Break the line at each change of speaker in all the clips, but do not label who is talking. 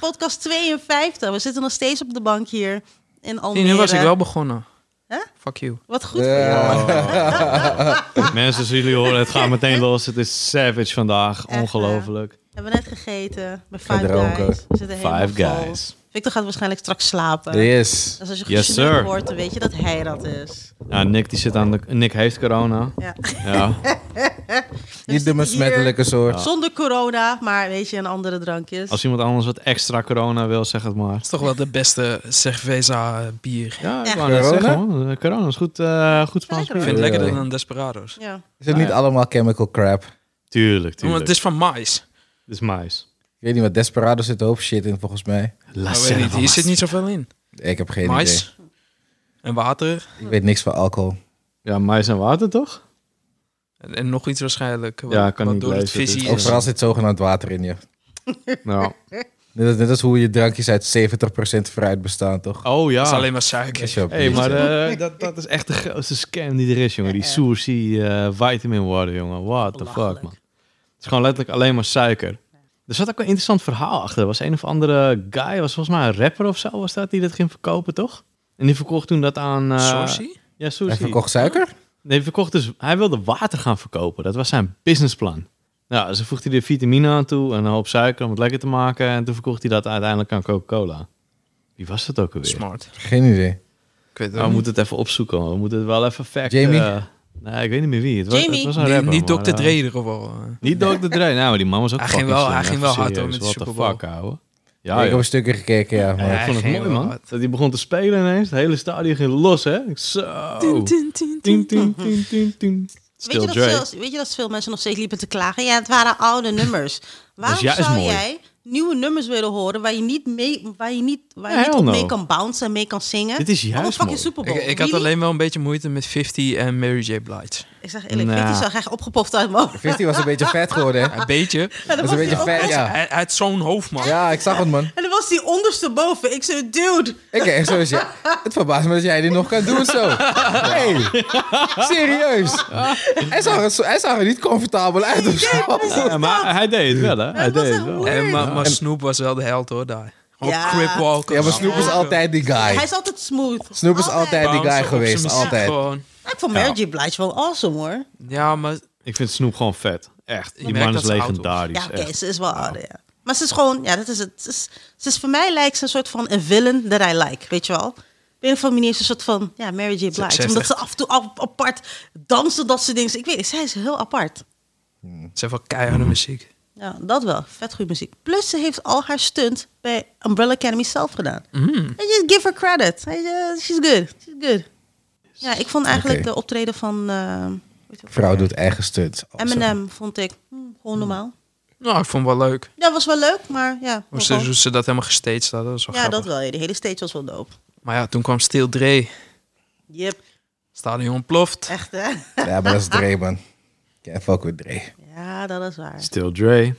podcast 52. We zitten nog steeds op de bank hier in
Zie,
Almere.
nu was ik wel begonnen.
Hè?
Fuck you.
Wat goed.
Mensen, zoals jullie horen, het gaat meteen los. Het is savage vandaag.
Echt, eh,
Ongelooflijk.
We hebben net gegeten bij Five
Gedronken.
Guys. We zitten helemaal
Five
vol.
guys.
Victor gaat waarschijnlijk straks slapen.
Yes.
Dus als je
Yes,
gesnurkt
sir.
wordt, dan weet je dat hij dat is.
Ja, Nick, die zit aan de... Nick heeft corona.
Ja.
Ja.
Niet de besmettelijke soort.
Zonder corona, maar weet je, een andere drankjes.
Als iemand anders wat extra corona wil, zeg het maar.
is toch wel de beste cerveza eh, bier.
Ja,
Ja.
ik wou net
Corona?
zeggen, man. Corona is goed, eh goed Spaans
Ja,
Ik
bier.
vind het lekkerder
Ja.
dan Desperados.
Ja.
Is het niet allemaal chemical crap?
Tuurlijk,
Want
tuurlijk.
het is van mais.
Het is mais.
Ik weet niet wat Desperado zit een hoop shit in volgens mij.
Maar Nou, weet niet, hier zit niet zoveel in.
Ik heb geen idee.
Mais en water
Ik weet niks van alcohol.
Ja, mais en water toch?
en, en nog iets waarschijnlijk. Wat,
Ja, kan
wat
niet
door het
lezen, dus-
visie is.
Overal zit zogenaamd water in je.
Nou.
Net als, net als hoe je drankjes uit 70% fruit bestaan, toch?
Oh
Het is
ja.
alleen maar suiker.
Hé,
hey, maar eh, dat, dat is echt de grootste scam die er is, jongen. Die Sourcy eh, vitamin water, jongen. What the fuck,
Belachelijk.
man. Het is gewoon letterlijk alleen maar suiker. Er zat ook een interessant verhaal achter. Er was een of andere guy, was volgens mij een rapper of zo, was dat, die dat ging verkopen, toch? En die verkocht toen dat aan... eh,
Sorsi?
Ja,
Hij
Sourcy.
verkocht suiker?
Nee, hij verkocht dus... Hij wilde water gaan verkopen. Dat was zijn businessplan. Nou, ze voegde hij de vitamine aan toe en een hoop suiker om het lekker te maken. En toen verkocht hij dat uiteindelijk aan Coca-Cola. Wie was dat ook alweer?
Smart.
Geen idee.
Ik weet het
Nou, we
ook niet.
moeten het even opzoeken. man. We moeten het wel even fact...
Jamie?
eh, nee, ik weet niet meer wie. Het was,
Jamie?
het was een
Niet,
rapper,
niet
maar,
Dr.
eh,
Dre in ieder geval. eh.
niet Dr. Dre. Nou, maar die man was ook
Hij ging
fucking
wel- hij
slim,
ging
even
wel hard, hoor,
serieus.
met de
What
Super
the
Bowl.
fuck, ouwe. Ja,
ik
ja.
heb een stukje gekeken, ja.
Ja,
Maar
ik vond het
ging
mooi,
wel
man.
hard.
Dat hij begon te spelen ineens. Het hele stadion ging los, hè. Ik- Zo. Tien, tien, tien, tien, tien.
Weet je,
Still
dat
Dre.
veel, weet je dat veel mensen nog steeds liepen te klagen? Ja, het waren oude nummers. Waarom
juist
zou
Dus mooi.
jij nieuwe nummers willen horen waar je niet, mee, waar je niet, waar je
Ja,
niet
hell
op
no.
mee kan bouncen en mee kan zingen?
Dit is
Op een
juist
fucking
mooi.
Super
Ik,
Bowl.
ik had
Really?
alleen wel een beetje moeite met 50 en Mary J. Blige.
Ik zeg eerlijk,
Nou.
die zag echt opgepoft uit mijn hoofd.
50 was een beetje vet geworden, hè?
Ah.
Een beetje.
Dat is een beetje vet, ja.
Hij, hij had zo'n hoofd, man.
Ja, ik zag het, man.
En dan was die ondersteboven. Ik zei, dude.
Ik echt zo is ja. Het verbaast me dat jij dit nog kan doen zo. Hey, serieus. Hij zag, er, zo- hij zag er niet comfortabel uit of zo.
Ja, maar hij deed het wel, hè. Hij
Het was
deed
echt
het wel.
weird.
En, maar maar Snoop was wel de held, hoor, daar. Gewoon
Ja.
cripwalken.
Ja, maar Snoep is altijd die
Hij
guy.
is altijd smooth.
Snoep is altijd die guy geweest, altijd.
Gewoon.
Ik vond Mary J. Blige wel awesome, hoor.
Ja, maar
Ik vind Snoep gewoon vet. Echt. Die
merkt
man is
dat ze oud wordt.
legendarisch.
Ja, oké,
echt.
ze is wel ouder, ja. Maar ze is gewoon, ja, dat is het. Ze is, ze is voor mij lijkt ze een soort van een villain that I like, weet je wel. Op een of andere manier is ze een soort van, ja, Mary J. Blige.
ze heeft
Omdat
echt-
ze af en toe ap- apart dansen, dat soort dingen. Ik weet niet, zij is heel apart.
het zijn wel keiharde muziek.
Ja, dat wel. Vet goede muziek. Plus ze heeft al haar stunt bij Umbrella Academy zelf gedaan. Weet je, give her credit. Weet je, She's good. She's good. Ja, ik vond eigenlijk
Oké.
de optreden van eh, hoe heet het ook?
Vrouw doet eigen stunts.
Eminem, vond ik hm, gewoon normaal.
Nou, ik vond het wel leuk.
Ja, was wel leuk, maar ja.
Hoe ze,
gewoon-
hoe ze dat helemaal gestaged hadden, dat was wel
Ja,
grappig.
dat wel. Ja. Die hele stage was wel dope.
Maar ja, toen kwam Steel Dre.
Yep,
Stadion ontploft.
echt hè?
Ja, maar dat is Dre, man. Can't fuck with Dre.
Ja, dat is waar.
Still Dre.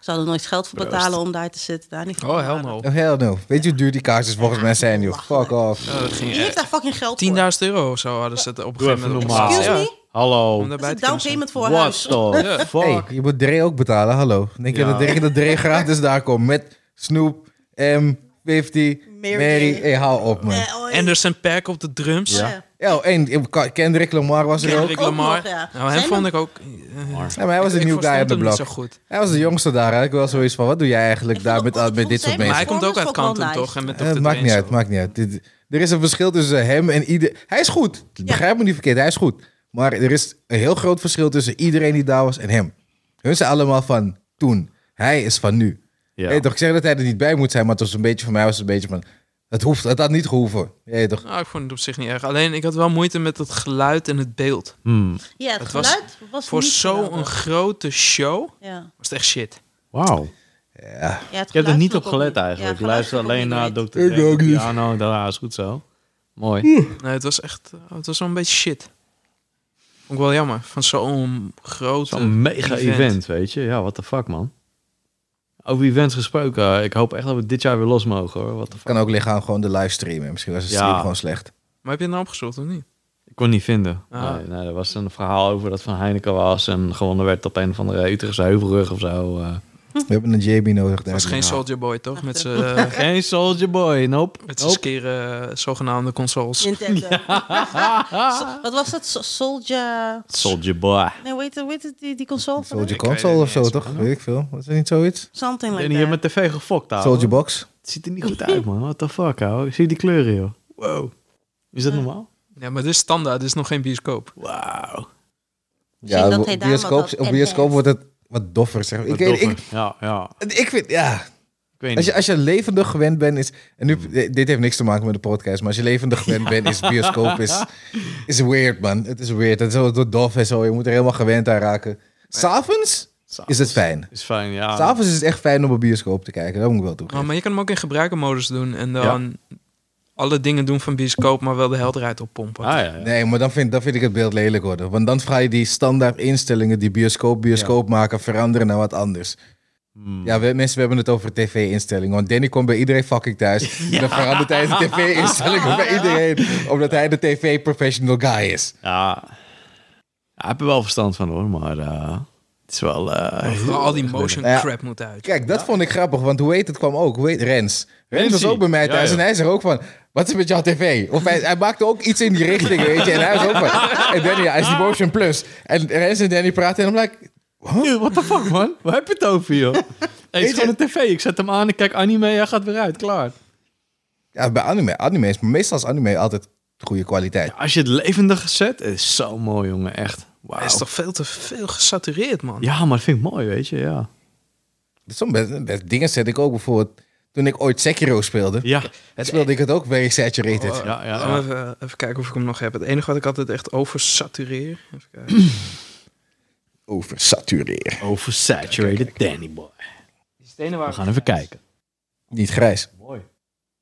Ik zou er nooit geld voor betalen om daar te zitten. Daar niet
Oh, hell no.
Oh, hell no. Weet je hoe duur die kaartjes volgens mij zijn, joh? Fuck off.
Ja, dat
Je
ging
heeft daar fucking geld voor.
10.000 Eh, euro of zo hadden ze het op een
Doe
gegeven
even
moment.
normaal.
Excuse
Ja,
me?
Hallo.
om
Dat is
daarbij
een
te kunnen
down
zijn.
payment voor een
What
huis.
the
Hey,
fuck?
je moet Dre ook betalen, hallo. Denk je
Ja.
dat, Dre, dat Dre gratis daar komt met Snoop, M, 50,
Mary
Mary?
J.
Hey, hou op, man.
Eh, oh,
Anderson Paak op de drums.
ja.
Yo, en Kendrick Lamar was er ook.
Kendrick
Ook
Lamar.
nog, ja.
Nou, hem
Zijn
vond
er-
ik ook... eh,
Ja, maar hij was
ik-
een
ik
nieuw guy
verstond hem
op de
niet
blok.
zo goed.
Hij was de jongste daar. hè. Ik was zoiets van, wat doe jij eigenlijk
Ik
daar
vond
met,
het ook-
met
ik
dit
vond
soort
zijn
Maar
mensen?
hij komt ook
Performance
uit
vond ik wel
Kanten,
nice.
toch? En met
Eh,
Dr.
maakt
Dre
niet
en
uit,
zo.
maakt niet uit. Dit- er is een verschil tussen hem en ieder. Hij is goed. Begrijp me niet verkeerd, hij is goed. Maar er is een heel groot verschil tussen iedereen die daar was en hem. Hun zijn allemaal van toen. Hij is van nu.
Ja.
Hey, toch, ik zeg dat hij er niet bij moet zijn, maar het was een beetje, voor mij was het een beetje van... Het, hoeft, het had niet gehoeven. Hey, toch.
Nou, ik vond het op zich niet erg. Alleen, ik had wel moeite met het geluid en het beeld.
Hmm.
Ja, het,
Het was-
geluid was,
Voor
niet
zo'n
geweldig.
grote show
Ja.
was het echt shit.
Wauw.
Ja.
Ja, het
Ik heb er
geluid
niet
vond
op
ik ook
gelet
niet. Ja,
eigenlijk.
het
ik luister
geluid
alleen
vond ik
naar
ook
Dr.
niet
Ik
Dre.
ook niet. Hmm.
Ja, nou, dat is goed zo. Mooi.
Nee, het was echt... eh, Het was wel een beetje shit. Vond ik wel jammer. Van zo'n groot...
Zo'n mega event. weet je. Ja, what the fuck, man. Over events gesproken. Ik hoop echt dat we dit jaar weer los mogen, hoor. What the fuck.
Kan ook liggen aan gewoon de livestreamen. Misschien was de
Ja.
stream gewoon slecht.
Maar heb je het nou opgezocht of niet?
Ik kon het niet vinden.
Ah.
Nee, nee, er was een verhaal over dat Van Heineken was en gewonnen werd op een van de Utrechtse heuvelrug of zo. eh.
We hebben een JB nodig.
was geen
nou.
duidelijk.
Soldier Boy, toch? Met zijn
Geen Soldier Boy, nope.
met z'n skere eh, zogenaamde consoles.
Nintendo. So- Wat was dat? So- Soldier...
Soldier Boy.
Nee, weet je, weet je die, die console? van
Soldier
Ik weet het
Console of
niet
zo,
eens,
toch?
man.
Weet ik veel. Was er niet zoiets?
hem? Something
En
like
die hebben
that.
mijn tv gefokt, ouwe.
Soldier Box?
Het ziet er niet goed uit, man. What the fuck, ouwe. Zie je die kleuren, joh. Wow. Is dat normaal?
Ja, maar dit is standaard. Dit is nog geen bioscoop.
Wauw.
Misschien dat
op
hij daarom
bioscoop,
dat
op bioscoop
enhanced.
wordt het wat doffer, zeg maar. Ik,
Wat
weet, ik,
doffer. Ja, ja.
ik vind, ja.
Ik
Als
weet niet.
je, als je levendig gewend bent, is. En nu,
Hmm.
dit heeft niks te maken met de podcast, maar als je levendig gewend bent, is bioscoop is, is weird, man. Het is weird. Het is zo dof en zo. Je moet er helemaal gewend aan raken. S'avonds is het fijn.
Is fijn, ja.
S'avonds is het echt fijn om een bioscoop te kijken. Dat moet ik wel
Maar,
toegeven.
Oh, maar je kan hem ook in gebruikermodus doen. En dan alle dingen doen van bioscoop, maar wel de helderheid oppompen.
Ah, ja, ja.
Nee, maar dan vind, dan vind ik het beeld lelijk worden. Want dan ga je die standaard instellingen die bioscoop bioscoop maken veranderen naar wat anders.
Hmm.
Ja, we, mensen, we hebben het over tv-instellingen. Want Danny komt bij iedereen fucking thuis. En dan verandert hij de tv-instellingen bij iedereen. Omdat hij de tv-professional guy is.
Ja. Ja, ik heb er wel verstand van hoor, maar eh, het is wel... eh, heel
Waar al die
erg
motion
Ja.
crap moet uit.
Kijk, dat vond ik grappig, want hoe heet het kwam ook? Hoe heet Rens? Rens was
Rensie.
ook bij mij
Ja,
thuis
ja.
en hij zei ook van, wat is met jouw tv? Of hij, hij maakte ook iets in die richting, weet je. En hij was ook van, en Danny, hij is die Motion Plus. En Rens en Danny praten en I'm like,
beneden. Wat de fuck man? Waar heb je het over joh? Hey, het is
je-
gewoon een tv. Ik zet hem aan, ik kijk anime, hij gaat weer uit. Klaar.
ja, bij anime, anime is, meestal is anime altijd goede kwaliteit.
Als je het levendig zet, het is zo mooi jongen, echt. Wauw.
Hij is toch veel te veel gesatureerd, man.
Ja, maar dat vind ik mooi, weet je, ja.
Sommige best- best dingen zet ik ook bijvoorbeeld, toen ik ooit Sekiro speelde,
Ja,
speelde ik het ook very saturated.
Oh,
Ja, ja,
laten
ja.
we Even, even kijken of ik hem nog heb. Het enige wat ik altijd echt oversatureer. Even kijken.
Oversatureer.
oversaturated Danny boy. We gaan even kijken.
Niet grijs.
Mooi.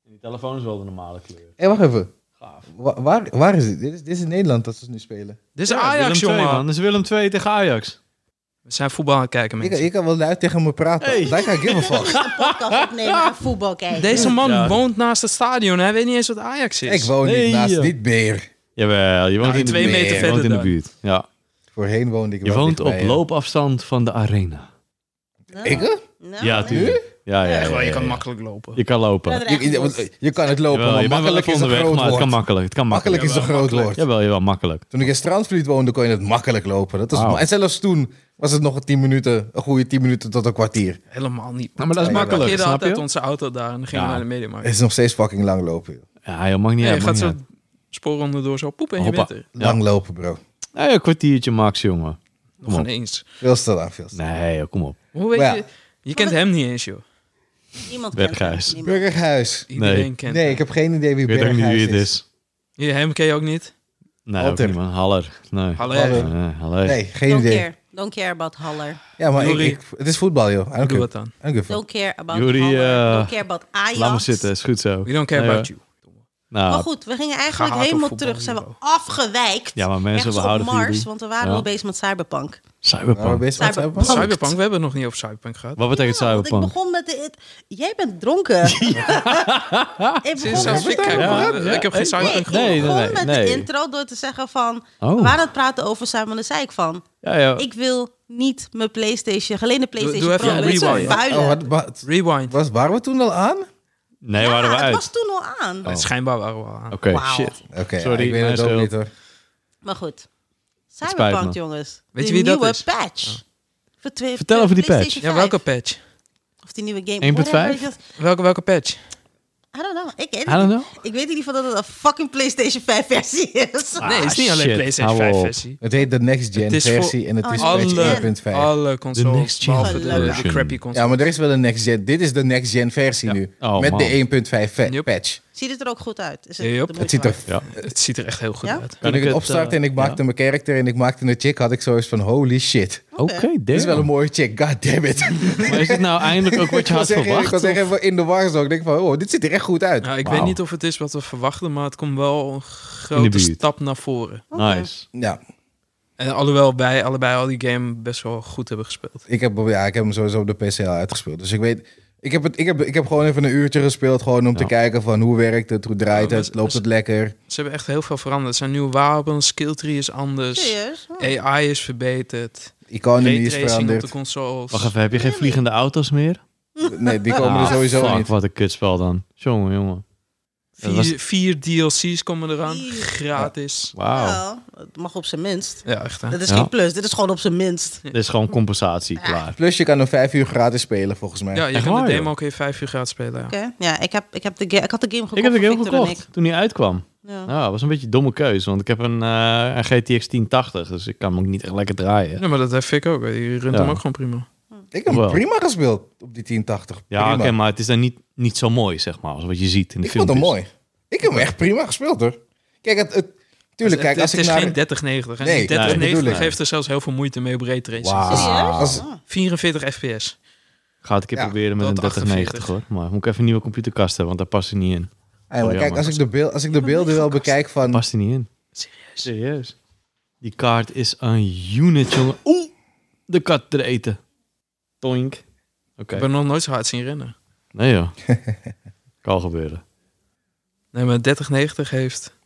En die telefoon is wel de normale kleur.
Hé, wacht even.
Gaaf.
Wa- waar, waar is dit? Dit is, dit is in Nederland dat ze nu spelen.
Dit is Ajax,
Willem
jongen.
II, man. Dit is Willem 2 tegen Ajax.
We zijn voetbal aan het kijken,
Je kan,
mensen.
je kan wel luid tegen me praten.
Hey.
Like I give a fuck.
Een podcast opnemen en voetbal kijken.
Deze man
Ja.
woont naast het stadion. Hij weet niet eens wat Ajax is.
Ik woon
Nee,
niet naast
joh.
dit meer.
Jawel, je woont
Nou,
in de
twee
buurt.
meter
Je
verder
woont in de
dan.
buurt, ja.
Voorheen woonde ik
Je woont op
loop.
loopafstand van de arena.
Nou,
Ik? hè?
nou,
Ja,
nou.
tuurlijk. Ja, ja, ja,
Echt wel, je
ja,
kan
ja.
makkelijk lopen.
Je kan lopen.
Ja, dat
Je, je- want je kan het lopen,
Jawel,
maar
je bent wel
makkelijk
even
is een
onderweg,
groot
maar het
woord.
kan makkelijk. Het kan makkelijk.
Makkelijk is een groot woord.
Jawel, jawel, makkelijk.
Toen ik in Straansvliet woonde, kon je het makkelijk lopen. Dat is
Wauw.
En zelfs toen was het nog 10 minuten, een goede 10 minuten tot een kwartier.
Helemaal niet.
Nou, maar dat is
We
makkelijk,
parkeerden
snap
altijd
je?
onze auto daar en dan gingen
Ja.
we naar de mediamarkt.
Het is nog steeds fucking lang lopen. joh.
Ja, joh, mag niet
Ja,
uit.
je
maakt
gaat
niet
zo
uit.
sporen onderdoor zo poep en je
Hoppa.
bent er.
Ja.
Lang lopen, bro.
Nee, een kwartiertje max, jongen.
Nog
op.
ineens.
Veel te lang, veel te lang.
Nee, joh, kom op.
Hoe weet
Maar ja.
je... Je kent hem niet eens, joh.
Niemand
Berghuis.
kent hem, niemand.
Burgerhuis.
Iedereen
Nee.
kent
Nee, ik heb geen idee wie
Ik weet ook niet
Burgerhuis
wie het
is.
is.
Je, hem ken je ook niet?
Nee, ook
Alter.
niet, man. Haller. Nee.
Hallo.
Hallo.
Nee, Haller.
Nee, geen
Don't
idee.
care. Don't care about Haller.
Ja, maar ik,
Joeri.
ik- het is voetbal, joh. I don't
Doe
care.
wat dan.
I don't give a fuck.
Don't care about
Jullie,
Haller.
eh,
Don't care about Ajax.
Laat maar zitten, is goed zo.
We don't care
Nee,
about
joh.
you.
Maar
Nou,
goed, we gingen eigenlijk
Gehaat op
helemaal
voetbal
terug. Zijn we
niveau.
afgewijkt.
Ja, maar mensen,
Ergens
we houden
op
van
Mars,
jullie.
want we waren
Ja.
al bezig met Cyberpunk.
Waar we
Cyberpunk.
bezig Oh, met zijn, man?
Cyberpunk. Punk.
Cyberpunk, we hebben het nog niet over Cyberpunk gehad.
Wat betekent
Ja, want ik
cyberpunk?
begon met de... het- jij bent dronken. ik
Ze is
begon
zelfs
met
fik, kijk,
de...
Ja,
man.
ja.
Ik heb geen
Nee,
Cyberpunk
ik
gehad.
Nee,
begon
nee,
met
nee.
de intro door te zeggen van...
Oh.
We waren aan het praten over Simon en dan zei ik van...
Ja, ja.
Ik wil niet mijn Playstation, geleende Playstation
doe even
Pro
een
met zo'n
rewind.
vuile.
Oh, wat, wat-
Rewind.
was, waren we toen al aan?
Nee,
Ja,
waren we
het
uit.
was toen al aan.
Nee, Schijnbaar waren we al aan.
Oké,
Wauw.
shit.
Oké,
Sorry,
ik weet
mijn
het ook
schuld.
niet hoor.
Maar goed.
spijt me.
Cyberpunk, jongens.
Weet je
die
wie dat
nieuwe
is?
patch. Voor twee-
Oh. Vertel
voor
over die patch.
PlayStation
Ja,
5.
welke patch?
Of die nieuwe game.
1.5?
whatever it is.
Welke, welke patch?
I don't know. Ik, weet
I don't
het niet.
know.
ik weet in ieder geval dat het een fucking PlayStation 5 versie is.
Ah,
nee, het is niet alleen
shit,
PlayStation
hou
5
op.
versie.
Het heet de Next
Het
Gen
is voor
versie en het is
Oh, alle-
patch 1.5.
Alle consoles,
De next gen
behalve de, de
version.
crappy console.
Ja, maar er is wel een Next Gen. Dit is de Next Gen versie
Ja.
nu.
Oh,
met
man.
de 1.5 fa-
Yep.
patch.
Ziet het er ook goed uit? Is het
Yep.
de
Het
moeite
Het ziet er...
waard?
Ja.
Het ziet er echt heel goed
Ja?
uit.
Toen ik het opstartte
eh,
en ik maakte mijn character en ik maakte een chick, had ik zoiets van holy shit.
Oké,
Dit is wel een
damn.
mooie chick, god damn it.
Maar is het nou eindelijk ook wat je
ik
had
was echt- ik was
verwacht?
echt even in de war zo. Ik denk van, oh, dit ziet er echt goed uit.
Nou, ik
Wauw.
weet niet of het is wat we verwachten, maar het komt wel een
In de
grote
buurt.
stap naar voren.
Oké.
Nice.
Ja,
En alhoewel wij allebei al die game best wel goed hebben gespeeld.
ik heb, ja, ik heb hem sowieso op de PC al uitgespeeld. Dus ik weet... Ik heb, het, ik, heb, ik heb gewoon even een uurtje gespeeld gewoon om te
Ja. dus-
kijken van hoe werkt het, hoe draait
Ja,
het,
maar-
loopt het lekker.
Ze hebben echt heel veel veranderd. Er zijn nieuwe wapens, skilltree is anders,
Serieus? Oh.
AI is verbeterd.
Oh,
economy is
Raytracing op de
veranderd.
consoles.
Wacht even, heb je geen vliegende auto's meer?
Nee, die komen er
Ah,
sowieso
fuck,
niet.
wat een kutspel dan. Jongen, jongen.
Vier,
Dat was-
vier DLC's komen eraan.
Vier.
Gratis.
Wauw.
Nou, het mag op zijn minst.
Ja, echt hè.
Dat is
Oh. Ja.
geen plus, dit is gewoon op zijn minst.
Dit is gewoon compensatie, klaar.
Plus je kan hem vijf uur gratis spelen, volgens mij.
Ja, je
Echt
kan
waar,
de
joh.
demo ook even vijf uur gratis spelen. Ja.
Oké, ja, ik, heb, ik, heb de ga- ik had de game gekocht.
Ik heb de
voor
game
Victor en
gekocht toen hij uitkwam.
ik. Ja.
Nou, dat was een beetje een domme keuze, want ik heb een, eh, een GTX 1080, dus ik kan hem ook niet echt lekker draaien.
Ja, maar dat heeft ik ook. hè. Die runt
Ja.
hem ook gewoon prima.
Ik heb hem
Wel.
prima gespeeld op die 1080.
Ja,
Prima.
oké, maar het is dan niet, niet zo mooi, zeg maar, als wat je ziet in de
Ik vond
film.
hem mooi. Ik heb hem echt prima gespeeld, hoor. Kijk, het, het, tuurlijk,
het,
kijk, als
het
ik
is
naar...
geen 3090. hè.
Nee,
Die
nee,
dat
3090
bedoel ik.
heeft er zelfs heel veel moeite mee op raytracing.
Wauw.
Als-
Ah.
44 fps.
Ga het een keer
Ja,
proberen met een
dat
3090 hoor. Maar moet ik even een nieuwe computerkast hebben, want daar past hij niet in.
Hey, maar
Oh,
kijk,
jammer.
als ik de, beeld, als ik de beelden wel bekijk van...
Past hij niet in.
Serieus.
Serieus. Die kaart is een unit, jongen. Oeh, de kat er eten. Toink. Oké.
Ik ben nog nooit zo hard zien rennen.
Nee joh. kan gebeuren.
Nee, maar 3090 heeft...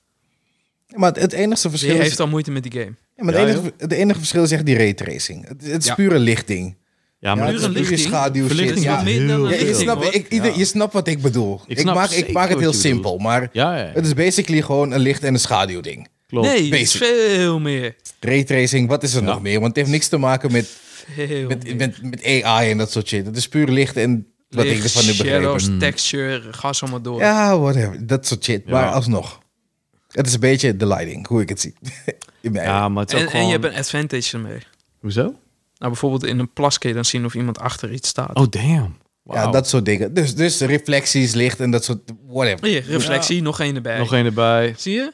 Maar het, het enige
Die
verschil is...
heeft al moeite met die game.
Ja, maar het,
Ja,
enige, het enige verschil is echt die raytracing. Het, het is
Ja.
pure lichting.
Ja, maar
Ja,
het
het
is-
is pure
lichting.
schaduw shit.
Verlichting
Ja.
wat meer dan
heel
een
Ja, je,
veel.
lichting,
snapt,
hoor.
ik, ieder-
Ja.
je snapt wat ik bedoel. Ik,
snap
maak,
zeker
ik maak het
wat
heel
je bedoelt.
simpel, maar
ja, ja, ja.
het is basically gewoon een licht- en een schaduwding.
klopt.
Nee, het is
Basic.
veel meer.
Raytracing, wat is er
Ja.
nog meer? Want het heeft niks te maken met,
Veel
met,
meer.
met, met AI en dat soort shit. Het is puur licht en wat ik
Licht,
ervan heb begrepen.
shadows, texture, ga zo maar door.
Ja, whatever. Dat soort shit.
Ja.
Maar alsnog. Het is een beetje de lighting, hoe ik het zie. In mijn
Ja, maar het is
en,
ook
en je
gewoon...
hebt een advantage ermee.
Hoezo?
Nou, bijvoorbeeld in een plas kun je dan zien of iemand achter iets staat.
Oh, damn.
Ja, dat soort dingen. Dus, dus reflecties, licht en dat soort... Whatever.
Hier, reflectie, nog één erbij.
Nog één erbij.
Zie je? Het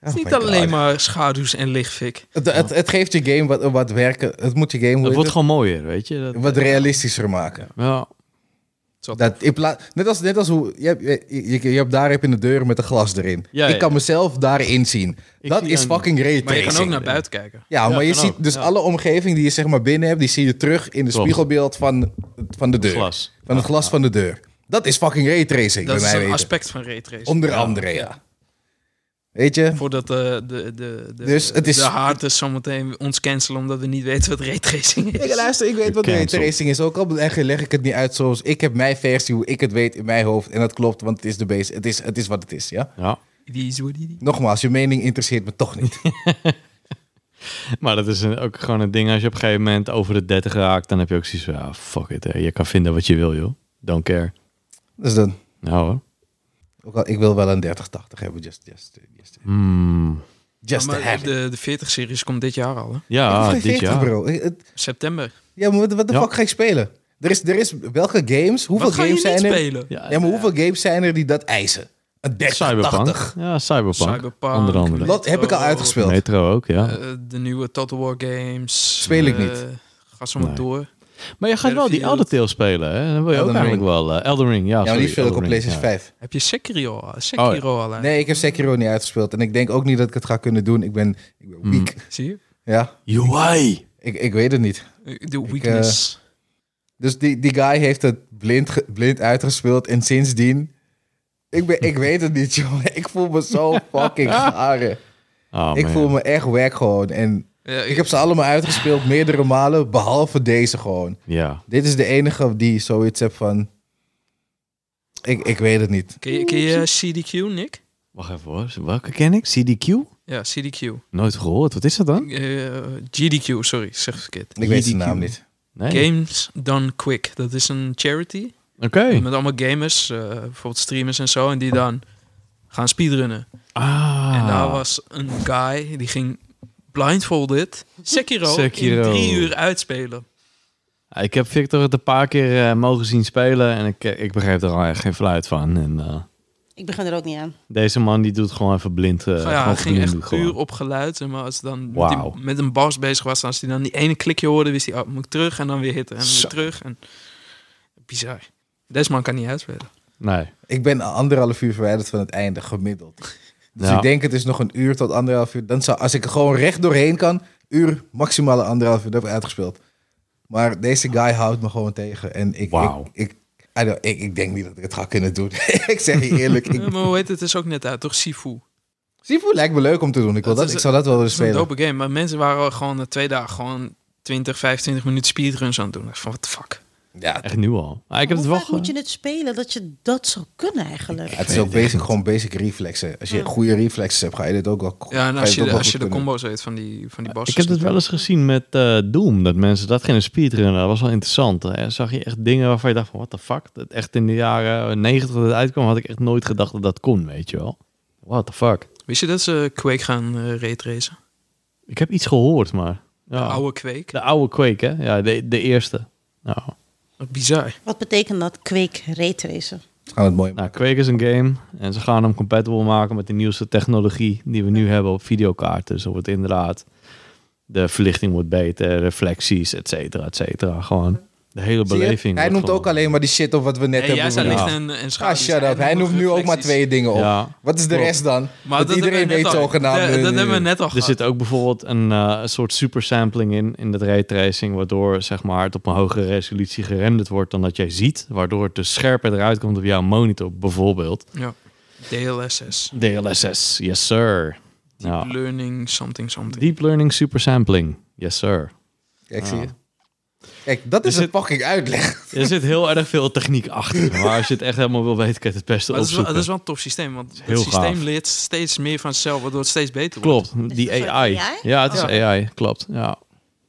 Oh
is niet
my God.
alleen maar schaduws en lichtfik.
Het, het, het geeft je game wat, wat werken. Het moet je game hoe
Het
heet
wordt
het?
gewoon mooier, weet je. Dat,
wat realistischer maken.
ja.
Dat in plaats, net, als, net als hoe... Je, hebt- je, je, je hebt daar heb je een deur met een glas erin.
Ja,
ik
ja.
kan mezelf daarin zien.
Ik
dat
zie
is
een-
fucking
Maar je kan ook
raytracing.
naar buiten kijken.
Ja, maar
Ja,
je
kan
ziet
ook,
dus
ja.
alle omgeving die je zeg maar binnen hebt... die zie je terug in de
Klopt.
spiegelbeeld van, van de deur.
Glas.
Van het glas van de deur. Dat is fucking raytracing,
Dat
bij
is
mij
een
weten.
aspect van raytracing.
Onder andere, ja. Weet je?
Voordat eh, de, de, de, de,
Dus het is-
de haters zometeen ons cancelen omdat we niet weten wat raytracing is.
Ik luister, ik weet wat
Gecanceld.
raytracing is. Ook al echt leg ik het niet uit zoals... Ik heb mijn versie, hoe ik het weet in mijn hoofd. En dat klopt, want het is de base. Het is, het is wat het is, ja?
ja.
Die is hoe die-
Nogmaals, je mening interesseert me toch niet.
Maar dat is een- ook gewoon een ding. Als je op een gegeven moment over de 30 raakt, dan heb je ook zoiets van, ja, fuck it. Hè. Je kan vinden wat je wil, joh. Don't care.
dus dan...
Nou hoor.
Ook al, ik wil wel een 3080 hebben, just, just, just,
Hmm.
just
Maar
to have
de,
it.
de 40-series komt dit jaar al, hè?
Ik
Ja,
heb geen
dit
40,
jaar.
bro. Ik- het-
September.
Ja, maar wat, wat de
Ja.
fuck ga ik spelen? Er is, er is welke games, hoeveel
Wat ga je
games
niet
zijn er?
spelen?
Ja,
Ja, maar hoeveel games zijn er die dat eisen? Een 3080.
Cyberpunk. Ja, Cyberpunk.
Cyberpunk.
Onder andere.
Dat heb ik al
Metro.
uitgespeeld.
Metro ook, ja.
Eh, de nieuwe Total War games.
Speel ik
Eh,
niet.
Ga zo maar
Nee.
door.
maar je gaat wel die
Battlefield.
Elder Tales spelen, hè? Dan wil je ook
Elden
eigenlijk wel... eh, Elden Ring, ja.
ja, maar
sorry,
die speel ik op
Elden Ring,
PlayStation
ja.
5.
Heb je Sekiro al? Sekiro al uit?
Oh, Nee, ik heb Sekiro niet uitgespeeld. En ik denk ook niet dat ik het ga kunnen doen. Ik ben, ik
Hmm.
ben weak.
Zie je?
Ja,
UI!
ik, ik weet het niet.
Eh, De weakness.
Dus die, die guy heeft het blind, ge- blind uitgespeeld. En sindsdien... Ik, ben, ik weet het niet, jongen. Ik voel me zo fucking garen.
Oh,
ik
man.
voel me echt wack gewoon. En
Ja,
ik heb ze allemaal uitgespeeld, meerdere malen. Behalve deze gewoon.
Ja.
Dit is de enige die zoiets heeft van... Ik, ik weet het niet.
Ken je, ken je CDQ, Nick?
Wacht even hoor. Welke ken ik? CDQ?
Ja, CDQ.
Nooit gehoord. Wat is dat dan?
Eh, GDQ, sorry, zeg verkeerd.
Ik weet zijn
JDQ.
naam niet.
Nee.
Games Done Quick. Dat is een charity
Oké.
met allemaal gamers, eh, bijvoorbeeld streamers en zo, en die dan gaan speedrunnen.
Ah.
En nou, eh, daar was een guy die ging blindfolded Sekiro,
Sekiro.
in drie uur uitspelen.
Ik heb Victor het een paar keer eh, mogen zien spelen en ik, eh, ik begreep er al echt geen fluit van. En eh,
Ik begin er ook niet aan.
deze man die doet gewoon even blind. eh
Nou ja,
gewoon
hij ging
ging
echt puur op geluid. en Maar als dan met, die-
Wauw.
met een boss bezig was, als hij dan die ene klikje hoorde, wist hij, oh, moet ik terug en dan weer hitten en weer
Zo.
terug. En... Bizar. Deze man kan niet uitspelen.
Nee.
Ik ben anderhalf uur verwijderd van het einde, gemiddeld. Dus
Ja.
ik denk het is nog een uur tot anderhalf uur. Dan zou, als ik er gewoon recht doorheen kan, uur, maximale anderhalf uur, dat heb ik uitgespeeld. Maar deze guy houdt me gewoon tegen. En ik,
Wauw.
ik, ik, I don't- ik, ik denk niet dat ik het ga kunnen doen. ik zeg je eerlijk.
Ja,
Ik,
maar hoe heet het? Het is ook net uit, toch? Sifu.
Sifu lijkt me leuk om te doen. Ik, wil
Dat
dat,
is
ik
een-
zou dat wel willen
Het is een
spelen.
dope game, maar mensen waren al gewoon na twee dagen gewoon 20, 25 minuten speedruns aan het doen. Ik dacht van, what the fuck?
Ja,
Echt nu al. Ah, ik heb het
Hoe
wel
vaak moet
ge-
je het spelen dat je dat zou kunnen eigenlijk?
het is ook basic, gewoon basic reflexen. Als je goede reflexes hebt, ga je dit ook wel
Ja,
ga
en
je
als
dit
je,
ook
de,
wel
als je
goed
de
kunnen.
combo's weet van die, van die bosses.
Ik heb het wel eens gezien met eh, Doom, dat mensen dat gingen speedrunnen. Dat was wel interessant. Hè? Zag je echt dingen waarvan je dacht van, what the fuck? Dat echt in de jaren 90 dat het uitkwam, had ik echt nooit gedacht dat dat kon, weet je wel. What the fuck?
Wist je dat ze Quake gaan eh raytracen?
Ik heb iets gehoord, maar... Ja.
Oude Quake.
De oude Quake, hè? Ja, de, de eerste. Nou,
Wat Bizar.
Wat betekent dat? Kweek raytracen.
Gaan we het mooi
nou, Quake is een game en ze gaan hem compatible maken met de nieuwste technologie die we nu hebben op videokaarten. Dus dan wordt inderdaad de verlichting wordt beter, reflecties, et cetera, et cetera. Gewoon de hele
Zie je?
beleving.
Hij
wordt
noemt
gewoon-
ook alleen maar die shit op wat we net
Hey, jij
hebben.
zei
Ja.
licht
benoemd.
en, en
Ah,
schaduw.
shut up.
En
Hij
nog
noemt nu ook maar
reflecties.
twee dingen op.
Ja.
Wat is de
Klopt.
rest dan?
Maar
dat,
dat
iedereen
hebben we
weet eh,
net al-
zogenaamd.
Dat,
nee,
dat
nee,
hebben we
nee.
net al
Er
gehad.
zit ook bijvoorbeeld een, eh, een soort supersampling in, in dat raytracing, waardoor zeg maar, het op een hogere resolutie gerenderd wordt dan dat jij ziet, waardoor het dus scherper eruit komt op jouw monitor, bijvoorbeeld.
Ja. DLSS.
DLSS, yes sir.
Deep
Ja.
learning something something.
Deep Learning Supersampling, yes sir.
Kijk, zie je? Kijk, dat is
Dus
een fucking uitleg.
Er zit heel erg veel techniek achter, maar als je het echt helemaal wil weten, kan je het het beste
Maar dat, is wel,
opzoeken.
dat is wel een tof systeem, want het
heel
systeem
gaaf.
leert steeds meer van zichzelf, waardoor het steeds beter wordt.
Klopt,
Is
die
het een soort
AI.
AI?
Ja, het is
Oh.
AI, klopt. Ja.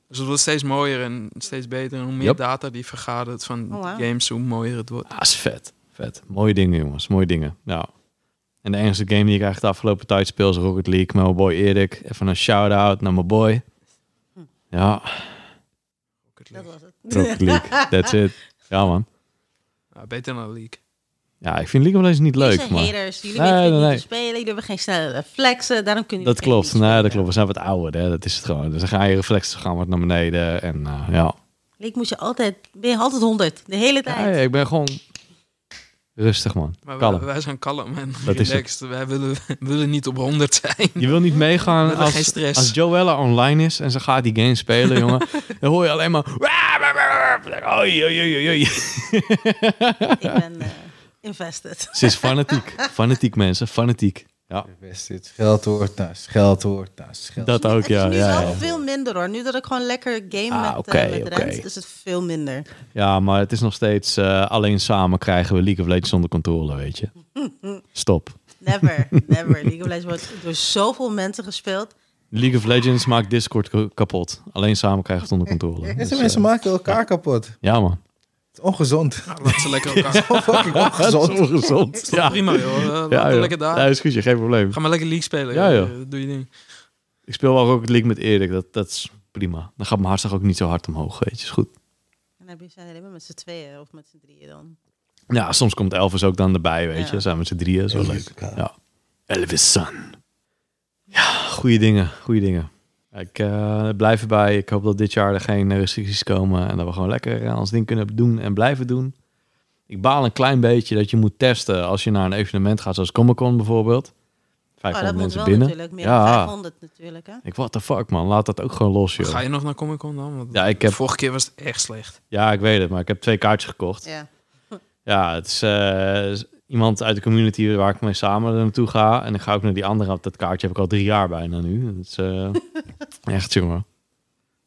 Dus het wordt steeds mooier en steeds beter. En hoe meer
Yep.
data die vergadert van
Oh, wauw.
games, hoe mooier het wordt.
Ah, is vet. Vet. Mooie dingen, jongens. Mooie dingen. Nou. En de enige game die ik eigenlijk de afgelopen tijd speel is Rocket League. Met mijn boy Erik. Even een shout-out naar mijn boy. Ja,
Dat was het.
Rocket League. That's it. Ja, man.
Ja, Nou, beter dan League.
Ja, ik vind League of Legends niet
Jullie
leuk,
zijn
maar...
haters. Jullie
Nee,
weten
nee,
niet
nee.
te spelen. Jullie hebben geen snelle reflexen. Daarom kunnen
Dat
jullie geen
klopt.
beats
Nee, dat
spelen.
klopt. We zijn wat ouder, hè. Dat is het gewoon. Dus dan gaan je reflexen gaan wat naar beneden. En eh, ja.
Ik moet je altijd... Ben je altijd 100. De hele tijd.
Hey, ik ben gewoon... Rustig, man.
Maar
Kalm.
wij, wij zijn kalm en
Dat is
relaxed. Wij willen, willen niet op 100 zijn.
Je wil niet meegaan
hebben geen
als,
stress.
als Joella online is en ze gaat die game spelen, jongen. Dan hoor je alleen maar... Oei, oei, oei, oei.
Ik ben eh, invested.
Ze is fanatiek. fanatiek, mensen. Fanatiek. Ja,
Geld hoort naast, geld hoort naast, geld.
dat ook, ja.
Het is nu
Ja,
wel
ja.
veel minder hoor. Nu dat ik gewoon lekker game
Ah,
met, eh,
oké,
met
oké.
Rens, is het veel minder.
ja, maar het is nog steeds... eh, alleen samen krijgen we League of Legends onder controle, weet je. Stop.
Never, never. League of Legends wordt door zoveel mensen gespeeld.
League of Legends maakt Discord ka- kapot. Alleen samen krijgen we het onder controle.
Deze
Dus, eh,
mensen maken elkaar kapot. Het
ja, man.
is ongezond.
Nou, laat ze lekker elkaar.
Fucking
Dat
ongezond.
is ongezond. Ja,
Prima joh, Eh, laat
ja,
het
joh.
lekker daar.
Ja, is goed, joh, geen probleem.
Ga maar lekker League spelen.
Ja,
joh.
joh.
Eh, Doe je ding.
Ik speel wel Rocket League met Erik. Dat, dat is prima. Dan gaat mijn hartslag ook niet zo hard omhoog, weet je. Is goed.
En dan heb je- zijn er alleen maar met z'n tweeën of met z'n drieën dan.
Ja, soms komt Elvis ook dan erbij, weet
Ja.
je. Dan zijn we met z'n drieën, is wel
Elvis,
leuk.
ja.
Ja. Elvis Sun. Ja, goede dingen, goede dingen. Ik eh, blijf erbij. Ik hoop dat dit jaar er geen eh, restricties komen en dat we gewoon lekker eh, ons ding kunnen doen en blijven doen. Ik baal een klein beetje dat je moet testen als je naar een evenement gaat, zoals Comic Con bijvoorbeeld.
Oh,
500
dat moet
mensen
wel
binnen.
natuurlijk. Meer
Ja.
dan 500 natuurlijk. Hè?
Ik, what the fuck man, laat dat ook gewoon los, joh.
Ga je nog naar Comic Con dan? Want
Ja, ik heb-
Vorige keer was het echt slecht.
Ja, ik weet het, maar ik heb twee kaartjes gekocht.
Ja.
Ja, het is eh, iemand uit de community waar ik mee samen er naartoe ga. En dan ga ik naar die andere. want Dat kaartje heb ik al drie jaar bijna nu. Dat is eh, echt, jongen.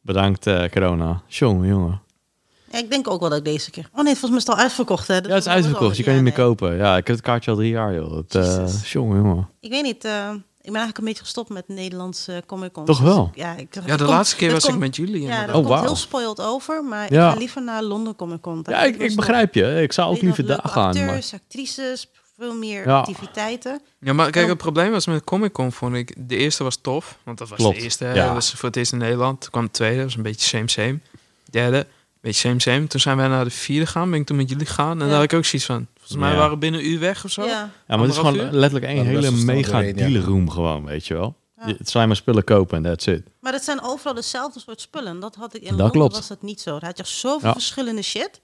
Bedankt, eh, corona. Jongen, jongen.
Ja, ik denk ook wel dat ik deze keer... Oh nee, volgens mij is het al uitverkocht. Hè? Dus
Ja, het is
volgens mij
uitverkocht. Je kan
al-
niet meer
ja,
kopen. Ja, ik heb het kaartje al drie jaar, joh. Dat, eh
Jezus.
jongen, jongen.
nee. Ik weet niet. eh, ik ben eigenlijk een beetje gestopt met Nederlandse comic cons.
Toch
Dus
wel?
ik- ja, ik,
Ja, de laatste keer was ik met
Ja,
jullie.
dat
inderdaad.
Oh,
komt
wauw.
heel spoiled over. Maar
Ja.
ik ga liever naar Londen Comic Con. Daar
Ja,
ben
ik,
wel
ik
gestopt.
begrijp je. Ik zou ook
Weet je
liever
wel,
daar
leuke
gaan. Maar...
Acteurs, actrices, veel meer
Ja.
activiteiten.
Ja, maar kijk, het probleem was met Comic Con, vond ik, de eerste was tof, want dat was
Klopt,
de eerste.
ja.
Dat was voor het eerst in Nederland. Toen kwam de tweede, was een beetje same same. Derde, een beetje same same. Toen zijn wij naar de vierde gegaan, ben ik toen met jullie gegaan. En daar had ik ook zoiets van, volgens mij
Ja.
waren we binnen een uur weg of zo.
Ja.
Ja, maar het is
Anderhalf
gewoon
uur?
letterlijk één
Ja, best
hele
wel snel
mega
doorheen, ja.
dealerroom gewoon, weet je wel.
Ja.
Je- Het zijn maar spullen kopen en that's it.
Maar het zijn overal dezelfde soort spullen. Dat had ik in
Dat
Londen
klopt.
was dat niet zo. Daar had je echt zoveel
Ja.
verschillende shit.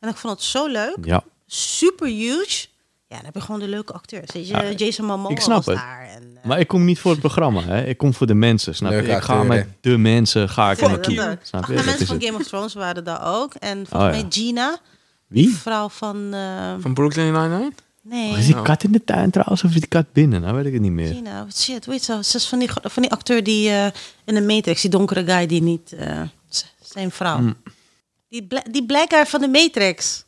En ik vond het zo leuk.
Ja.
Super huge. Ja, dan heb je gewoon de leuke acteurs. Weet je,
Ja,
Jason Momoa
ik snap
was
het.
daar. En, eh,
Maar ik kom niet voor het programma, hè. Ik kom voor de mensen, snap je?
Leuke
Ik ga
acteur,
met de mensen, ga ik
ja,
er
dat
naartoe.
ook.
Snap
Ach,
je?
en
Dat
mensen
is
van
het.
Game of Thrones waren daar ook. En
Oh,
volgens
ja.
mij Gina,
Wie?
vrouw van... eh,
Van Brooklyn Nine-Nine?
is
nee,
die kat in de tuin trouwens of is die kat binnen? Nou weet ik het niet meer.
Gina. Shit, weet je zo. Ze is van die, van die acteur die eh, in de Matrix, die donkere guy die niet... eh, z- Zijn vrouw.
Mm.
Die, bla- die black guy van de Matrix.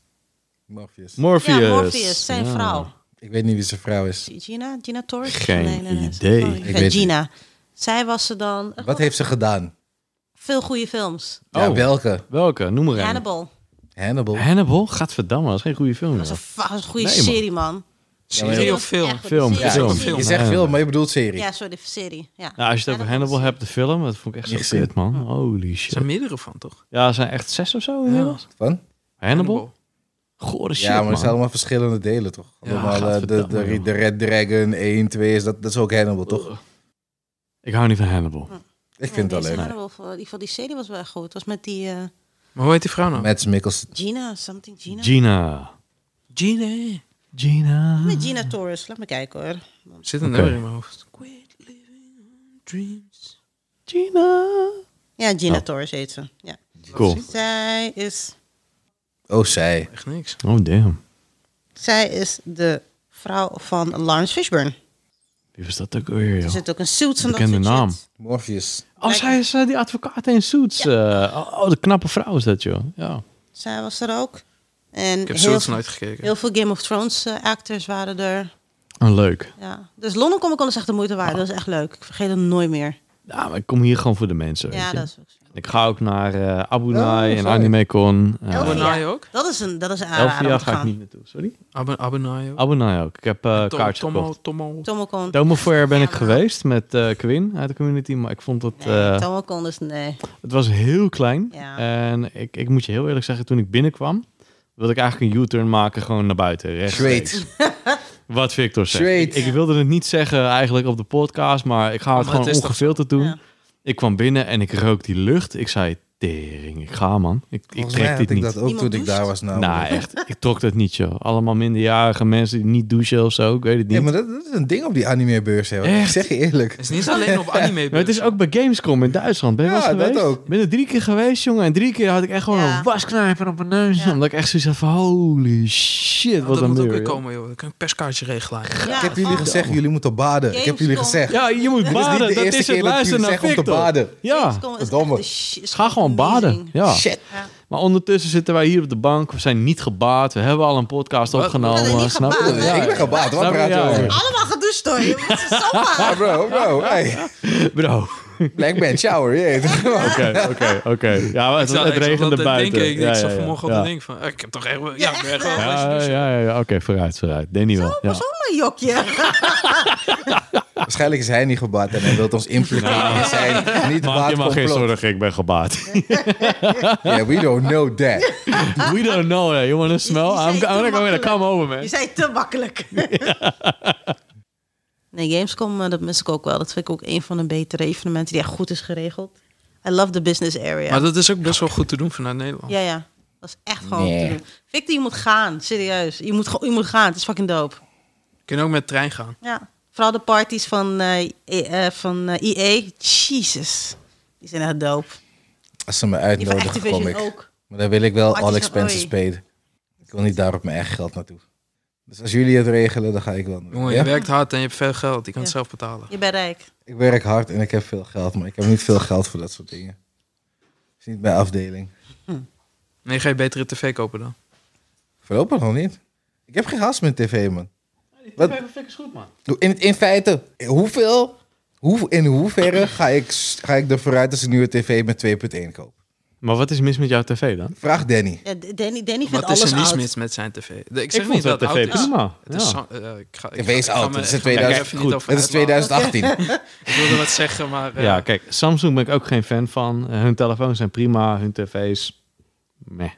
Morpheus.
Morpheus.
Ja, Morpheus, zijn
Ja.
vrouw.
Ik weet niet wie zijn vrouw is.
Gina? Gina Torres?
Geen
zijn
idee.
vrouw.
Ik
Ik
weet
weet
het
Gina. Zij was ze dan. Oh,
Wat heeft ze gedaan?
Veel goede films.
Ja,
Oh.
welke?
Welke? Noem maar een.
Hannibal.
Hannibal.
Hannibal? Gadverdamme, dat is geen goede film.
Dat was een,
joh.
fa- was een goede
Nee, man.
serie, man.
Serie
Die
of
was echt
film?
goed.
Film,
Serie,
ja,
serie.
film.
Je zegt
Ja.
film, maar je bedoelt serie.
Ja, sorry, de serie. Ja.
Nou, als je het over Hannibal hebt, de film, dat vond ik echt
Niet
zo
gezien.
kut, man. Holy
Er zijn
shit.
meerdere van, toch?
Ja, er zijn echt zes of zo inmiddels.
Van?
Hannibal? Gore shit,
ja, maar het zijn
man.
allemaal verschillende delen, toch?
Ja,
Allemaal, eh, de,
gadverdamme,
de,
joh.
de Red Dragon 1, 2, is dat, dat is ook Hannibal, toch?
Ik hou niet van Hannibal.
Ik vind het
deze
alleen. leuk.
Hannibal, voor- die, voor die serie was wel echt goed. Het was met die eh,
Maar hoe heet die vrouw nou?
Mads Mikkelsen.
Gina, something Gina.
Gina.
Gina.
Gina.
met Gina Torres, laat me kijken hoor.
Zit een
Oké.
nummer in mijn hoofd. Quit living on dreams.
Gina.
Ja, Gina
Oh.
Torres heet ze. Ja.
Cool.
Zij, is,
Oh, zij.
Echt niks.
Oh, damn.
zij is de vrouw van Lawrence Fishburne.
Wie was dat ook weer,
Er
joh?
zit ook een suits en dat
Bekende
soort
naam.
shit.
Morpheus.
Oh, zij is eh, die advocaat in Suits. eh. oh, oh, de knappe vrouw is dat, joh. Ja.
Zij was er ook. En
Ik heb
heel,
Suits nooit gekeken.
heel veel Game of Thrones eh, actors waren er.
Oh, leuk.
Ja. Dus London Comic Con is echt de moeite
Ah.
waard. Dat is echt leuk. Ik vergeet het nooit meer.
Ja, maar ik kom hier gewoon voor de mensen, weet
Ja,
je.
dat is ook zo.
Ik ga ook naar eh Abu Nai
Oh,
en
sorry.
AnimeCon. Eh,
Elfia.
Abonai ook?
Dat is een, dat is een
elf
aanrader om
jaar
te
ga ik
gaan.
niet naartoe, sorry.
Abon Abonai ook?
Abu Nai ook. Ik heb eh
Tom-
kaartjes
Tomo,
Oh, gekocht.
Tomo.
Tomocon.
Tomofair ben ik
Ja,
geweest met eh, Quinn uit de community, maar ik vond het,
Nee,
eh,
Tomocon is nee.
het was heel klein.
Ja.
En ik, ik moet je heel eerlijk zeggen, toen ik binnenkwam, wilde ik eigenlijk een U-turn maken gewoon naar buiten. rechtstreeks.
Straight.
Wat Victor zegt.
Straight.
Ik, ik wilde het niet zeggen eigenlijk op de podcast, maar ik ga het
Maar het
gewoon
is toch
ongefilterd doen.
Ja.
Ik kwam binnen en ik rook die lucht. Ik zei, tering, ik ga man. Ik, ik
Volgens mij
trek
had
dit
ik
niet.
dat ook
Iemand
toen ik
doucht?
daar was. Nou,
Nou, echt. Ik trok dat niet, joh. Allemaal minderjarige mensen die niet douchen of zo. Ik weet het
Nee,
niet.
maar
maar,
dat, dat is een ding op die animebeurs. hè, hoor. Ik
Echt?
zeg je eerlijk.
Het is niet alleen op anime.
het is ook bij Gamescom in Duitsland. Ben je
dus- Ja,
wel eens
dat
geweest?
ook.
Ik ben er drie keer geweest, jongen. En drie keer had ik echt gewoon
Ja.
een wasknijper op mijn neus.
Ja.
Omdat ik echt zoiets had van, holy shit,
Ja,
wat
dat
een
moet ook
muur.
weer
joh.
komen, joh. Dan kan ik een perskaartje regelen.
Ja.
ik heb jullie
oh.
gezegd, jullie moeten baden. Ik heb jullie
Gamescom.
gezegd.
Ja, je moet
Het is
baden.
niet de
Dat
eerste
is het.
keer dat
Luisteren
jullie
naar
zeggen om te
Victor.
baden.
Ja,
Gamescom is echt
verdomme.
de sh- is
ga gewoon baden.
amazing.
Ja.
Shit.
Ja.
Maar ondertussen zitten wij hier op de bank. We zijn niet gebaat. We hebben al een podcast
Wat?
opgenomen.
We zijn niet
snap je?
gebaat, hè?
Ja,
Ik ben gebaat. Wat
Snap je?
praat je
Ja,
over?
joh.
Allemaal gedoucht hoor. Je moet zo vaak.
Ah, bro, bro. Hey.
Bro.
Black man, shower. yeah.
Oké, oké, oké. Ja, maar
Ik
het,
zat
het
ik zat
regende
altijd
buiten.
denken, ik,
Ja,
ik
ja,
zat
ja,
vanmorgen
ja.
op te denken van, eh, ik heb toch echt wel, ja, ik ben
echt,
echt wel
hè?
een
Ja,
flesje douchen.
ja, ja. Oké, vooruit, vooruit. Danny wel.
Maar
Ja.
zo'n jokje.
Waarschijnlijk is hij niet gebaat en hij wil ons infiltreren met zijn niet
Maak
baat
je maar geen
complot.
zorgen, ik ben gebaat.
Yeah, we don't know that.
We don't know that. You wanna smell?
Ah, Je- je zei
I'm,
te
I'm gonna go in
makkelijk.
come over, man.
Je zei te makkelijk. Nee, Gamescom, eh, dat mis ik ook wel. Dat vind ik ook een van de betere evenementen die echt goed is geregeld. I love the business area.
Maar dat is ook best wel goed te doen vanuit Nederland.
Ja, ja. Dat is echt gewoon
Nee.
te doen. Victor, je moet gaan. Serieus. Je moet, gewoon- je moet gaan. Het is fucking dope.
Je kunt ook met de trein gaan.
Ja. Vooral de parties van, eh eh, van eh, EA. Jesus. Die zijn echt dope.
Als ze me
Die van
uitnodigen, kom
Activision
ik.
ook.
Maar dan wil ik wel
Oh, het
all
is
expenses
een
paid. Ik wil niet daar op mijn eigen geld naartoe. Dus als jullie het regelen, dan ga ik wel.
Jongen,
Ja?
je werkt hard en je hebt veel geld. Je kan het
Ja.
zelf betalen.
Je bent rijk.
Ik werk hard en ik heb veel geld, maar ik heb niet veel geld voor dat soort dingen. is niet mijn afdeling.
Nee, ga je betere tv kopen dan.
Voorlopig nog niet. Ik heb geen haast met tv, man. Wat?
is goed, man.
In, in feite, hoeveel, hoe, in hoeverre ga ik, s- ga ik er vooruit als ik nu een tv met 2.1 koop?
Maar wat is mis met jouw tv dan?
Vraag Danny.
Ja, D- Danny, Danny vindt
Wat is
alles
er mis
oud.
mis met zijn tv? De- Ik
Ik
zeg
vond
niet
dat
dat het oud
tv
is.
prima.
Het is,
Ja.
zo- eh, ik ga,
TV is oud,
me-
het is
ik me
2000.
even niet over
Het is
uitlaten.
2018.
Ik wilde wat zeggen, maar... eh,
Ja, kijk, Samsung ben ik ook geen fan van. Eh, Hun telefoons zijn prima, hun tv's, meh.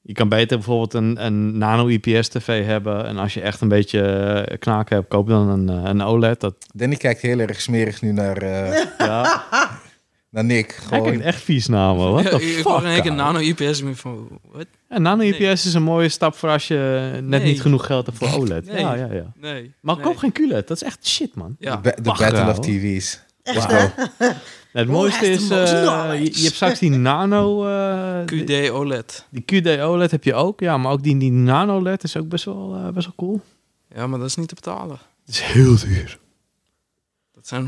Je kan beter bijvoorbeeld een, een nano IPS tv hebben. En als je echt een beetje eh, knaken hebt, koop dan een, eh, een OLED. Dat,
Danny kijkt heel erg smerig nu naar, eh,
ja,
naar Nick.
hij kijkt
Gewoon.
echt vies naar me. What
ja,
the
ik
fuck,
hoor in één keer
ouwe?
nano IPS. Ik ben van, wat?
Ja, nano IPS
Nee.
is een mooie stap voor als je net
Nee.
niet genoeg geld hebt voor OLED.
Nee.
Ja, ja, ja.
Nee.
Maar
nee.
koop geen QLED, dat is echt shit, man.
Ja.
De
Wacht
Battle of
wel.
TV's.
Echt,
Wauw. Oh,
Het
Who
mooiste
has
is,
the most
eh,
knowledge?
je, je hebt straks die nano... eh, die-
QD OLED.
Die QD OLED E heb je ook, ja, maar ook die, die nano LED is ook best wel, eh, best wel cool.
Ja, maar dat is niet te betalen.
Het is heel duur.
Dat zijn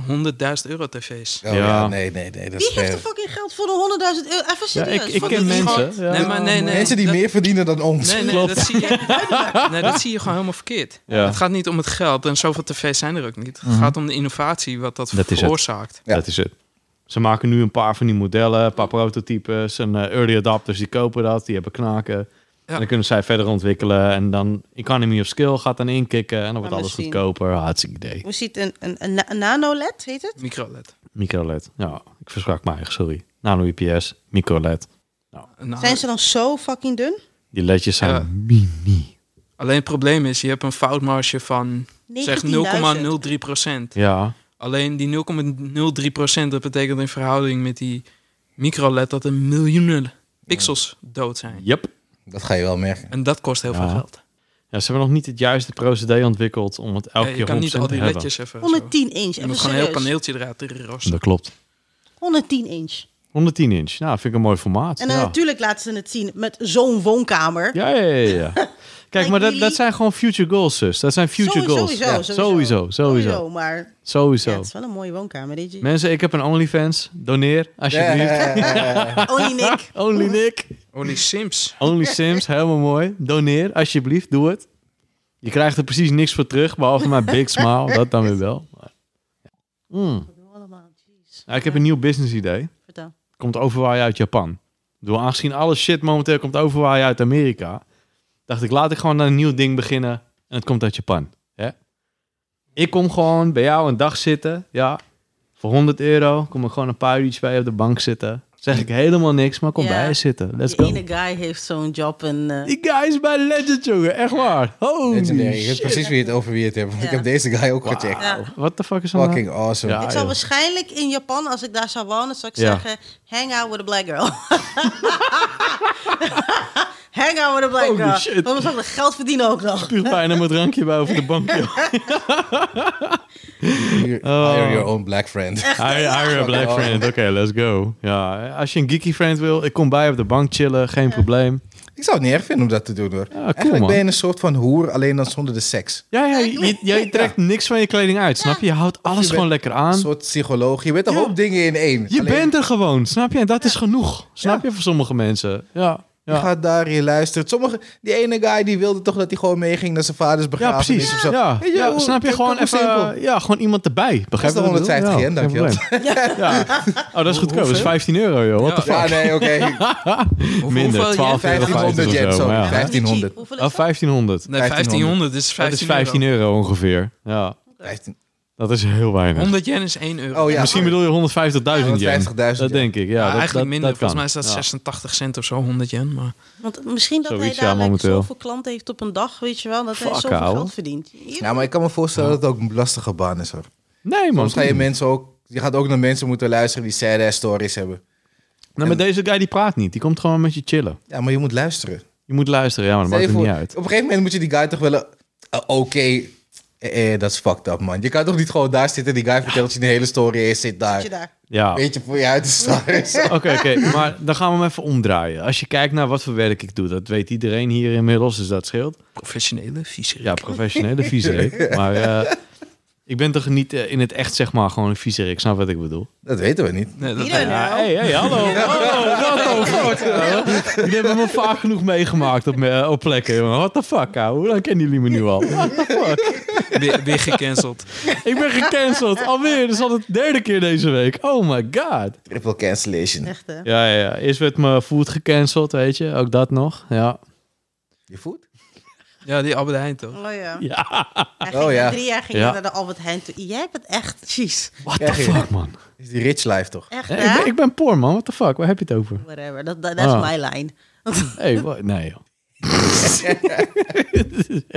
100.000 euro tv's.
Oh, ja.
Ja.
nee, nee, nee. Dat is
Wie heeft er
fair.
fucking geld voor de 100.000 euro? Even
Ja,
serieus.
ik, ik
fucking
ken
iemand.
mensen. Ja.
Nee, maar nee, nee.
Mensen die
dat-
meer verdienen dan ons.
Nee, nee,
Klopt.
dat zie je, nee, dat zie je gewoon helemaal verkeerd.
Ja.
Het gaat niet om het geld en zoveel tv's zijn er ook niet. Het gaat om de innovatie, wat dat,
Dat is het.
veroorzaakt.
Ja.
Dat is het. Ze maken nu een paar van die modellen, een paar prototypes en eh, early adapters die kopen dat, die hebben knaken. En dan kunnen zij verder ontwikkelen en dan economy of skill gaat dan inkikken en dan wordt
Maar
alles
misschien-
goedkoper. Hartstikke idee.
We zien een, een, een, na- een nano-led, heet het?
MicroLED.
Micro-LED. E Ja, ik versprak me eigenlijk, sorry. Nano IPS, micro-LED.
Nou,
Zijn ze dan zo fucking dun?
Die ledjes zijn
Ja.
mini.
Alleen het probleem is, je hebt een foutmarge van zeg
19.000.
0,03 procent.
Ja,
Alleen die 0,03 procent, dat betekent in verhouding met die microLED dat er miljoenen pixels dood zijn.
yep.
Dat ga je wel merken.
En dat kost heel
Ja.
veel geld.
Ja, ze hebben nog niet het juiste procedé ontwikkeld om het elke
Ja, je
keer 100%
kan niet al
te
die
hebben.
ledjes even. zo.
110 inch.
Je
Even
moet gewoon een heel
serieus.
paneeltje eruit rosten.
Dat klopt.
110 inch.
110 inch. Nou, vind ik een mooi formaat.
En dan
ja.
eh,
natuurlijk laten ze het zien met zo'n woonkamer.
Ja, ja, ja. ja. Kijk, maar dat,
really?
dat zijn gewoon future goals, zus. Dat zijn future
Sowieso,
goals.
sowieso,
Ja,
sowieso.
sowieso, sowieso.
Maar ja,
Sowieso.
het is wel een mooie woonkamer. Weet je?
Mensen, ik heb een OnlyFans. Doneer, alsjeblieft.
Eh,
Only Oh, Nick.
Only Nick.
Only Sims.
Only Sims, helemaal mooi. Doneer, alsjeblieft, doe het. Je krijgt er precies niks voor terug, behalve mijn big smile. Dat dan weer wel. Maar, ja. Mm.
Allemaal, jeez.
Nou, ik heb een nieuw business idee.
Vertel.
komt overwaaien uit Japan. Door aangezien alle shit momenteel komt overwaaien uit Amerika, dacht ik, laat ik gewoon een nieuw ding beginnen en het komt uit Japan. Hè? Ik kom gewoon bij jou een dag zitten, ja, voor 100 euro kom ik gewoon een paar uurtjes bij je op de bank zitten. Zeg ik helemaal niks, maar kom
Ja.
bij je zitten. Let's
Die
go.
ene guy heeft zo'n job en... eh,
Die guy is bij Legend, jongen. Echt waar. Holy
Legendary. Ik weet
shit.
precies wie het over wie het hebt. Want
Ja.
ik heb deze guy ook gecheckt.
ja.
What the fuck is dat?
Fucking awesome.
Ja.
Ik
Ah, joh.
zou waarschijnlijk in Japan, als ik daar zou wonen, zou ik
Ja.
zeggen: hang out with a black girl. hang out with a black
Holy
girl.
shit.
Want we zouden geld verdienen ook nog.
Puur pijn aan mijn drankje bij over de bank, joh.
You-
Oh.
Hire your own black friend.
Hire, hire a black
Oh.
friend. Oké, let's go. Ja, als je een geeky friend wil, ik kom bij op de bank chillen, geen probleem.
Ik zou het niet erg vinden om dat te doen hoor.
cool,
Eigenlijk
man.
ben je een soort van hoer, alleen dan zonder de seks.
Ja, ja je, jij trekt niks van je kleding uit, snap je? Je houdt alles
Je
gewoon
bent
lekker
Een
aan.
soort psycholoog. Je bent een
Ja.
hoop dingen in één.
Je
Alleen,
bent er gewoon, snap je? En dat is genoeg, snap je, voor sommige mensen. Ja,
Je
ja.
gaat daar, je luistert. Sommige, die ene guy die wilde toch dat hij gewoon meeging naar zijn vaders
ja
begrafenis
precies.
of
Ja,
zo.
ja.
Weet je, hoe-
snap je,
hoe-
gewoon
hoe simpel.
even ja, gewoon iemand erbij. Begrijp
Dat
je
is
wat ik
de 150
bedoel?
yen,
Ja, geen
dankjewel.
probleem. Ja. Oh, dat is goedkoop. Dat is 15 euro, joh. What the
Ja,
fuck?
nee, oké.
Hoe-
Minder,
hoeveel
12 euro
1500
of
yen,
zo.
sorry.
maar ja.
Hoeveel is
1500.
het? Hoeveel
Oh,
is dat?
1500.
Nee, 1500 is 15,
Dat is 15
euro.
euro ongeveer. Ja,
15.
dat is heel weinig.
100 yen is 1 euro.
Oh ja.
Misschien bedoel je 150.000 yen.
150.000
Dat
yen.
denk ik, ja.
Ja,
dat,
eigenlijk
dat,
minder.
dat kan.
Volgens mij is dat
Ja.
86 cent of zo, 100 yen. Maar
Want misschien dat
Zoiets, ja,
hij daar like,
momenteel.
zoveel klanten heeft op een dag, weet je wel, dat hij
Fuck,
zoveel
ouwe. Nou,
geld verdient. Ja.
Ja, Nou, maar ik kan me voorstellen dat het ook een lastige baan is hoor.
Nee, man.
Soms ga je
tuurlijk.
mensen ook... Je gaat ook naar mensen moeten luisteren die sad ass stories hebben.
Nou, maar deze guy die praat niet. Die komt gewoon met je chillen.
Ja, maar je moet luisteren.
Je moet luisteren, ja, maar dat
Stel
maakt
je
het
voor,
niet
Op
uit.
een gegeven moment moet je die guy toch wel... een- eh, Oké, eh, eh, dat is fucked up, man. Je kan toch niet gewoon daar zitten... die guy vertelt je de hele story en je zit daar.
Weet je daar.
Ja. Oké,
Weet je, voor je uit te staan.
oké. Maar dan gaan we hem even omdraaien. Als je kijkt naar wat voor werk ik doe, dat weet iedereen hier inmiddels, dus dat scheelt.
professionele visie.
Ja, professionele viezerik. Maar eh, ik ben toch niet eh, in het echt, zeg maar, gewoon een viezerik. Ik snap wat ik bedoel.
Dat weten we niet.
Nee, dat,
Iedereen.
nee.
Ja, hey, hey, hallo. Hallo, wat Jullie hebben me vaak genoeg meegemaakt op, me- op plekken. jongen. What the fuck, ouwe? Hoe lang kennen jullie me nu al? What the fuck?
weer, weer gecanceld.
Ik ben gecanceld. Alweer. Dat is al de derde keer deze week. Oh my god.
Triple cancellation.
Echt, hè?
Ja, ja, ja. Eerst werd mijn food gecanceld, weet je. Ook dat nog. Ja.
Je voet?
Ja, die Albert Heijn toch?
Oh ja.
Ja.
Hij ging
Oh, ja.
na Drie jaar ging
Ja.
hij naar de Albert Heijn toe. Jij bent echt, jeez.
What
Ja,
the
geen-
fuck, man.
Is die rich life toch?
Echt,
Hey, ik,
hè?
ben, ik ben poor, man. What the fuck? Waar heb je het over?
Whatever, dat dat- dat is
Ah.
mijn lijn.
Hey, wa- Nee, joh.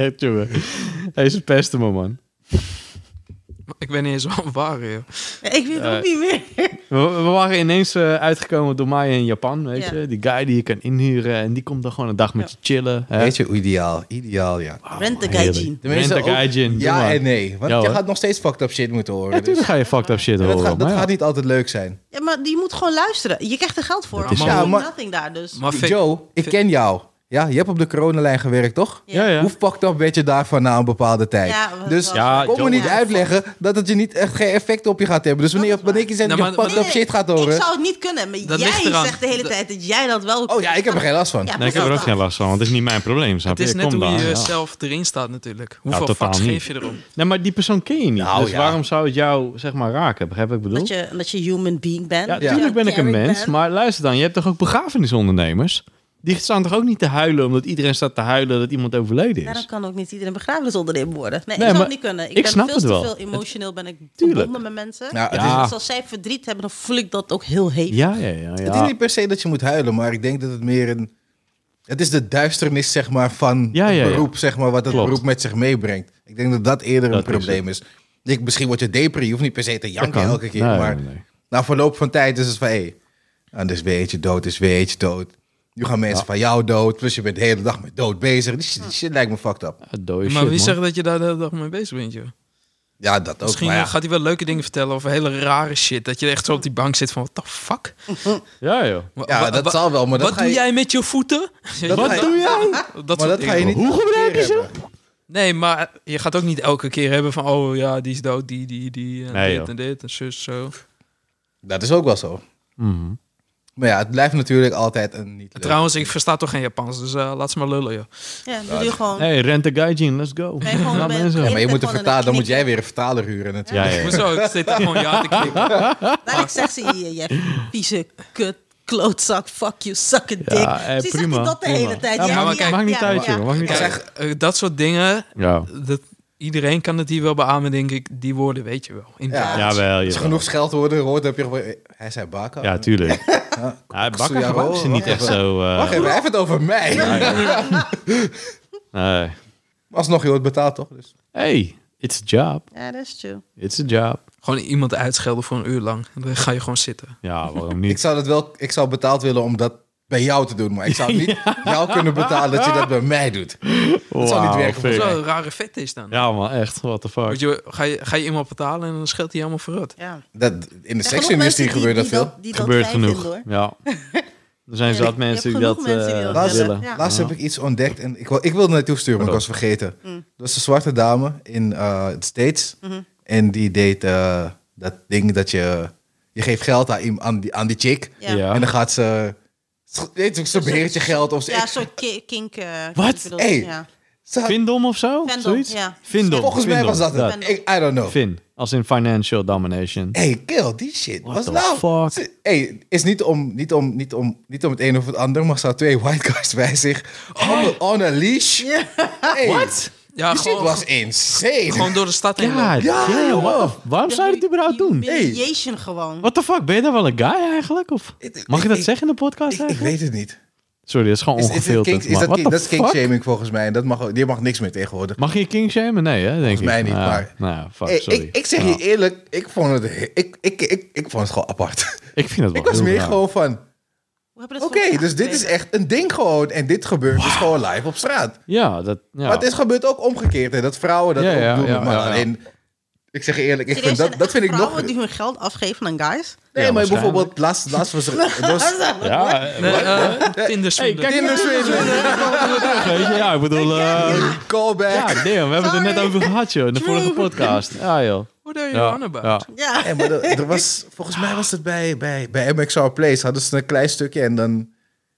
Echt, jongen. Hij is een pesten, me, man.
Ik ben niet eens waar, waar, joh.
Ik weet het
Eh.
ook niet meer.
We, we waren ineens eh, uitgekomen door mij in Japan, weet
Ja.
je. Die guy die je kan inhuren en die komt dan gewoon een dag met je chillen. Hè?
Weet je, ideaal. Ideaal, ja.
Rent the
heerlijk.
gaijin.
De mensen
Ah, Rent a
ook-
gaijin, doe
Ja
maar.
en nee. Want
Ja,
je
hoor.
gaat nog steeds fucked up shit moeten horen. dus-
Natuurlijk ga je fucked up shit
En
horen.
dat gaat, dat
maar ja.
gaat niet altijd leuk zijn.
Ja, maar die moet gewoon luisteren. Je krijgt er geld voor.
Dat is
Allemaal
zo. Ja, maar-
nothing daar, dus.
Maar fake-
Joe, ik ken jou. Ja, je hebt op de coronalijn gewerkt, toch?
Ja, ja.
Hoe fucked up werd je daarvan na een bepaalde tijd?
Ja, wat-
dus
wat-
Ja,
kom me
John-
niet
Ja,
uitleggen dat het je niet echt geen effect op je gaat hebben. Dus wanneer,
is waar.
wanneer ik je zegt dat
Nou,
je
maar-
fucked up shit gaat horen...
Ik zou het niet kunnen, maar
Dat ligt
jij
eraan.
zegt de hele
Dat-
tijd dat jij dat wel
Oh ja, ik heb er geen last van.
Ja,
Nee, ik heb er ook geen last van, want het is niet mijn probleem. Snap
Het is
je?
net
Kom
hoe
daar,
je
ja.
zelf erin staat natuurlijk. Hoeveel
totaal
fucks
niet.
geef je erom?
Nee, maar die persoon ken je niet.
Nou,
dus
ja.
waarom zou het jou, zeg maar, raken? Begrijp wat ik bedoel?
Dat je, dat je human being bent.
Ja,
dat je
natuurlijk ben ik een
caring
mens,
bent.
maar luister dan. Je hebt toch ook begrafenisondernemers? Die staan toch ook niet te huilen omdat iedereen staat te huilen dat iemand overleden
Ja, dan
is?
kan ook niet iedereen begrafenisondernemer worden. Nee,
Nee,
ik zou
maar
het niet kunnen. Ik,
ik
ben
snap
veel
het
te
wel.
veel
Het-
emotioneel ben ik
Tuurlijk.
verbonden met mensen.
Ja, het
Ja.
is,
Dus als zij verdriet hebben, dan voel ik dat ook heel hevig.
Ja, ja, ja.
het is
ja.
niet per se dat je moet huilen, maar ik denk dat het meer een... Het is de duisternis, zeg maar, van
Ja, ja, ja.
het beroep, zeg maar, wat het
Klopt.
beroep met zich meebrengt. Ik denk dat dat eerder
Dat
een
is
probleem is. Ik, misschien word je depri, je hoeft niet per se te
Dat
janken
kan.
elke keer,
Nee,
maar...
nee, nee.
Na verloop van tijd is het van, hé, hey, ah, er is weer eentje dood, er is weer eentje dood. Nu gaan mensen
Ja.
van jou dood, plus je bent de hele dag met dood bezig. Die shit, die shit lijkt me fucked up.
Ja, dode
maar
Ah, shit,
wie
man.
zegt dat je daar de hele dag mee bezig bent, joh?
Ja, dat ook.
Misschien
maar ja.
eh, gaat hij wel leuke dingen vertellen of hele rare shit. Dat je echt zo op die bank zit van, what the fuck?
Ja, joh.
Wa-
Ja,
wa-
dat
wa-
zal wel, maar dat
Wat
ga
doe
je-
jij met je voeten?
Wat ga je- doe
jij? Dat
maar
soort
dat ga je
dingen.
niet... Hoe gebruik je ze?
Nee, maar je gaat ook niet elke keer hebben van... oh ja, die is dood, die, die, die, en
Nee,
dit
joh.
en dit en zus, zo.
Dat is ook wel zo.
Mhm.
Maar ja, het blijft natuurlijk altijd een niet leuk.
Trouwens, ik versta toch geen Japans, dus eh, laat ze maar lullen, joh.
Ja, doe je gewoon.
Hey, rent a gaijin, let's go.
Nee, gewoon
Laat
met-
mensen.
Ja, maar je moet
Gewoon
er
een
vertalen, dan moet
knikje.
jij weer een vertaler huren natuurlijk.
Ja, ja, ja.
Hoezo? Ik zit er gewoon ja te knikken.
Laat ik zeggen, zie je, jij vieze kut, klootzak, fuck you, suck a dick.
Ja, eh,
Precies zegt
prima,
hij dat de hele
prima.
tijd.
Ja,
Ja,
maakt-
maar kijk,
maakt niet
ja,
uit,
ja.
joh. Maakt niet
Ik
uit.
zeg, eh, dat soort dingen,
Ja.
dat, iedereen kan het hier wel beamen, denk ik. Die woorden weet je wel. In het
Ja.
Japans.
Jawel,
Als je
jawel.
genoeg scheldwoorden hoort, heb je gewoon... eh, Hij zei baka.
Ja, tuurlijk. Ja, bakken
Ja,
gebruiken ze
wacht
niet echt
even.
zo... eh,
Wacht even, hij heeft het over mij.
nee.
Alsnog, je wordt betaald toch? Dus.
Hey, it's a job.
Ja, dat is true.
It's a job.
Gewoon iemand uitschelden voor een uur lang. Dan ga je gewoon zitten.
Ja, waarom
Ik
niet?
zou dat wel, ik zou betaald willen om dat bij jou te doen, maar ik zou niet jou kunnen betalen dat je dat bij mij doet.
Dat
zou niet werken
Dat
Nee.
is wel een rare vet is dan.
Ja, man, echt. What the fuck.
Want je, ga, je, ga je iemand betalen en dan scheelt hij helemaal verrot.
Ja.
Dat, in de
Er zijn genoeg
seksindustrie
mensen
gebeurt dat
die- die
veel.
Die dat
Gebeurt
fijn
genoeg.
vinden, hoor.
ja. Er zijn
Ja, je
zat
hebt
mensen die
genoeg
dat,
mensen die
eh,
dat
Laatst-
willen.
Ja.
Laatst heb ik iets ontdekt en ik, wil- ik wilde naartoe sturen, maar ik was
Waarom?
vergeten. Dat is een zwarte dame in eh het States en die deed eh, dat ding dat je, je geeft geld aan, iem- aan, die, aan die chick
Ja.
Ja.
en dan gaat ze, ze- weet je, ze beheert je geld of ze,
Ja, een soort ki- kink. eh,
Wat?
kink bedoel
Hey.
ik, ja.
ze had-
Vindom of zo?
Vendom,
Zoiets?
ja.
Vindom.
volgens mij was
Vindom,
dat het. Ik, I don't know.
Fin. Als in financial domination.
Hey, kill die shit.
What
was
the
nou?
fuck?
Ze- Hey, is niet om, niet, om, niet, om, niet om het een of het ander, maar ze had twee white guys bij zich. On, on a leash. Hey, What?
Ja,
die shit
gewoon,
was insane.
gewoon door de stad heen.
Ja,
lopen.
Ja,
damn,
joh.
what the- Waarom zou je dit überhaupt doen?
Humiliation gewoon.
What the fuck? Ben je daar wel een guy eigenlijk? Of
Ik-
mag je dat
ik-
zeggen in de podcast
ik, ik
eigenlijk?
weet het niet.
Sorry, dat is gewoon
Is, is, het
ongefilterd.
kink- is
maar
dat,
what
kink-
the
dat is king
fuck?
shaming volgens mij. En dat mag, die mag niks meer tegenwoordig.
Mag je king shamen? Nee, hè? Denk ik.
mij niet,
Nou,
maar-
Nou, ja, fuck,
Hey,
sorry.
ik, ik zeg
Nou,
je eerlijk, ik vond het, he- ik, ik, ik, ik vond het gewoon apart.
Ik vind het wel
ik was
heel
meer
raar.
gewoon
Hoe
van,
hebben we dat
oké,
voor-
dus dit is echt een ding gewoon. En dit gebeurt dus gewoon live op straat.
Ja, dat... Ja.
Maar het is gebeurd ook omgekeerd. Hè? Dat vrouwen dat
Ja,
ook
ja,
doen.
ja,
maar
ja, ja.
alleen, ik zeg je eerlijk, ik
Serieus,
vind dat,
zijn
dat vind ik
echt
nog...
vrouwen die hun geld afgeven aan guys.
Nee,
Ja,
maar
waarschijnlijk.
bijvoorbeeld laatst, laatst was er... er was,
Ja, eh,
Nee, eh, Tinder
Hey,
swindler.
kijk,
Tinder swindler.
weet je, ja, ik bedoel... eh, ja,
Callback.
damn, we hebben het er net over gehad, joh, in de vorige podcast. Ja, joh.
What are you
Ja,
on about?
ja.
Ja.
Nee, maar er, er was, volgens mij was het bij, bij, bij MXR Place. Hadden ze een klein stukje en dan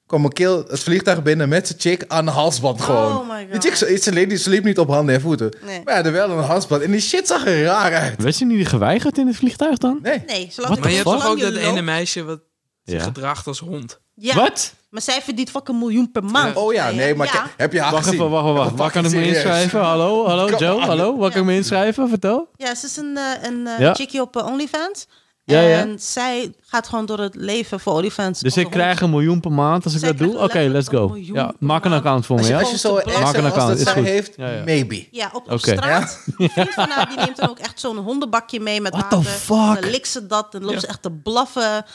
kwam een keel het vliegtuig binnen met zijn chick aan de halsband gewoon.
Oh my God.
Die chick ze, ze, liep, ze liep niet op handen en voeten.
Nee.
Maar ja, er wel een halsband. En die shit zag er raar uit.
Werd ze niet geweigerd in het vliegtuig dan?
Nee.
Nee,
What
zolang
Maar je hebt toch
zolang
ook dat
loopt-
ene meisje wat zich
Ja.
gedraagt als hond.
Ja,
Wat?
maar zij verdient fucking miljoen per maand.
Oh ja, nee, maar
Ja,
ke- heb je haar
Wacht
gezien?
even, wacht, wacht, wacht. Waar kan ik me
Fucking serieus.
inschrijven? Hallo, hallo,
Come
Joe,
on.
hallo. Waar kan ik me inschrijven? Vertel.
ja ze is een, eh, een eh,
Ja.
chickie op eh, OnlyFans.
Ja, ja.
En zij gaat gewoon door het leven voor OnlyFans.
Dus
als
ik
een hond.
krijg een miljoen per maand als ik
Zij
dat doe? Oké,
krijgt letterlijk een
let's go.
miljoen
Ja,
per
maak een
maand.
account voor me,
Als je,
ja?
als je zo'n
Maak een
ass als
account,
dat
is
zij
goed.
heeft,
Ja, ja.
maybe.
Ja, op, op
Oké.
straat. Een vriend van haar die neemt dan ook echt zo'n hondenbakje mee met
What the
water.
fuck?
Dan likt ze dat en loopt
Ja.
ze echt te blaffen.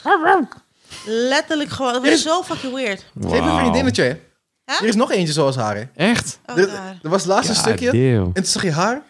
Letterlijk gewoon. Het was zo fucking weird.
Ze heeft een
Wauw.
vriendinnetje. hè?
Hè?
Er is nog eentje zoals haar. hè?
Echt?
Oh,
Er,
God.
er was laatst een
Ja,
stukje.
Ah, deal.
En toen zag je haar.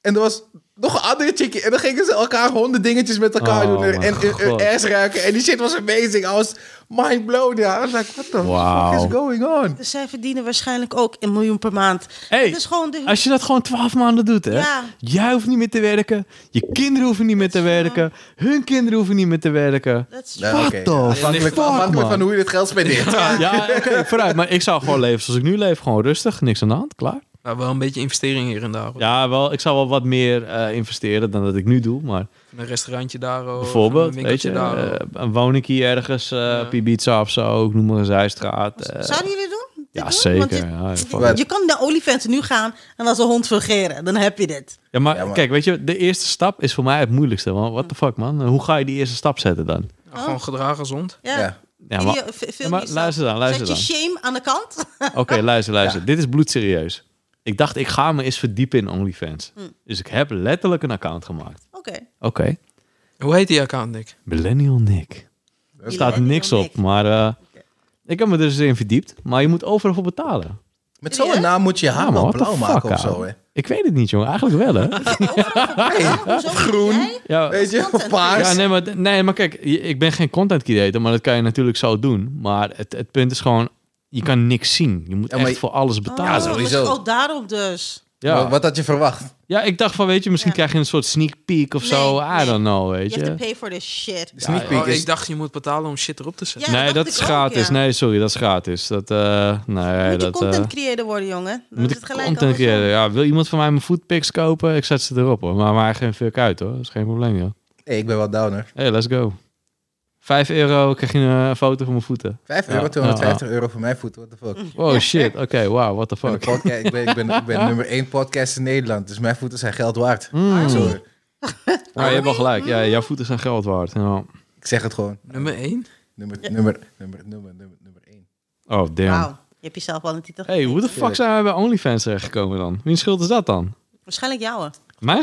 En er was nog een andere chickie. En dan gingen ze elkaar honderd dingetjes met elkaar
Oh,
doen. En,
mijn
en, en- en
God.
ass ruiken. En die shit was amazing. I was mind blown. Ja. I was like, what the
Wauw.
fuck is going on?
Dus zij verdienen waarschijnlijk ook een miljoen per maand.
Hey,
Het is Dus gewoon de-
Als je dat gewoon twaalf maanden doet, hè?
Ja. eh,
Jij hoeft niet meer te werken. Je kinderen hoeven niet meer te werken. Hun kinderen hoeven niet meer te werken.
dat is-
Nou, oké.
What the
Afhankelijk,
fuck,
afhankelijk van
man.
hoe je dit geld spendeert.
Ja, oké, vooruit. Maar ik zou gewoon leven zoals ik nu leef. Gewoon rustig, niks aan de hand, klaar.
Maar Nou, wel een beetje investering hier en daar. hoor.
Ja, wel, ik zou wel wat meer eh, investeren dan dat ik nu doe. Maar
Van een restaurantje daar. hoor,
bijvoorbeeld,
van Oh, een
weet je,
winkeltje daar, hoor.
eh, een woningkie ergens eh
Ja.
op Ibiza of zo. Ik noem maar een zijstraat. eh.
Zouden jullie doen? Dit
ja,
doen?
zeker.
Want je-
ja, fuck
je,
it.
kan naar Olifants nu gaan en als een hond fungeren. Dan heb je dit.
Ja, maar,
Ja, maar-
kijk, weet je, de eerste stap is voor mij het moeilijkste. Want what the fuck, man? Hoe ga je die eerste stap zetten dan?
Ja, Nou, Gewoon gedragen gezond.
Ja.
Ja.
Ja, maar,
Video- v-
ja,
film
maar
jezelf.
luister dan, luister
Zet je
dan.
shame aan de kant.
Oké, luister, luister. Dit is bloedserieus. Ik dacht, ik ga me eens verdiepen in OnlyFans. Dus ik heb letterlijk een account gemaakt.
Oké.
Oké,
Hoe heet die account, Nick?
Millennial Nick. Er staat
Millennial
niks op,
Nick.
maar eh, ik heb me er dus in verdiept. Maar je moet overal voor betalen.
Met
Serieus?
zo'n naam moet je je haar
Ja, maar
wel
what the
blauw maken
fuck,
of zo.
ouwe.
Hè.
Ik weet het niet, jongen. Eigenlijk wel, hè?
Oh, groen.
ja,
Weet je,
Content
paars.
ja, nee, maar, nee, maar kijk, je- ik ben geen content creator, maar dat kan je natuurlijk zo doen. Maar het, het punt is gewoon, je kan niks zien. Je moet
Ja, maar
echt
je-
voor alles
Ja,
betalen.
zo. sowieso.
Oh, daarom dus.
Wat-
ja.
Wat had je verwacht?
ja, ik dacht van, weet je, misschien
Ja.
krijg je een soort sneak peek of zo. I
Nee, nee.
don't know,
Je
weet
hebt to
je.
pay for this shit.
Sneak
ja.
peek
Oh,
is...
ik dacht je moet betalen om shit erop te zetten.
Ja,
nee,
dat
dat
dacht
is
ik ook,
gratis.
ja.
Nee, sorry, dat is gratis. Dat, eh nee,
Moet je
dat,
content
eh,
creëren worden, jongen. Dan
moet
is
ik
het gelijk
content
andersom.
creëren. Ja, wil iemand van mij mijn foodpics kopen? Ik zet ze erop hoor. Maar maar geen fuck uit hoor. Dat is geen probleem joh.
Nee, ik ben wel downer.
Hey, let's go. 5 euro krijg je een foto van mijn voeten.
5
Ja,
euro, 250 euro voor mijn voeten. What the fuck?
Oh shit, oké, wow, what the
Ik ben, een
fuck.
podca- ik, ben, ik, ben, ik ben nummer 1 podcast in Nederland. Dus mijn voeten zijn geld waard.
Mm.
Sorry.
Ja, Oh, je hebt wel gelijk. Ja, jouw voeten zijn geld waard. Ja.
Ik zeg het gewoon.
Nummer 1?
Nummer, nummer, nummer, nummer, nummer, nummer 1.
Oh, damn.
Wauw. Je hebt jezelf al een titel.
Hey, hoe de fuck zijn wij bij OnlyFans terechtgekomen dan? Wie schuld is dat dan?
Waarschijnlijk jouwe.
Mijn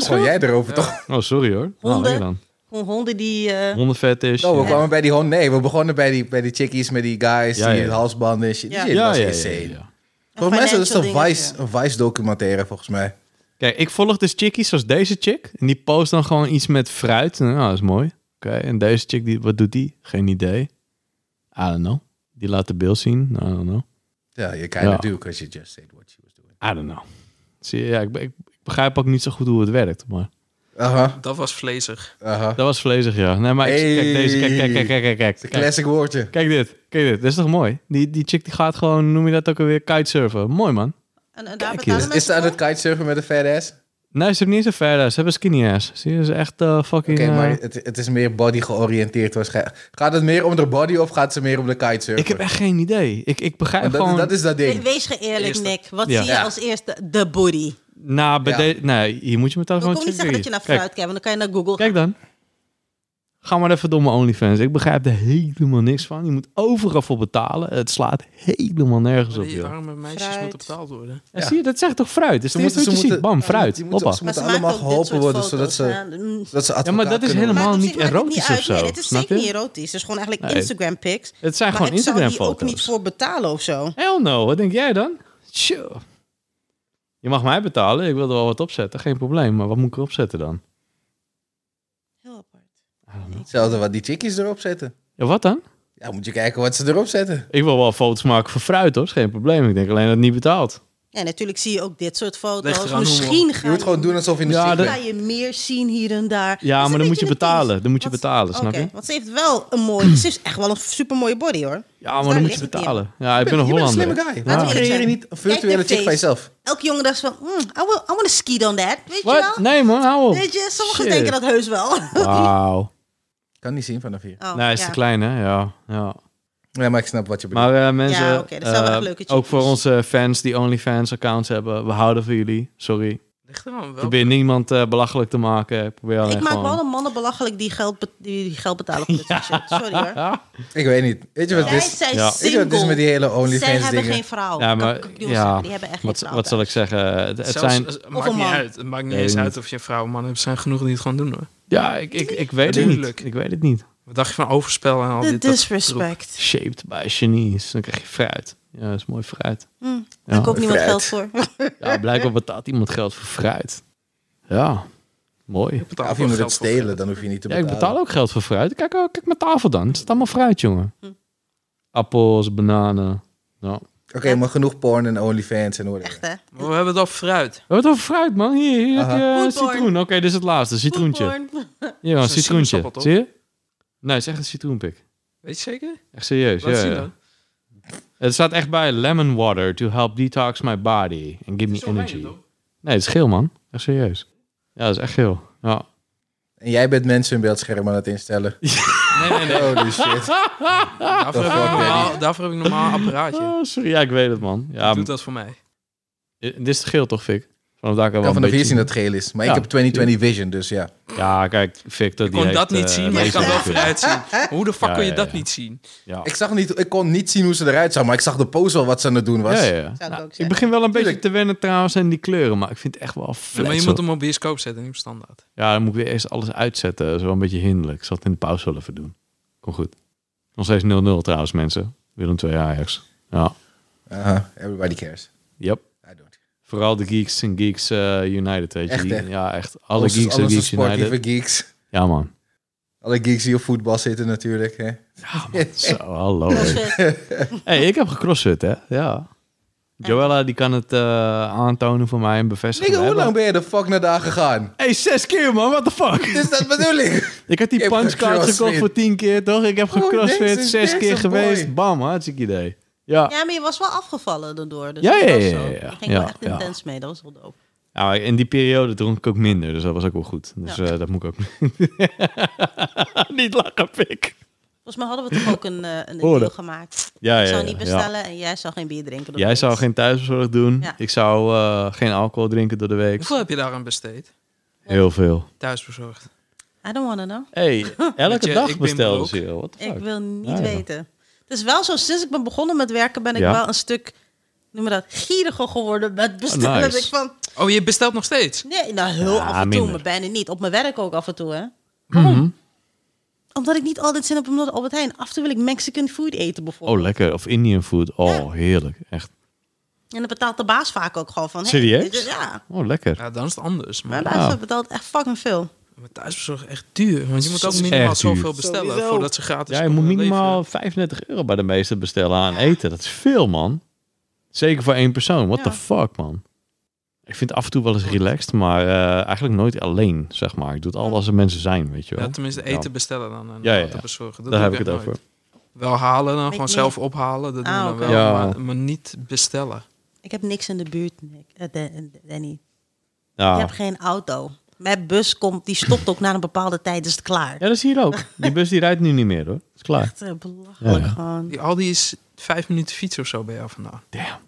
Gewoon
schuld?
jij erover, toch?
Oh, sorry hoor. Nou,
Honden.
lekker dan.
Gewoon honden die... eh,
Hondenfetish.
Oh, we kwamen bij die hond. Nee, we begonnen bij die, bij die chickies met die guys,
Ja,
die
ja.
halsbanden en shit. Die
Ja.
shit
Ja,
was
ja, ja,
insane.
ja, ja.
Volgens mij is dat een
Financial
Vice,
dingen,
een Vice documentaire, volgens mij.
Kijk, ik volg dus chickies zoals deze chick. En die post dan gewoon iets met fruit. Nou, dat is mooi. Oké, en deze chick, die, wat doet die? Geen idee. I don't know. Die laat de beeld zien. I don't know.
Ja, je kind
Ja.
of do, because you just said what she was doing.
I don't know. Zie je, ja, ik, be- ik begrijp ook niet zo goed hoe het werkt. Maar
Aha,
Dat was vlezig.
aha.
dat was vlezig, ja. Nee, maar ik,
Hey.
kijk deze. Kijk, kijk, kijk, kijk, kijk.
Het is een
Kijk, kijk,
classic woordje.
dit. Kijk dit. Dat is toch mooi? Die, die chick die gaat gewoon, noem je dat ook alweer, kitesurfen. Mooi man.
ja. En, en daar
Kijk
betalen
hier.
Is
mensen
ze aan
voor?
het kitesurfen met een fat ass?
Nee, ze hebben niet zo'n fat ass. Ze hebben skinny ass. Zie je, ze is echt eh, fucking...
Oké,
eh,
maar het, het is meer body georiënteerd waarschijnlijk. Gaat het meer om de body of gaat ze meer om de kitesurfer?
ik heb echt geen idee. Ik, ik begrijp
Want dat,
gewoon...
dat is dat
We-
ding.
Wees geëerlijk,
Eerste.
Nick. Wat
Ja.
zie je
Ja.
als eerste? De booty.
Nou, bij
Ja.
de- nee, hier moet je met
Ik
telefoon
wil niet zeggen dat je naar
Kijk,
fruit kijkt, want dan kan je naar Google
kijk dan. Ga maar even door mijn OnlyFans. Ik begrijp er helemaal niks van. Je moet overal voor betalen. Het slaat helemaal nergens
Maar
op,
Die
joh.
arme meisjes
Fruit.
moeten betaald worden.
Ja, Zie je, dat zegt toch fruit? Dus
Ze
het eerste
moeten-
wat je
ze
ziet. Bam,
moeten-
fruit.
die moeten-
Hoppa.
ze moeten allemaal geholpen worden, zodat ze, zodat ze
Ja, maar
advocaat
dat is
kunnen worden.
helemaal niet
Mm. maakt het
erotisch
uit.
of zo.
Nee, het is
Snap
zeker
je?
niet erotisch. Het is gewoon eigenlijk
Nee.
Instagram pics.
Het zijn
Maar
gewoon
ik zou die ook niet
Instagram-foto's.
voor betalen of zo.
Hell no, wat denk jij dan? Tjoe. Je mag mij betalen. Ik wil er wel wat opzetten. Geen probleem. Maar wat moet ik erop zetten dan?
Heel apart.
Hetzelfde wat die chickies erop zetten.
Ja, wat dan?
Ja, moet je kijken wat ze erop zetten.
Ik wil wel foto's maken voor fruit, hoor. Is Geen probleem. Ik denk alleen dat het niet betaalt.
Ja, natuurlijk zie je ook dit soort
Ligt
foto's.
eraan hoe-
Misschien ga
Je moet gewoon doen alsof je in de
Ja,
ziek
dat-
ga
bent.
je meer zien hier en daar.
Ja,
Dat is
maar
een
dan moet je
beetje een
betalen. Dan moet je
Wat-
betalen, snap
Oké,
je?
Want ze heeft wel een mooie... Ze is echt wel een supermooie body, hoor.
Ja, maar
daar
dan moet je
ligt het niet
betalen. Ja, ik ben een
Je bent een
Hollander.
slimme guy.
Laten
Waarom
we eerlijk
creëer je
zijn.
niet een virtuele
Kijk de
chick van
face.
jezelf?
Elke jongen dacht van... mm, I, will, I want to ski on that. Weet je
Wat?
wel?
Nee man, hou op.
Weet je, sommigen
Shit.
denken dat heus wel.
Wauw.
Kan niet zien vanaf hier.
Oh,
nee, is
ja.
te klein hè? Ja. ja.
Ja, maar ik snap wat je bedoelt.
Maar eh, mensen,
Ja, oké, dat zijn wel
eh,
echt leuke chickies.
ook voor onze fans die OnlyFans accounts hebben, we houden van jullie. Sorry. Ik
Ligt er wel wel.
probeer niemand eh, belachelijk te maken. Ik probeer alleen
Ik maak
eh, gewoon...
wel de mannen belachelijk die geld, be- die geld betalen voor dit soort shit. Sorry hoor.
Ik weet niet. Weet je wat
Zij
het is?
zijn
Ja.
Weet je
single.
wat het is met die hele
Zij
OnlyFans
hebben
dingen?
geen vrouw.
Ja,
Oh, Kan-
maar-
kan ik jullie
ja.
zeggen, Die hebben echt geen
Wat,
vrouw.
wat zal ik zeggen? Het, het
Zelfs-
zijn...
eh, het
Of
maakt
een
niet
man.
uit. Het maakt niet
Weet
eens
ik
uit
niet.
of je een vrouw of man hebt. Er zijn genoeg die het gewoon doen hoor.
Ja, ik, ik, ik weet het
Tuurlijk.
niet. Ik weet het niet.
Wat dacht je van overspel en al
thuis.
dit?
The
dat
disrespect.
Shaped by Chinese. Dan krijg je fruit. Ja, dat is mooi fruit.
Hm,
Ja.
Daar koopt niemand
fruit.
geld voor.
Ja, blijkbaar betaalt iemand geld voor fruit. Ja, mooi.
Betaal
of je
wel
moet
geld
het
voor
stelen,
fruit.
dan hoef je niet te
Ja, ik
betalen.
betaal ook geld voor fruit. Kijk, oh, kijk mijn tafel dan. Het staat allemaal fruit, jongen.
Hm.
Appels, bananen. Ja.
Oké, maar genoeg porn en OnlyFans en whatever.
Echt, hè?
Maar we hebben het al fruit.
We hebben het over fruit, man. Hier, hier heb je
Aha.
eh, citroen. Oké, dit is het laatste. Citroentje.
Poepporn.
Hier, een
Dat is een
citroentje.
sinaasappel, toch?
Zie je? Nee, het is echt een citroenpik.
Weet je zeker?
Echt serieus,
Laat
Dus ja,
zien
ja.
dan.
Het staat echt bij lemon water to help detox my body and give
Het is
me
oranje,
energy.
toch?
Nee, het is geel, man. Echt serieus. Ja, dat is echt geel. Ja.
En jij bent mensen hun beeldscherm aan het instellen.
Nee, nee, nee.
Holy shit.
Daarvoor heb, ik
fuck,
normaal, daarvoor heb ik een normaal apparaatje.
Ah, sorry, ja, ik weet het, man. Ja,
Doet dat voor mij.
m- dit is geel toch, Fik? Vanaf daar kan
Ik
wel
kan
een
vanaf hier
beetje
zien dat het geel is. Maar
Ja,
ik heb 2020 vision, dus ja.
Ja, kijk, Fik, dat
Ik
die
kon dat
heeft,
niet
eh,
zien, maar je
lezen
kan wel
natuurlijk.
vooruit zien. Maar Hoe de fuck
Ja,
kon je
ja,
dat
ja.
niet zien?
Ja.
Ik, zag niet, ik kon niet zien hoe ze eruit zag, maar ik zag de pose wel wat ze aan het doen was.
Ja, ja, ja.
Zou ik
Nou,
ook
ik,
zeggen.
begin wel een beetje
Tuurlijk.
te wennen trouwens aan die kleuren, maar ik vind het echt wel
Ja,
flat.
maar je
zo.
moet hem op bioscoop zetten, niet op standaard.
Ja, dan moet ik weer eerst alles uitzetten. Zo een beetje hinderlijk. Ik zal het in de pauze wel even doen. Kom goed. Nog steeds 0-0 trouwens, mensen. Willem 2 Ajax. Ja,
Aha, everybody cares.
yep.
I don't. care.
Vooral de Geeks en Geeks eh, United, weet je.
Echt, hè?
Ja, echt. Alle
Onze-
Geeks en
onze
Geeks
sportieve
United.
geeks.
Ja, man.
Alle geeks die op voetbal zitten natuurlijk. Hè.
Ja, man. Zo, hallo. Hé, hey, ik heb gecrossfit, hè. Ja. Joella, die kan het eh, aantonen voor mij en bevestigen.
Nigga, hoe
Hebben-
lang ben je de fuck naar daar gegaan?
hey, zes keer, man. What the fuck?
Is dat bedoeling?
Ik had
Je
die
hebt
punchcard gekocht
gecrossfit.
voor tien keer, toch? Ik heb
deze
gecrossfit,
is-
zes
deze
keer
boy.
geweest. Bam, hartstikke idee. Ja.
Ja, maar je was wel afgevallen daardoor. Dus
Ja,
dat
ja,
was
ja,
zo.
ja, ja.
Je ging
Ja,
wel echt
ja.
intens mee. Dat was wel dope.
Ja, maar Nou, in die periode dronk ik ook minder, dus dat was ook wel goed. Dus
Ja.
eh, dat moet ik ook niet lachen, pik.
Volgens mij hadden we toch ook een, eh, een
Hoor
deal
dat.
gemaakt.
Ja,
ik
ja,
zou
ja,
niet
ja.
bestellen en jij zou geen bier drinken. door de
Jij
week.
zou geen thuiszorg doen.
Ja.
Ik zou eh, geen alcohol drinken door de week.
Hoeveel heb je daaraan besteed?
Heel veel.
Thuisbezorgd.
I don't want to know.
hey,
Weet
elke
je, ik
dag
ben
bestelde
broke.
ze. joh. What the
Ik
fuck?
wil niet
Ja, ja.
weten. Het is wel zo, sinds ik ben begonnen met werken ben ik
Ja.
wel een stuk, noem maar dat, gieriger geworden met bestellen.
nice.
Dat ik van,
Oh, je bestelt nog steeds?
nee, nou heel
Ja,
af en toe,
minder.
maar bijna niet. Op mijn werk ook af en toe, hè.
Mhm.
Omdat ik niet altijd zin heb om naar de Albert Heijn. Af en toe wil ik Mexican food eten bijvoorbeeld.
Oh, lekker. Of Indian food. Oh, heerlijk. Echt.
En dan betaalt de baas vaak ook gewoon van... hey,
Serieus?
dit is- ja,
Oh, lekker.
Ja, dan is het anders.
mijn
Maar,
baas
Ja.
betaalt echt fucking veel.
maar thuisbezorgd echt duur. Want je moet ook
Is
minimaal
echt duur.
zoveel bestellen
Sowieso.
voordat ze gratis
Ja, je moet
komen
minimaal 35 euro bij de meeste bestellen aan eten. Dat is veel, man. Zeker voor één persoon. What the
Ja.
fuck, man. Ik vind het af en toe wel eens relaxed, maar eh, eigenlijk nooit alleen, zeg maar. Ik doe het al als er mensen zijn, weet je wel.
leveren. Mm. Ja, tenminste eten bestellen dan en
Ja, ja, ja.
auto bezorgen. Dat
Daar
doe
heb ik het
echt
over.
nooit. Wel halen, dan gewoon
niet.
zelf ophalen. Dat doen
Ah,
we dan
oké.
wel,
Ja.
maar, maar niet bestellen.
Ik heb niks in de buurt, Nick. Eh, Dan- Danny.
Ja.
Je hebt geen auto. Mijn bus komt, die stopt ook na een bepaalde tijd, is het klaar.
ja, dat zie je ook. Die bus die rijdt nu niet meer, hoor. Is klaar.
Echt eh, belachelijk
Ja, ja.
gewoon.
Die Aldi is vijf minuten fiets of zo bij jou vandaan.
Damn.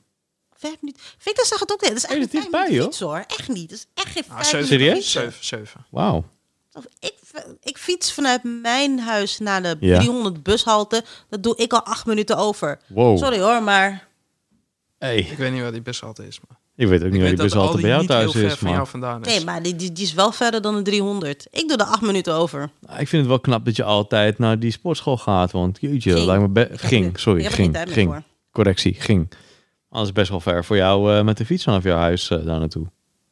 Vijf minuten. Victor zag het ook net. Dat is
Hey, dat
echt
is
niet vijf minuten
dichtbij,
fietsen, hoor. Echt niet. Dat is echt geen
Ah,
vijf
zeven,
minuten
serieus?
fietsen.
Zeven, zeven.
Wauw.
Of Ik, ik fiets vanuit mijn huis naar de
Ja.
300 bushalte. Dat doe ik al acht minuten over.
Wow.
Sorry hoor, maar
Hey.
Ik weet niet waar die bus altijd is. Maar.
Ik weet ook niet
ik
waar
weet
die bus
dat
altijd
Aldi
bij jou
niet heel
thuis
ver
is,
van jou
maar
vandaan is.
nee, maar die, die, die is wel verder dan de 300. Ik doe er acht minuten over.
ik vind het wel knap dat je altijd naar die sportschool gaat, want jeetje, dat
Ging.
lijkt me... be-
Ik heb
Ging,
er-
sorry,
ik heb er geen
ging,
tijd meer
ging.
voor.
Correctie, ging. Anders best wel ver voor jou eh, met de fiets vanaf jouw huis eh, daar naartoe.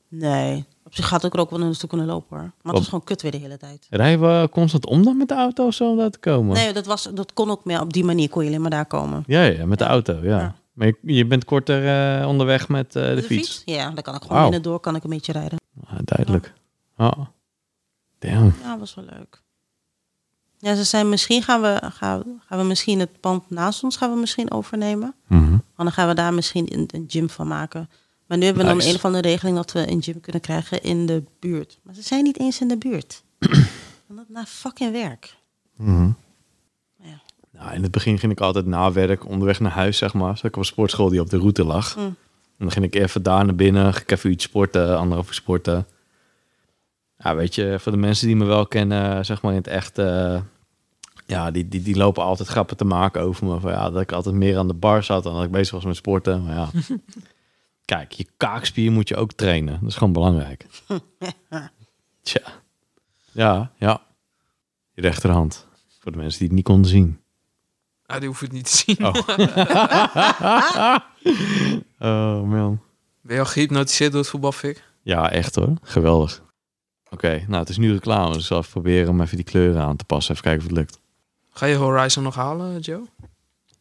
Nee, op zich had ik er ook wel naartoe kunnen lopen hoor. Maar
Wat?
het was gewoon kut weer de hele tijd.
Rijden we constant om dan met de auto of zo om daar te komen?
Nee, dat, was, dat kon ook meer. Op die manier kon je alleen maar daar komen.
Ja, ja, met de auto, ja.
Ja.
Maar je, je bent korter eh, onderweg met eh, de,
Met
fiets.
Ja, dan kan ik
Wauw.
gewoon binnen door kan ik een beetje rijden.
Ah, duidelijk. Ja. Damn.
Ja, was wel leuk. Ja, ze zijn misschien gaan we, gaan, we- gaan we misschien het pand naast ons gaan we misschien overnemen.
Mhm.
En dan gaan we daar misschien een, een gym van maken. Maar nu hebben we
Nice.
dan een of andere regeling dat we een gym kunnen krijgen in de buurt. Maar ze zijn niet eens in de buurt. En dat na fucking werk.
Mhm.
Ja.
Nou, in het begin ging ik altijd na werk onderweg naar huis, zeg maar. Zat ik op een sportschool die op de route lag. En dan ging ik even daar naar binnen. Ging ik even iets sporten, anderhalf uur sporten. Ja, weet je, voor de mensen die me wel kennen, zeg maar in het echt... eh, ja, die, die, die lopen altijd grappen te maken over me. Van, ja, dat ik altijd meer aan de bar zat dan dat ik bezig was met sporten. Maar ja, kijk, je kaakspier moet je ook trainen. Dat is gewoon belangrijk. Tja. Ja, ja. Je rechterhand. Voor de mensen die het niet konden zien.
Ah, die hoef het niet te zien.
Oh. Oh man. Oh,
Ben je al gehypnotiseerd door het voetbal, Fik?
Ja, echt hoor. Geweldig. Oké, nou het is nu reclame, dus ik zal even proberen om even die kleuren aan te passen. Even kijken of het lukt.
Ga je Horizon nog halen, Joe?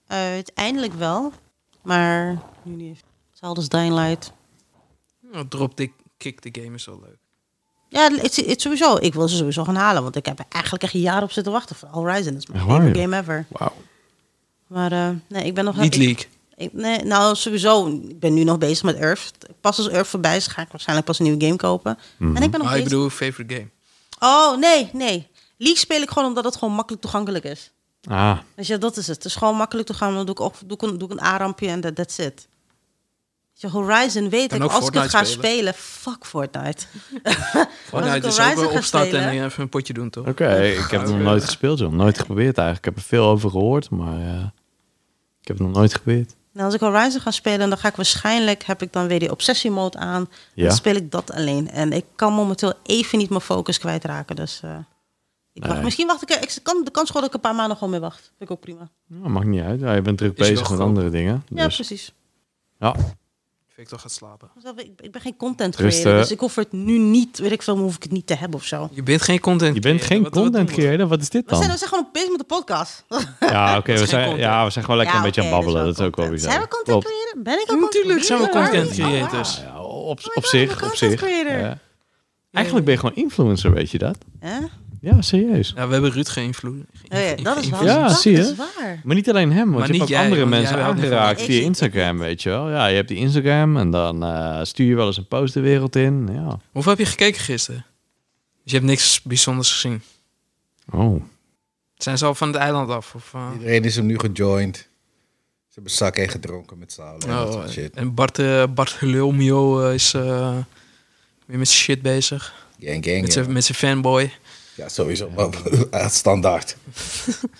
Uiteindelijk wel, maar nu niet. Zelfs Dying Light.
Nou, drop the kick the game is wel leuk.
Ja, het is sowieso. Ik wil ze sowieso gaan halen, want ik heb er eigenlijk echt jaren op zitten wachten voor Horizon. Dat is mijn
Echt waar,
favorite
joh?
game ever.
Wauw.
Maar eh, nee, ik ben nog...
Niet
ik-
leak.
ik- nee, nou, sowieso. Ik ben nu nog bezig met Earth. Pas als Earth voorbij is, ga ik waarschijnlijk pas een nieuwe game kopen. En ik ben nog
Ah,
Maar
bezig...
ik bedoel, favorite game.
Oh, nee, nee. League speel ik gewoon omdat het gewoon makkelijk toegankelijk is.
Ah,
Dus ja, dat is het. Het is gewoon makkelijk toegankelijk. Dan doe ik, ook, doe ik een, doe ik een A-rampje en dat that's it. Weet Je, Horizon weet
Kan
ik,
ook
als ik het
Fortnite
ga
spelen.
spelen, fuk Fortnite.
Fortnite
ik
is nou, ook
Horizon
wel
ga
opstarten en
spelen-
eh, even een potje doen, toch?
oké. Ik heb het nog
Oké.
nooit gespeeld, joh. Nooit geprobeerd eigenlijk. Ik heb er veel over gehoord, maar eh, ik heb het nog nooit geprobeerd.
Nou, als ik Horizon ga spelen, dan ga ik waarschijnlijk heb ik dan weer die obsessie mode aan.
Ja.
Dan speel ik dat alleen. En ik kan momenteel even niet mijn focus kwijtraken. Dus eh, ik wacht,
Nee.
misschien wacht ik. er- Ik kan de kans gewoon dat ik een paar maanden gewoon mee wacht. Vind ik ook prima.
Nou, maakt niet uit. Ja, je bent druk
Is
bezig
wel
met
groot.
andere dingen.
Ja,
Dus,
precies.
ja.
Victor gaat slapen.
Dus dat- Ik ik ben geen content
Rust,
creator,
eh.
dus ik hoef het nu niet. Weet ik veel, hoef ik het niet te hebben of zo.
Je bent geen content
Je bent
creator.
geen
Wat- wat doen
content
we?
creator. Wat is dit
We zijn, we
dan?
zijn gewoon bezig met de podcast.
Ja, oké.
is
we
geen
zijn,
content.
ja, we zijn gewoon lekker
Ja,
een beetje
oké,
aan babbelen.
dus
Dat is ook wel
content.
bizar.
Zijn we content
Klopt.
creator? Ben ik ook content
Natuurlijk zijn we
creator?
content
Oh, wauw.
creators.
Ja, op,
my
op
God,
zich,
we
op
content
zich.
creator.
ja. Eigenlijk ben je gewoon influencer, weet je dat?
Hè?
Ja, serieus.
Ja, we hebben Ruud geïnvloed.
Oh ja, dat is waar.
Ja,
dat
zie je?
is waar.
Maar niet alleen hem, want
Maar
je hebt ook
niet jij,
andere
want jij
mensen
houdt niet van-
aangeraakt
Ik
via
zie-
Instagram, weet je wel. Ja, je hebt die Instagram en dan eh, stuur je wel eens een post de wereld in. Ja.
Hoeveel heb je gekeken gisteren? Dus je hebt niks bijzonders gezien.
Oh.
Zijn ze al van het eiland af? Of, eh?
Iedereen is hem nu gejoind. Ze hebben zak en gedronken met z'n allen. en dat
Oh,
soort shit.
en Bart, eh Bart Hulmio is eh, weer met zijn shit bezig.
Gang, gang.
Met
Ja,
zijn met zijn fanboy.
ja sowieso. Maar, standaard.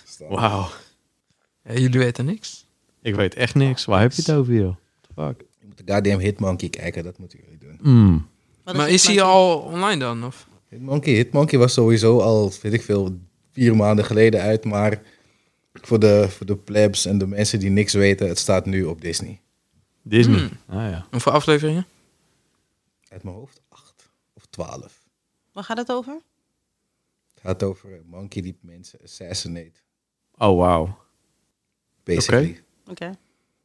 Standaard.
Wauw.
Ja, jullie weten niks.
Ik weet echt niks. Waar heb je het over, joh? What the Fuck.
Je moet de goddamn Hitmonkey kijken, dat moeten jullie doen.
Mm.
dat
maar
dus
is hij
mijn-
al online dan? Of?
Hitmonkey, Hitmonkey was sowieso al, weet ik veel, vier maanden geleden uit. Maar voor de, voor de plebs en de mensen die niks weten, het staat nu op Disney.
Disney. Ah ja.
Hoeveel afleveringen?
Uit mijn hoofd, acht of twaalf.
Waar gaat het over?
Het gaat over een monkey die mensen assassinate,
Oh, wauw.
basically.
Oké.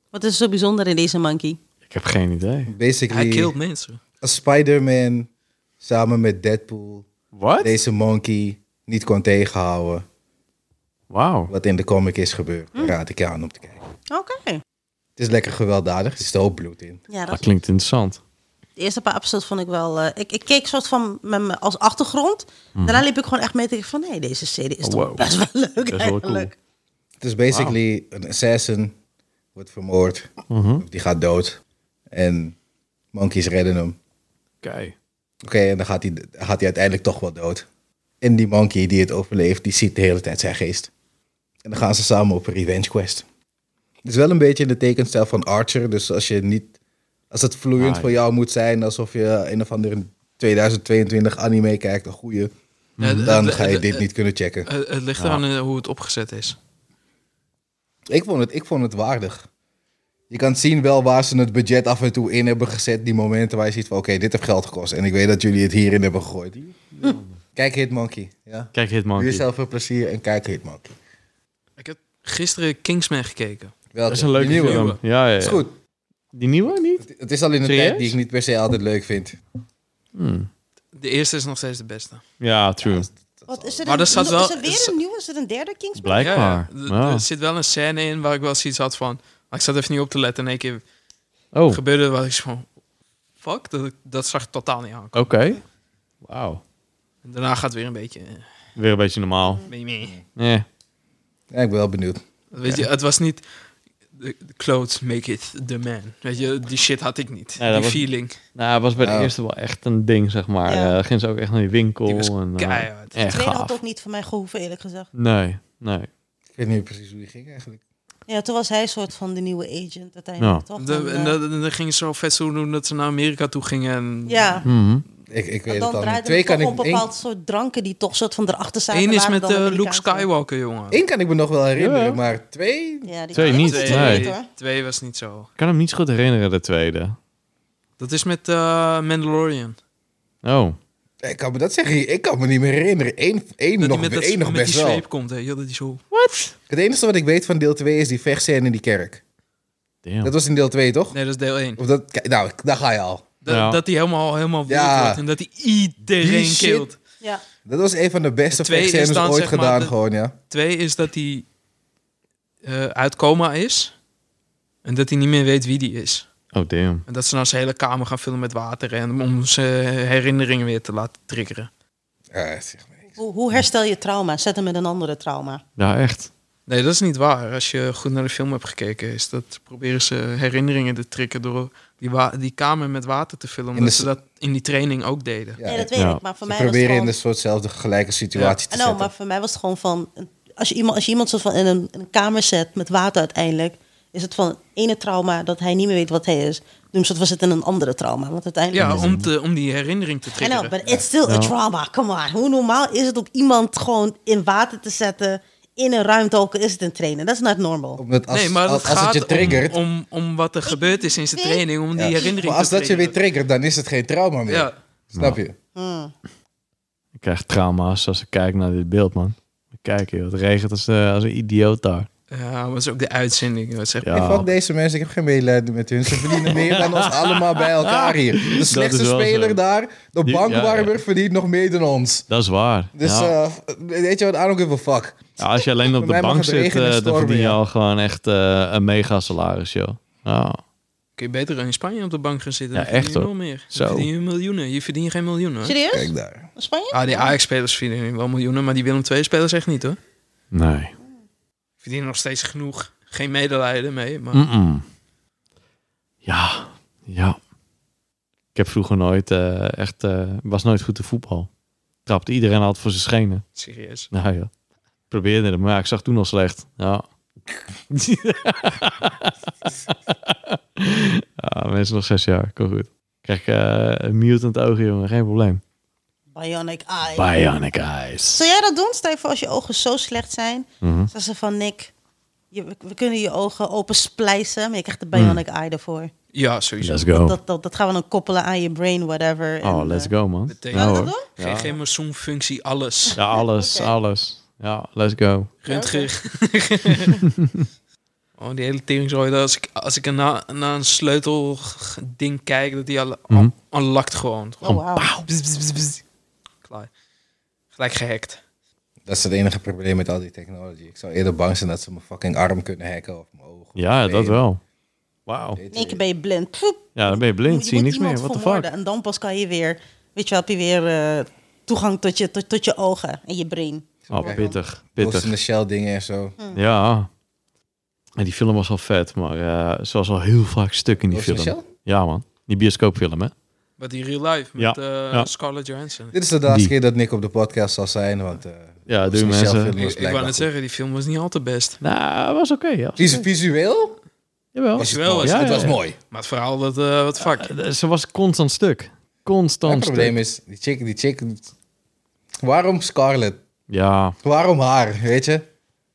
Wat is zo bijzonder in deze monkey?
Ik heb geen idee.
Hij
Basically,
killt mensen.
als Spider-Man samen met Deadpool
Wat?
deze monkey niet kon tegenhouden.
Wauw.
Wat in de comic is
Hm.
gebeurd, daar raad ik je aan om te kijken.
Oké.
Het is lekker gewelddadig, er zit ook bloed in.
Ja, dat
Dat klinkt interessant.
De eerste paar episodes vond ik wel... eh, ik, ik keek soort van met me als achtergrond. Daarna liep ik gewoon echt mee tegen van... Nee, deze serie is
Mhm. Oh,
toch
wow.
best wel leuk
wel
eigenlijk.
Het is basically een assassin wordt vermoord.
Mhm.
Of die gaat dood. En monkeys redden hem. Oké,
Oké.
en dan gaat hij, dan gaat hij uiteindelijk toch wel dood. En die monkey die het overleeft, die ziet de hele tijd zijn geest. En dan gaan ze samen op een revenge quest. Het is wel een beetje in de tekenstijl van Archer. Dus als je niet... Als het vloeiend
Ah,
voor jou moet zijn, alsof je een of andere 2022 anime kijkt, een goeie,
Ja, d-
dan
d-
ga je
d-
dit
d-
niet kunnen checken.
Het, Eh, het ligt
Ja.
aan hoe het opgezet is.
Ik vond, het, ik vond het waardig. Je kan zien wel waar ze het budget af en toe in hebben gezet. Die momenten waar je ziet van oké, dit heeft geld gekost. En ik weet dat jullie het hierin hebben gegooid. Kijk Hitmonkey. Ja.
Kijk,
Doe
Hitmonkey.
jezelf een plezier en kijk Hitmonkey.
Ik heb gisteren Kingsman gekeken.
Welke?
Dat is een leuke
Die nieuwe.
film.
Nieuwe.
Ja, ja, ja.
dus. Het is goed.
Die nieuwe niet?
Het- Het is al in een
Serieus?
tijd die ik niet per se altijd leuk vind.
Hmm.
De eerste is nog steeds de beste.
Ja, true.
Wat, is er,
Maar
een,
er staat wel-
is er weer
is-
een nieuwe? Is er een derde Kingsman?
Blijkbaar.
Ja, ja. D-
Ja.
Er zit wel een scène in waar ik wel zoiets had van... maar Ik zat even niet op te letten en één keer
Oh, oké.
gebeurde wat ik zo van... Fuck, dat, dat zag ik totaal niet aan.
Wauw.
En daarna gaat het weer een beetje... eh,
Weer een beetje normaal.
mee, mee.
Nee.
Ja, ik ben wel benieuwd.
Weet je, het was niet... The the clothes make it the man. Weet je, die shit had ik niet.
Ja, dat
die
was-
feeling.
Nou, het was bij de
Ja.
eerste wel echt een ding, zeg maar.
Ja.
Eh, ging ze ook echt naar die winkel.
Die was
en, eh,
keihard.
De
echt
tweede had
gaaf.
ook niet van mij gehoeven, eerlijk gezegd.
Nee, nee.
Ik weet niet meer precies hoe die ging eigenlijk.
Ja, toen was hij een soort van de nieuwe agent uiteindelijk, toch?
De-
Dan, eh,
en dat- en dan gingen ze zo vet zo doen dat ze naar Amerika toe gingen. En
ja,
Mhm.
Ik, ik weet
en
het
dan
al niet.
draaide
Twee
het toch
kan ik...
om bepaald
één-
soort dranken die toch soort van erachter zaten.
Eén is
waren
met
dan
eh, Luke
Amerikaanse.
Skywalker, jongen.
één kan ik me nog wel herinneren,
Ja.
maar twee...
Ja, die
Twee
ik
niet,
weet het
nee.
niet, hoor.
Twee was niet zo.
Ik kan hem niet zo goed herinneren, de tweede.
Dat is met eh, Mandalorian.
Oh,
Ik kan me dat zeggen. Ik kan me niet meer herinneren. Eén, één
Dat
nog,
hij met, dat,
één nog
met
best
die
wel.
zweep komt, hè. Ja, dat is zo...
Het enige wat ik weet van deel 2 is die vechtscène in die kerk.
Damn.
Dat was in deel 2, toch?
Nee, dat is deel 1.
Of dat, kijk, nou, daar ga je al.
Dat,
Ja.
dat hij helemaal, helemaal wild
Ja.
wordt en dat hij iedereen
Die shit.
killt.
Ja.
Dat was een van de beste
De tweede is
vechtscènes
dan,
ooit
zeg maar,
gedaan,
de-
gewoon, ja.
Twee is dat hij eh, uit coma is en dat hij niet meer weet wie die is.
Oh, damn.
En dat ze nou zijn hele kamer gaan vullen met water en om zijn herinneringen weer te laten triggeren.
Ja, zeg maar.
Hoe, hoe herstel je trauma? Zet hem met een andere trauma.
Ja, echt.
Nee, dat is niet waar. Als je goed naar de film hebt gekeken, is dat proberen ze herinneringen te triggeren door die, wa- die kamer met water te vullen. Omdat
de
ze
s-
dat in die training ook deden.
Ja.
nee, dat weet
Ja.
ik. Maar voor
Ze
mij was het
proberen in
gewoon...
een soortzelfde gelijke situatie te
Ah, nou,
zetten.
maar voor mij was het gewoon van... Als je iemand, als je iemand soort van in, een, in een kamer zet met water uiteindelijk... is het van het ene trauma dat hij niet meer weet wat hij is. Dus dat was het in een andere trauma. Want uiteindelijk...
Ja,
is
om, te, om die herinnering te
I
triggeren.
know, but it's still
Ja.
a trauma. Come on. Hoe normaal is het om iemand gewoon in water te zetten... in een ruimte, ook al is het een trainen? Dat is not normal.
Omdat als,
nee, maar
als,
het
als
gaat
het je triggert...
om, om, om wat er gebeurd is in zijn training, om die
ja.
herinnering
maar als
te
dat je weer
triggeren.
triggert, dan is het geen trauma meer.
Ja,
Snap je?
Hmm.
Ik krijg trauma's als ik kijk naar dit beeld, man. Kijk, joh, het regent als, eh, als een idioot daar.
ja, maar dat is ook de uitzending. Dat zegt
Ik
Ja.
fuck deze mensen, ik heb geen medelijden met hun. Ze verdienen meer dan ons allemaal bij elkaar hier. De slechtste
is wel
speler
zo.
daar, de
Die-
bankwarmer,
ja, ja.
verdient nog meer dan ons.
Dat is waar.
Dus
ja.
eh, weet je wat, I don't give a fuck.
Ja, als je alleen op
bij
de
mij mag
bank
het
zit,
regenen en
eh, dan
stormen,
verdien je
ja.
al gewoon echt eh, een mega salaris, joh. Ja.
Kun je beter in Spanje op de bank gaan zitten.
Ja,
dan verdien
echt,
je
hoor.
wel meer.
Zo.
Zo. verdien je miljoenen. Je verdient geen miljoenen. Hoor.
Serieus?
Kijk daar.
Spanje?
Ah, die Ajax-spelers verdienen wel miljoenen, maar die Willem II-spelers echt niet hoor.
Nee.
Verdienen nog steeds genoeg. Geen medelijden mee, maar
Mm-mm. Ja. Ja. Ik heb vroeger nooit eh, echt... eh, was nooit goed te voetbal. Trapte iedereen altijd voor zijn schenen.
serieus.
Nou ja. Probeerde het, maar ja, ik zag toen al slecht. Ja. ja, mensen nog zes jaar. Kom goed. Krijg eh een mutant oog, jongen. Geen probleem.
Bionic Eye.
Bionic Eyes.
Zou jij dat doen, Stijn, voor als je ogen zo slecht zijn?
Mhm.
Dat ze van Nick, je, we, we kunnen je ogen open splijzen, maar je krijgt de bionic
Mhm.
eye ervoor.
Ja, sowieso.
Let's go.
Dat, dat, dat gaan we dan koppelen aan je brain, whatever. en,
Oh, let's
eh,
go, man.
Meteen.
Ja,
Gaan we dat
hoor.
doen?
Geen, geen masonfunctie, alles.
Ja, alles,
Oké.
alles. Ja, let's go.
Röntgen. oh, die hele teringzooi. dat Als ik, als ik na, naar een sleutelding kijk, dat die al,
Mhm.
al, al lakt gewoon.
Oh, wow.
Bzz, bzz, bzz, bzz. Klaar. Gelijk gehackt.
Dat is het enige probleem met al die technology. Ik zou eerder bang zijn dat ze mijn fucking arm kunnen hacken of mijn ogen.
Ja, dat wel. Wauw.
In één keer ben je blind. Pfoep.
Ja, dan ben je
Je
blind,
moet
zie je niks meer.
iemand
What the fuck?
vermoorden En dan pas kan je weer, weet je wel, heb je weer eh, toegang tot je, tot, tot je ogen en je brain.
Oh,
Kijk.
pittig,
Ghost in
pittig.
de Shell dingen en zo.
Ja. En die film was al vet, maar eh, ze was al heel vaak stuk in die
Ghost in the
film.
Shell?
Ja, man. Die bioscoopfilm, hè?
Maar die real life
Ja,
met eh
ja.
Scarlett Johansson.
Dit is de laatste
Die.
keer dat Nick op de podcast zal zijn, want... eh,
Ja,
Ghost
doe
in the Shell
mensen.
film
Ik, ik
was
wou
blijkbaar
net
goed.
zeggen, die film was niet al te best.
Nou, was oké. ja.
Visu- Visueel
Jawel.
was het
Visueel
mooi.
was-
het
ja,
was
ja.
mooi.
Maar het verhaal, dat, eh, wat fuck.
Eh, Ze was constant stuk.
Het
Constant
probleem
stuk.
is, die chick, die chick... Waarom Scarlett?
Ja.
Waarom haar, weet je?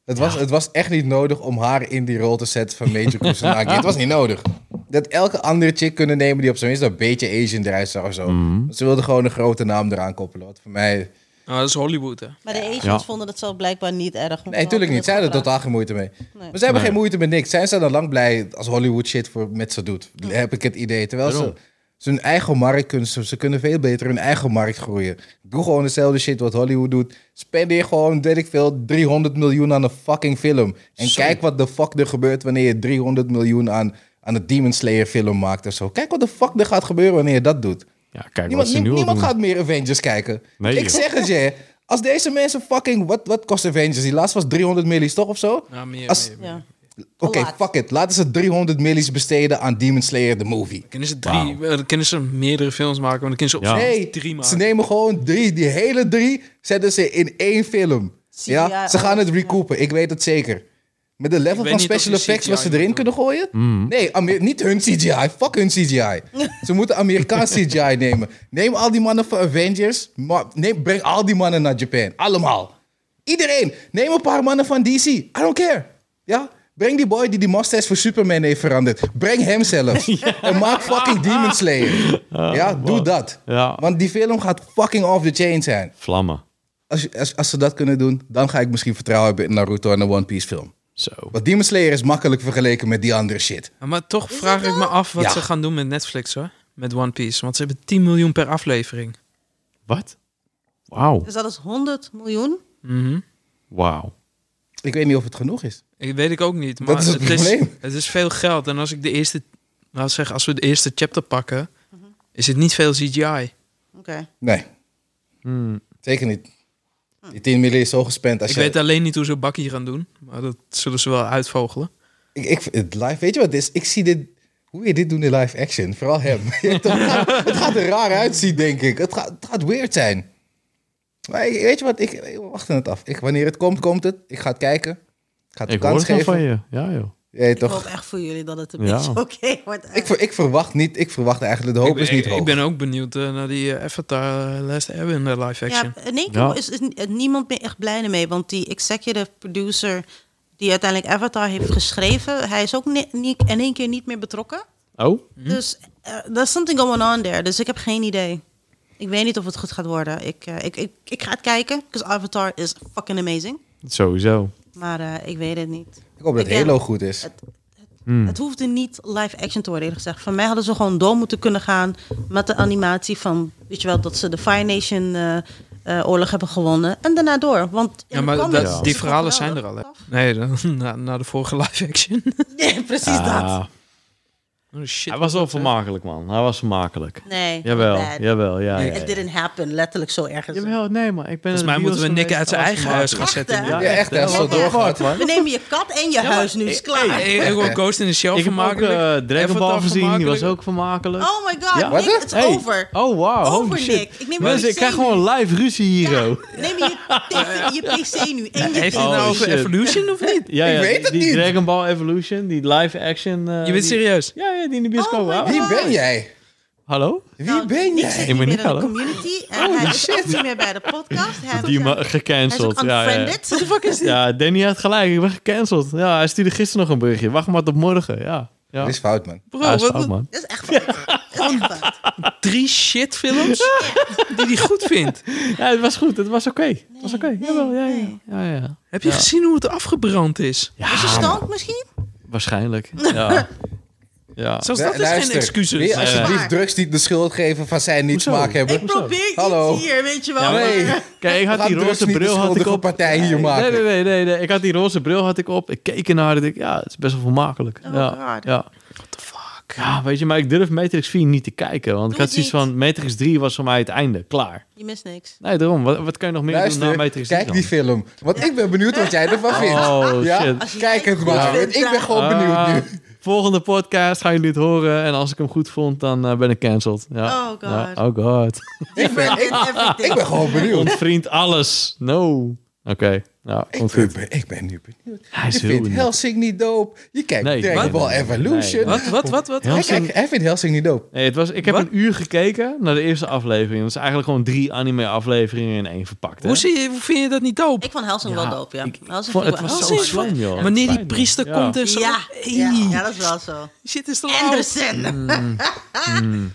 Het was, het was echt niet nodig om haar in die rol te zetten van Major Kusanagi. het was niet nodig. Dat elke andere chick kunnen nemen die op zijn minst een beetje Asian eruit zag of zo.
Mhm.
Ze wilden gewoon een grote naam eraan koppelen. Wat voor mij...
Nou, dat is Hollywood, hè.
Maar de Asians
Ja.
vonden dat zo blijkbaar niet erg.
Nee, natuurlijk niet. Zij hadden
dat
totaal geen moeite mee.
Nee.
Maar zij hebben
Nee.
geen moeite met niks. Zijn ze dan lang blij als Hollywood shit voor, met ze doet? Heb ik het idee. Terwijl ze,
Daarom.
ze hun eigen markt kunnen, ze, ze kunnen veel beter hun eigen markt groeien. Doe gewoon dezelfde shit wat Hollywood doet. Spendeer gewoon, weet ik veel, 300 miljoen aan een fucking film. En
Zo.
kijk wat de fuck er gebeurt wanneer je 300 miljoen aan, aan een Demon Slayer film maakt of zo. Kijk wat de fuck er gaat gebeuren wanneer je dat doet.
Ja, kijk
Niemand,
wat ze nu al
niemand
doen.
gaat meer Avengers kijken.
Nee,
ik
joh.
zeg het je. Als deze mensen fucking... Wat, wat kost Avengers? Die laatst was 300 millies, toch? Of zo?
Nou, meer,
Als-
meer, meer.
Ja.
Oké,
Laat.
fuck it. Laten ze 300 millies besteden aan Demon Slayer, de movie.
Kunnen ze drie, eh, dan kunnen ze meerdere films maken, maar dan kunnen ze op
Ja.
zich
Nee,
drie
ze
maken.
nemen gewoon drie. Die hele drie zetten ze in één film.
CGI,
Ja, ze gaan het
ja.
recoupen. Ik weet het zeker. Met de level
weet
van
niet of
special
je
effects
CGI
wat ze erin
moet
kunnen gooien? Nee, Amer- niet hun CGI. Fuck hun CGI. ze moeten Amerikaans CGI nemen. Neem al die mannen van Avengers. maar Neem, breng al die mannen naar Japan. Allemaal. Iedereen. Neem een paar mannen van DC. I don't care. Ja? Breng die boy die die mustache voor Superman heeft veranderd. Breng hem zelfs. En maak fucking Demon Slayer. ja, doe dat.
Ja.
Want die film gaat fucking off the chain zijn.
Vlammen.
Als, je- als, als ze dat kunnen doen, dan ga ik misschien vertrouwen hebben in Naruto en de One Piece film.
Zo.
Want Demon Slayer is makkelijk vergeleken met die andere shit.
Ja, maar toch vraag ik me af wat
Ja.
ze gaan doen met Netflix hoor. Met One Piece. Want ze hebben 10 miljoen per aflevering.
Wat? Wauw.
Dus dat is 100 miljoen.
Mhm.
Wauw.
Ik weet niet of het genoeg is.
Ik weet ik ook niet. Maar
Dat is het probleem.
het is veel geld. En als ik de eerste. Laat zeggen, als we de eerste chapter pakken,
Mhm.
is het niet veel CGI.
Oké.
Nee,
Hmm.
zeker niet. Die 10 miljoen is zo gespend. Als
Ik
je,
weet alleen niet hoe ze Bakkie gaan doen. Maar dat zullen ze wel uitvogelen.
Ik, ik, het live, weet je wat het is? Ik zie dit, hoe je dit doet in live action, vooral hem. het, gaat, het gaat er raar uitzien, denk ik. Het gaat, het gaat weird zijn. Maar ik- weet je wat, ik, ik wacht het af. Ik, wanneer het komt, komt het. Ik ga het kijken. Ik ga het
Ik
een
hoor
kans
het wel
geven.
van je. Ja, joh.
Je weet
Ik hoop
toch?
echt voor jullie dat het een
Ja.
beetje oké wordt.
Ik, ver- ik verwacht niet, ik verwacht eigenlijk, de hoop
ik, ben-
is niet
ik,
hoog.
ik ben ook dus benieuwd eh, naar die eh, Avatar eh, Last Airbender live action.
ja, in één keer
Ja.
is, is ni- niemand meer echt blij ermee. Want die executive producer die uiteindelijk Avatar heeft geschreven... hij is ook ni- niet- in één keer niet meer betrokken.
Oh?
Mhm.
Dus eh, there's something going on there. Dus ik heb geen idee. Ik weet niet of het goed gaat worden. Ik, eh, ik, ik, ik ga het kijken. Because Avatar is fucking amazing.
Sowieso.
Maar eh, ik weet het niet.
Ik hoop dat
ik ben-
Halo goed is.
Het,
Hmm.
het hoefde niet live action te worden, eerlijk gezegd. Van mij hadden ze gewoon door moeten kunnen gaan met de animatie van, weet je wel, dat ze de Fire Nation eh, eh, oorlog hebben gewonnen. En daarna door. Want in
Ja,
de
maar
comics
dat-
is
die
het
verhalen
gewoon
zijn er al.
geweldig.
Hè? Nee, dan- na, na de vorige live action.
Ja, precies dat.
Ah,
Oh, shit,
hij was wel
wat, hè?
vermakelijk, man. Hij was vermakelijk.
Nee,
Jawel,
bad.
jawel, ja. ja, ja.
It didn't happen, letterlijk zo ergens.
Jawel, nee, maar ik ben
Volgens mij moeten we Nick uit zijn eigen huis gaan
Echt,
zetten.
hè?
nu.
Ja,
Ja, echt, hè? Zo
Wat erg.
doorgaat, man.
We nemen je kat en je huis nu,
eh,
is klaar.
Hey, Ik heb ook Ghost in the Shell
Ik heb ook
vermakelijk.
eh Dragon Ball
Avatar
gezien, die was
vermakelijk.
ook vermakelijk.
oh my god,
Ja.
Nick,
Wat?
het is
Hey.
over.
Oh, wow.
Over,
Holy
Nick.
shit.
Ik neem
Mensen,
mijn
ik krijg
PC nu.
gewoon live ruzie hier,
Ja,
oh.
Neem je, TV, je PC nu en je PC.
Heeft hij het nou
Oh,
over
shit.
Evolution of niet?
Ja,
Ik
ja,
weet het
die
niet.
Dragon Ball Evolution, die live action. eh,
Je bent
die-
serieus?
Ja, ja, die in de bioscoop.
Oh my
waren.
God.
Wie ben jij?
Hallo?
Wie
Nou,
ben
Nick
jij?
zit
Ik
niet
ben
meer
Nick,
in de
hallo.
community. En hij is ook niet meer bij de podcast. Hij eh,
Die
hij
ma-
is ook
gecanceld. Ja, ja, ja.
unfriended. What the fuck is
Ja, Danny had gelijk. Ik ben gecanceld. Ja, hij stuurde gisteren nog een berichtje. Wacht maar tot morgen. Ja. ja.
Dit is fout, man.
Bro,
Ja, is
wat,
fout,
wat-
man.
Dat is echt fout. Dat is echt fout.
drie shitfilms die hij goed vindt.
Ja, het was goed. Het was oké. Het was oké. Jawel, ja, ja. ja, ja.
Heb je gezien hoe het afgebrand is?
Is je
ja
stonk misschien?
waarschijnlijk. Ja. ja.
Zelfs dat
Lu-
is geen
luister, Wil
excuses.
je alsjeblieft
Waar?
drugs niet de schuld geven van zijn niet
Hoezo?
smaak hebben?
Ik probeer iets
Hallo.
hier, weet je wel.
Ja,
Nee.
maar-
Kijk, ik had
Laat
die
drugs
roze
niet de
bril had ik
schuldige
op.
partij hier
Nee,
maken.
nee, nee, nee, nee. Ik had die roze bril had ik op. Ik keek ernaar. dat Ik, ja, het is best wel vermakelijk.
Oh,
ja.
God.
ja.
Fuck.
Ja, weet je, maar ik durf Matrix 4 niet te kijken. Want ik
Doe
had
het
zoiets van, Matrix 3 was voor mij het einde. Klaar.
Je mist niks.
Nee, daarom. Wat, wat kan je nog meer doen na
Luister,
Matrix 3
kijk die
dan?
film. Want ik ben benieuwd wat jij ervan vindt.
Oh, shit.
Als je
Kijk het
goed
maar.
vindt,
Ik ben
dan-
gewoon benieuwd nu.
Ah, volgende podcast gaan jullie het horen. En als ik hem goed vond, dan eh, ben ik cancelled. Ja.
Oh, God.
Ja, oh god.
Ik ben, ik, ik ben gewoon benieuwd.
Ontvriend alles. No. Oké. Ja,
Ik
komt
ben,
goed.
ik ben nu benieuwd.
Hij is
Je
heel
vindt
benieuwd.
Helsing niet dope. Je kijkt
Nee,
Dragon
wat?
Ball Evolution.
Nee.
Eh, Wat, wat, wat, wat?
Heel
Hij,
Helsing-
kijkt- hij vindt Helsing niet dope.
Nee, het was, ik heb
Wat?
een uur gekeken naar de eerste aflevering. Dat is eigenlijk gewoon drie anime-afleveringen in één verpakt. hè?
Hoe, zie je, hoe vind je dat niet dope?
Ik vond Helsing
Ja,
wel dope, ja.
ik-
Helsing
vond-
vind
het
ik wel-
was zo
Helsing-
slim, joh.
Wanneer die
Fijn,
priester
ja.
komt en zo.
Ja, ja, dus- ja, dat is wel zo.
Shit is te laat.
Anderson.
Mm.
What the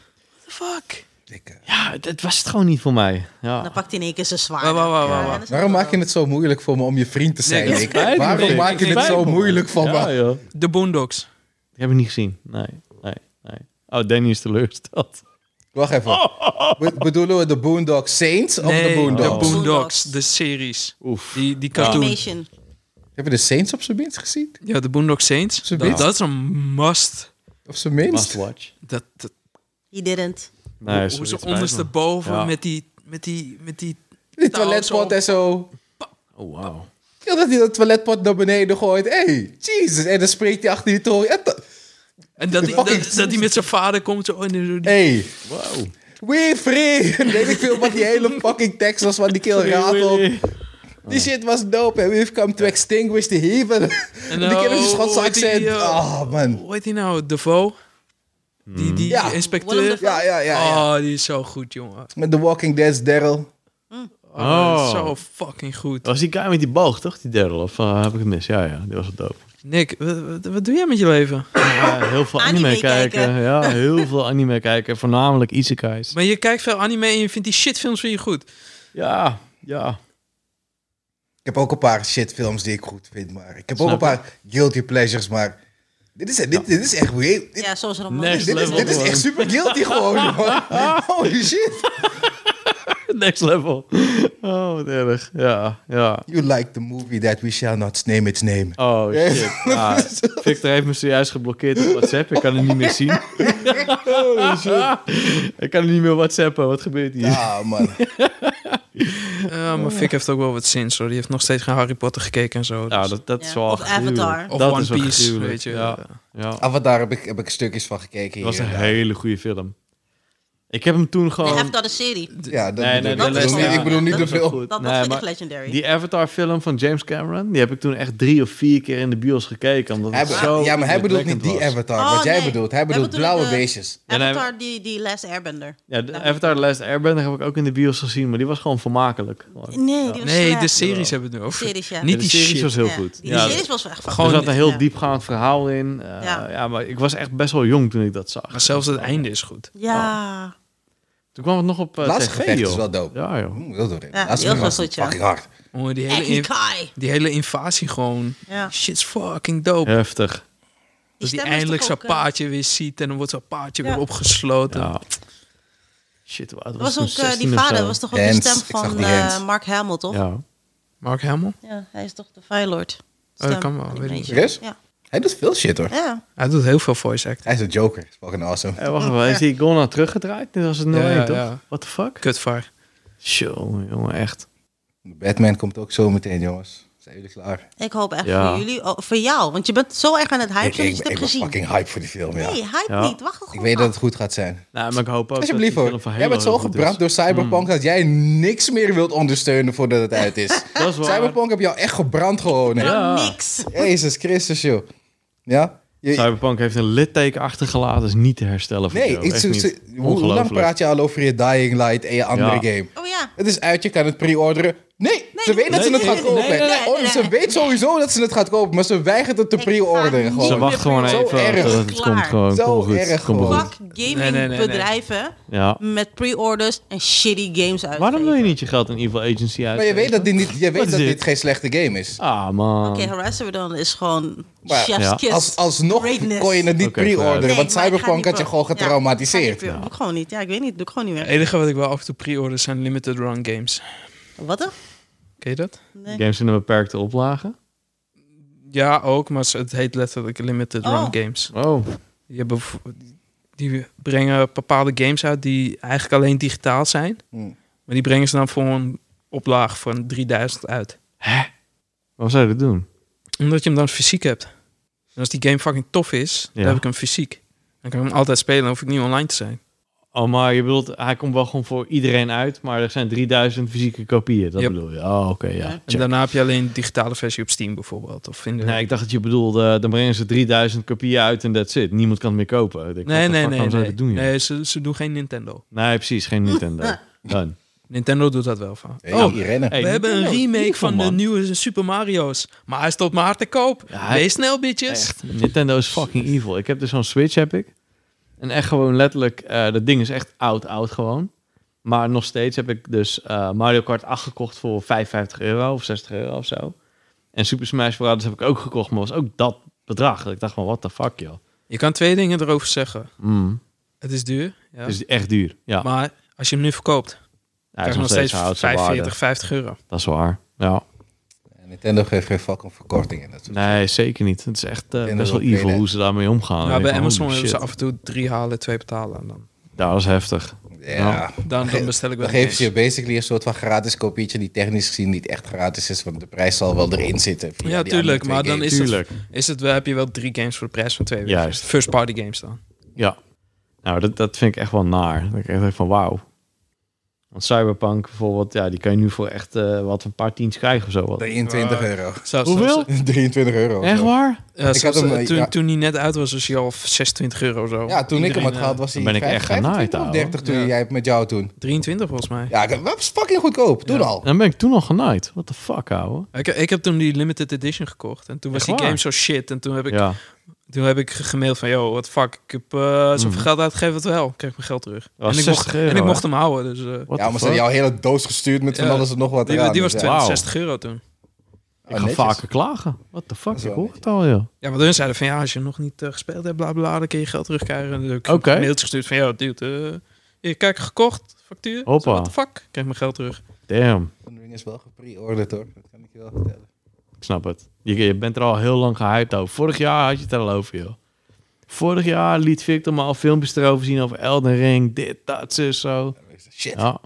fuck?
Dikke.
Ja, het, het was het gewoon niet voor mij.
Dan
Ja.
pakt hij in één keer zijn zwaard.
Wauw, wauw, wauw,
Ja,
wauw.
en dan is het
Waarom
wel-
maak je het zo moeilijk voor me om je vriend te zijn?
Nee, dat
Nick?
spijt me,
Waarom
Nick.
maak je het
Spijt
zo
me.
moeilijk voor
Ja,
me?
joh.
De Boondocks.
Die heb ik niet gezien. Nee, nee, nee. Oh, Danny is teleurgesteld.
Wacht even. Be- bedoelen we de Boondock Saints of
Oh. Nee,
de Boondocks?
de Boondocks. De series.
Oef.
Die, die cartoon.
Animation.
Heb je de Saints op zijn minst gezien?
Ja, de Boondock Saints.
Ze
Dat,
wist-
dat is een must.
Op zijn minst?
Must watch.
Dat, dat,
He didn't.
Nee,
hoe
sorry,
ze
het spijt me.
ondersteboven
Ja.
met die... Met die, met die
Die
touw
toiletpot
zo-
en zo.
Oh, wauw.
Ja, dat hij dat toiletpot naar beneden gooit. hey, Jesus. En dan spreekt hij achter je toren. Ja, to-
En dat die, dat,
Fucking-
dat die met zijn vader komt. Zo, en dan zo die-
hey,
Wow.
we free. En weet ik veel wat die hele fucking tekst was van die keel ratelt. Die shit was dope. En we've come to extinguish the heathen. die
eh,
keer een Schotse
die,
accent.
eh,
Ah, man.
Hoe heet die nou? Devo?
Hmm.
Die, die
Ja.
Willem
inspecteur?
Dafoe.
Ja, ja, ja.
Ah.
ja.
Oh, die is zo goed, jongen.
Met The Walking Dead's Daryl.
Oh,
Oh.
Zo fucking goed.
Dat was die guy met die boog, toch? Die derde, of eh, heb ik het mis? Ja, ja, die was het dope.
Nick, wat, wat, wat doe jij met je leven?
Ja, heel veel anime,
Anime
kijken.
kijken.
Ja, heel veel anime kijken. Voornamelijk isekais.
Maar je kijkt veel anime en je vindt die shitfilms van je goed.
Ja, ja.
Ik heb ook een paar shitfilms die ik goed vind, maar ik heb ook
Snap
een paar guilty pleasures, maar dit is, dit, dit is echt weird. Dit,
Ja, zoals Ramon.
Next
dit, is,
level
dit is
gewoon.
echt super guilty gewoon, man. Holy shit.
Next level. Oh, wat erg. Ja, ja.
You like the movie that we shall not name its name.
Oh,
Ja.
shit. Ja, Victor heeft me zojuist geblokkeerd op WhatsApp. Ik kan het niet meer zien. ik kan het niet meer WhatsAppen. Wat gebeurt hier?
Ah, man.
Ja, maar Vic heeft ook wel wat zin, hoor. Die heeft nog steeds geen Harry Potter gekeken en zo.
Ja,
Dus-
dat, dat
Ja.
is wel
Of
gruwelijk.
Avatar.
of
dat
One
is wel
Piece,
gruwelijk,
weet je.
Ja, ja.
Ah, want daar heb ik, heb ik stukjes van gekeken
Dat
hier.
was een
en daar.
hele goede film. Ik heb hem toen
Je
gewoon...
hebt dat een serie.
Ja, dat
Nee,
bedoel
nee,
ik.
dat
Ik bedoel
is
niet-
wel-
ik bedoel niet
dat
de
is wel
film.
Dat, dat
Nee,
vind
maar
ik legendary.
Die Avatar-film van James Cameron, die heb ik toen echt drie of vier keer in de bios gekeken. Omdat
Hij
het
be-
zo
ja, maar hij bedoelt niet die
indrukwekkend was.
Avatar,
Oh,
wat jij
nee.
bedoelt. Hij
Hij
bedoelt
bedoelt,
blauwe
eh,
beestjes.
Ja, nee,
Avatar, die, die Last Airbender.
Ja, de Avatar The Last Airbender heb ik ook in de bios gezien, maar die was gewoon vermakelijk.
Nee, die was
Oh. Nee, de
slecht.
series hebben we het nu over.
Series, ja.
Niet
de
die
series
shit.
was heel
Ja,
goed.
Die
Ja,
series was echt
er
Gewoon-
zat een heel
ja.
diepgaand verhaal in. Eh, ja.
Ja.
maar ik was echt best wel jong toen ik dat zag.
Maar zelfs het einde is goed.
Ja.
Oh.
Toen kwam het nog op eh,
Laatste
tv,
gevecht is
joh.
wel dope.
Ja, joh.
Oeh, Hm, heel doorheen.
Ja,
Laatste
heel
film was
goed, ja.
Fucking hard.
Jongen, die hele,
Eki
in- Dus
Kai.
die hele invasie gewoon.
Ja.
Shit's fucking dope.
Heftig.
dat hij
stem is
eindelijk
toch
zijn
ook, eh,
paardje weer ziet en dan wordt zijn paardje
Ja.
weer opgesloten.
Ja. Shit, wat
Dat was
was,
dus
ook, eh, die vader was toch ook de
Hans,
stem
ik zag
van
die
eh,
Hans.
Mark Hamill, toch? Ja.
Ja.
Mark Hamill?
hij is toch de Firelord?
Oh, dat kan wel, weet ik niet.
Serieus?
Ja.
Hij doet veel shit, hoor.
ja.
Hij doet heel veel voice acting.
Hij is een joker. Is Fucking awesome.
Eh, wacht even, is die goal nou teruggedraaid? Dit was het 0-1,
Ja,
toch?
ja.
What the fuck?
Kutvar.
Show, jongen, echt.
Batman komt ook zo meteen, jongens. Zijn jullie klaar?
Ik hoop echt
Ja.
voor jullie, oh, voor jou. Want je bent zo erg aan het hypen
Ik,
dat je
ik,
het
ik
hebt
ben
gezien.
fucking hype voor die film, ja.
Nee, hype
Ja.
niet. Wacht er
Ik
gewoon
weet dat
af.
het goed gaat zijn.
Nou, maar ik hoop ook
Alsjeblieft
dat die
hoor.
film van
Jij bent
Halo
zo
heel goed
gebrand
is. Hmm.
door Cyberpunk dat jij niks meer wilt ondersteunen voordat het uit is.
Dat is waar.
Cyberpunk heb jou echt gebrand gewoon. hè.
Nou,
Ja.
niks.
Jezus Christus, joh. Ja? Je-
Cyberpunk heeft een litteken achtergelaten, is niet te herstellen voor
nee,
jou.
ik,
Echt
zo-
niet.
zo- hoe hoe lang
Ongelooflijk.
praat je al over je Dying Light en je andere
Ja.
game?
Oh ja.
Het is uit, je kan het pre-orderen. Nee, ze weet dat ze
nee,
het gaat
nee,
kopen.
nee, nee,
nee,
Oh,
nee,
ze
nee.
weet sowieso dat ze het gaat kopen, maar ze weigert het te
Ik ga
pre-orderen.
niet
Ze
gewoon.
wacht gewoon
Zo
even
erg.
totdat het
Klaar.
komt gewoon.
Zo
Kom maar goed.
erg
Kom maar
gewoon.
goed.
Fuck
nee, nee, nee.
gamingbedrijven
Ja.
met pre-orders en shitty games uit.
Waarom wil je niet je geld in Evil Agency uit?
Maar je weet dat, dit, niet, je weet
is
dat
dit?
dit geen slechte game is.
Ah, man.
Oké, Horizon Dawn is gewoon
Maar ja,
chef's
ja.
kiss.
Als, alsnog
Greatness.
kon je het niet
Oké,
pre-orderen,
vooruit.
Nee,
want
maar ik ga
Cyberpunk
niet
had je
pro-
gewoon getraumatiseerd.
Ja, ga niet pro- Doe ik gewoon niet. Ja, ik weet niet. Doe ik gewoon niet
Het
meer.
enige wat ik wel af en toe pre-order zijn limited run games.
Wat dan?
Ken je dat?
Nee.
Games in een beperkte oplage.
Ja, ook, maar ze- het heet letterlijk limited
Oh.
run games.
Oh,
Die, hebben, v- die brengen bepaalde games uit die eigenlijk alleen digitaal zijn.
Hmm.
Maar die brengen ze dan voor een oplaag van 3000 uit.
waarom zou je dat doen?
Omdat je hem dan fysiek hebt. En als die game fucking tof is,
Ja.
dan heb ik hem fysiek. Dan kan ik hem altijd spelen, dan hoef ik niet online te zijn.
Oh, maar je bedoelt, hij komt wel gewoon voor iedereen uit, maar er zijn 3000 fysieke kopieën. Dat
Yep.
bedoel je? Oh, oké, ja.
En
En
Check.
daarna heb je alleen de digitale versie op Steam bijvoorbeeld. Of in de...
Nee, ik dacht dat je bedoelde, dan brengen ze 3000 kopieën uit en that's it. Niemand kan het meer kopen. Ik denk,
nee,
what the
nee,
fuck,
nee.
Waarom zou je
nee.
dat doen, joh?
nee ze, ze doen geen Nintendo.
Nee, precies, geen Nintendo. Dan.
Nintendo doet dat wel van.
Hey,
oh,
hier rennen.
we hebben een remake van de
nu.
nieuwe Super Mario's. Maar hij is op maar te koop.
Ja, hij-
Wees snel, bitches.
Echt, Nintendo is fucking evil. Ik heb dus zo'n Switch, heb ik. En echt gewoon letterlijk, eh, dat ding is echt oud, oud gewoon. Maar nog steeds heb ik dus eh, Mario Kart 8 gekocht voor 55 euro of 60 euro of zo. En Super Smash Bros. heb ik ook gekocht, maar was ook dat bedrag. Dat Ik dacht van, what the fuck, joh.
Je kan twee dingen erover zeggen.
Mm,
Het is duur, ja.
Het is echt duur. Ja,
maar als je hem nu verkoopt,
hij
krijg
is
je
nog steeds oud zijn waarde. Oh,
45, 50 euro.
Dat is waar. Ja.
Nintendo geeft geen fucking verkorting en dat soort
Nee, zeker niet. Het is echt eh,
Nintendo
best wel
wil
evil
payday.
hoe ze daarmee omgaan.
Maar
Ik
bij
denk, holy
Amazon hebben ze
shit.
af en toe drie halen, twee betalen. En dan,
Ja, dat is heftig.
Ja.
dan, dan bestel ik wel
Dan geven
iets.
ze je basically een soort van gratis kopietje die technisch gezien niet echt gratis is, want de prijs zal wel erin zitten. via
Ja,
die
tuurlijk.
andere
Maar
twee
dan is het,
Tuurlijk.
is het wel, heb je wel drie games voor de prijs van twee.
Juist.
Juist. First party games dan.
Ja. Nou, dat, dat vind ik echt wel naar. Dat ik echt denk van, wauw. Want Cyberpunk bijvoorbeeld, ja, die kan je nu voor echt eh, wat een paar tiens krijgen of zo. Wat.
23 euro.
Zelfs-
Hoeveel?
23 euro.
Echt waar?
Ja,
Ik
zelfs,
had hem,
eh,
eh,
toen,
ja.
toen die net uit was, was hij al 26 euro zo.
Ja, toen ik hem had
Iedereen,
gehad was
dan
hij
ben ik echt
25
genaaid,
of
ouwe.
30 toen
Ja.
jij met jou toen.
eh, 23 volgens mij.
Ja, ik- dat was fucking goedkoop. Toen
Ja.
al.
Dan ben ik toen al genaaid. What the fuck, ouwe?
Ik, ik heb toen die limited edition gekocht. En toen was
Echt
die
waar?
game zo shit. En toen heb ik,
Ja.
toen heb ik ge- gemaild van... Yo, what the fuck. Ik heb eh, zoveel
Mhm.
geld uitgegeven. Wat wel. Ik kreeg mijn geld terug.
was
En ik,
60
mocht,
euro,
en ik
hè?
mocht hem houden. Dus, eh,
What
Ja,
the
maar ze hebben
fuck?
jou hele doos gestuurd met van
Ja.
alles en nog wat.
die,
eraan,
die was
dus ja.
62 euro toen.
Oh,
Ik ga
netjes.
vaker klagen. What the fuck?
is
Ik
wel
hoor het al, joh.
Ja, want hun zeiden van... Ja, als je nog niet eh, gespeeld hebt, bla bla, bla, dan kun je je geld terugkrijgen. En dus heb ik
Oké.
een mailtje gestuurd van... Yo, dude, eh ik kijk gekocht. Factuur.
Hoppa.
Zo, What the fuck. Ik kreeg mijn geld terug.
Damn.
Ring is wel gepre-orderd hoor. Dat kan ik je wel vertellen.
Ik snap het. Je, je bent er al heel lang gehyped over. Vorig jaar had je het er al over, joh. Vorig jaar liet Victor me al filmpjes erover zien over Elden Ring. Dit, dat, zus, zo.
Shit.
Ja.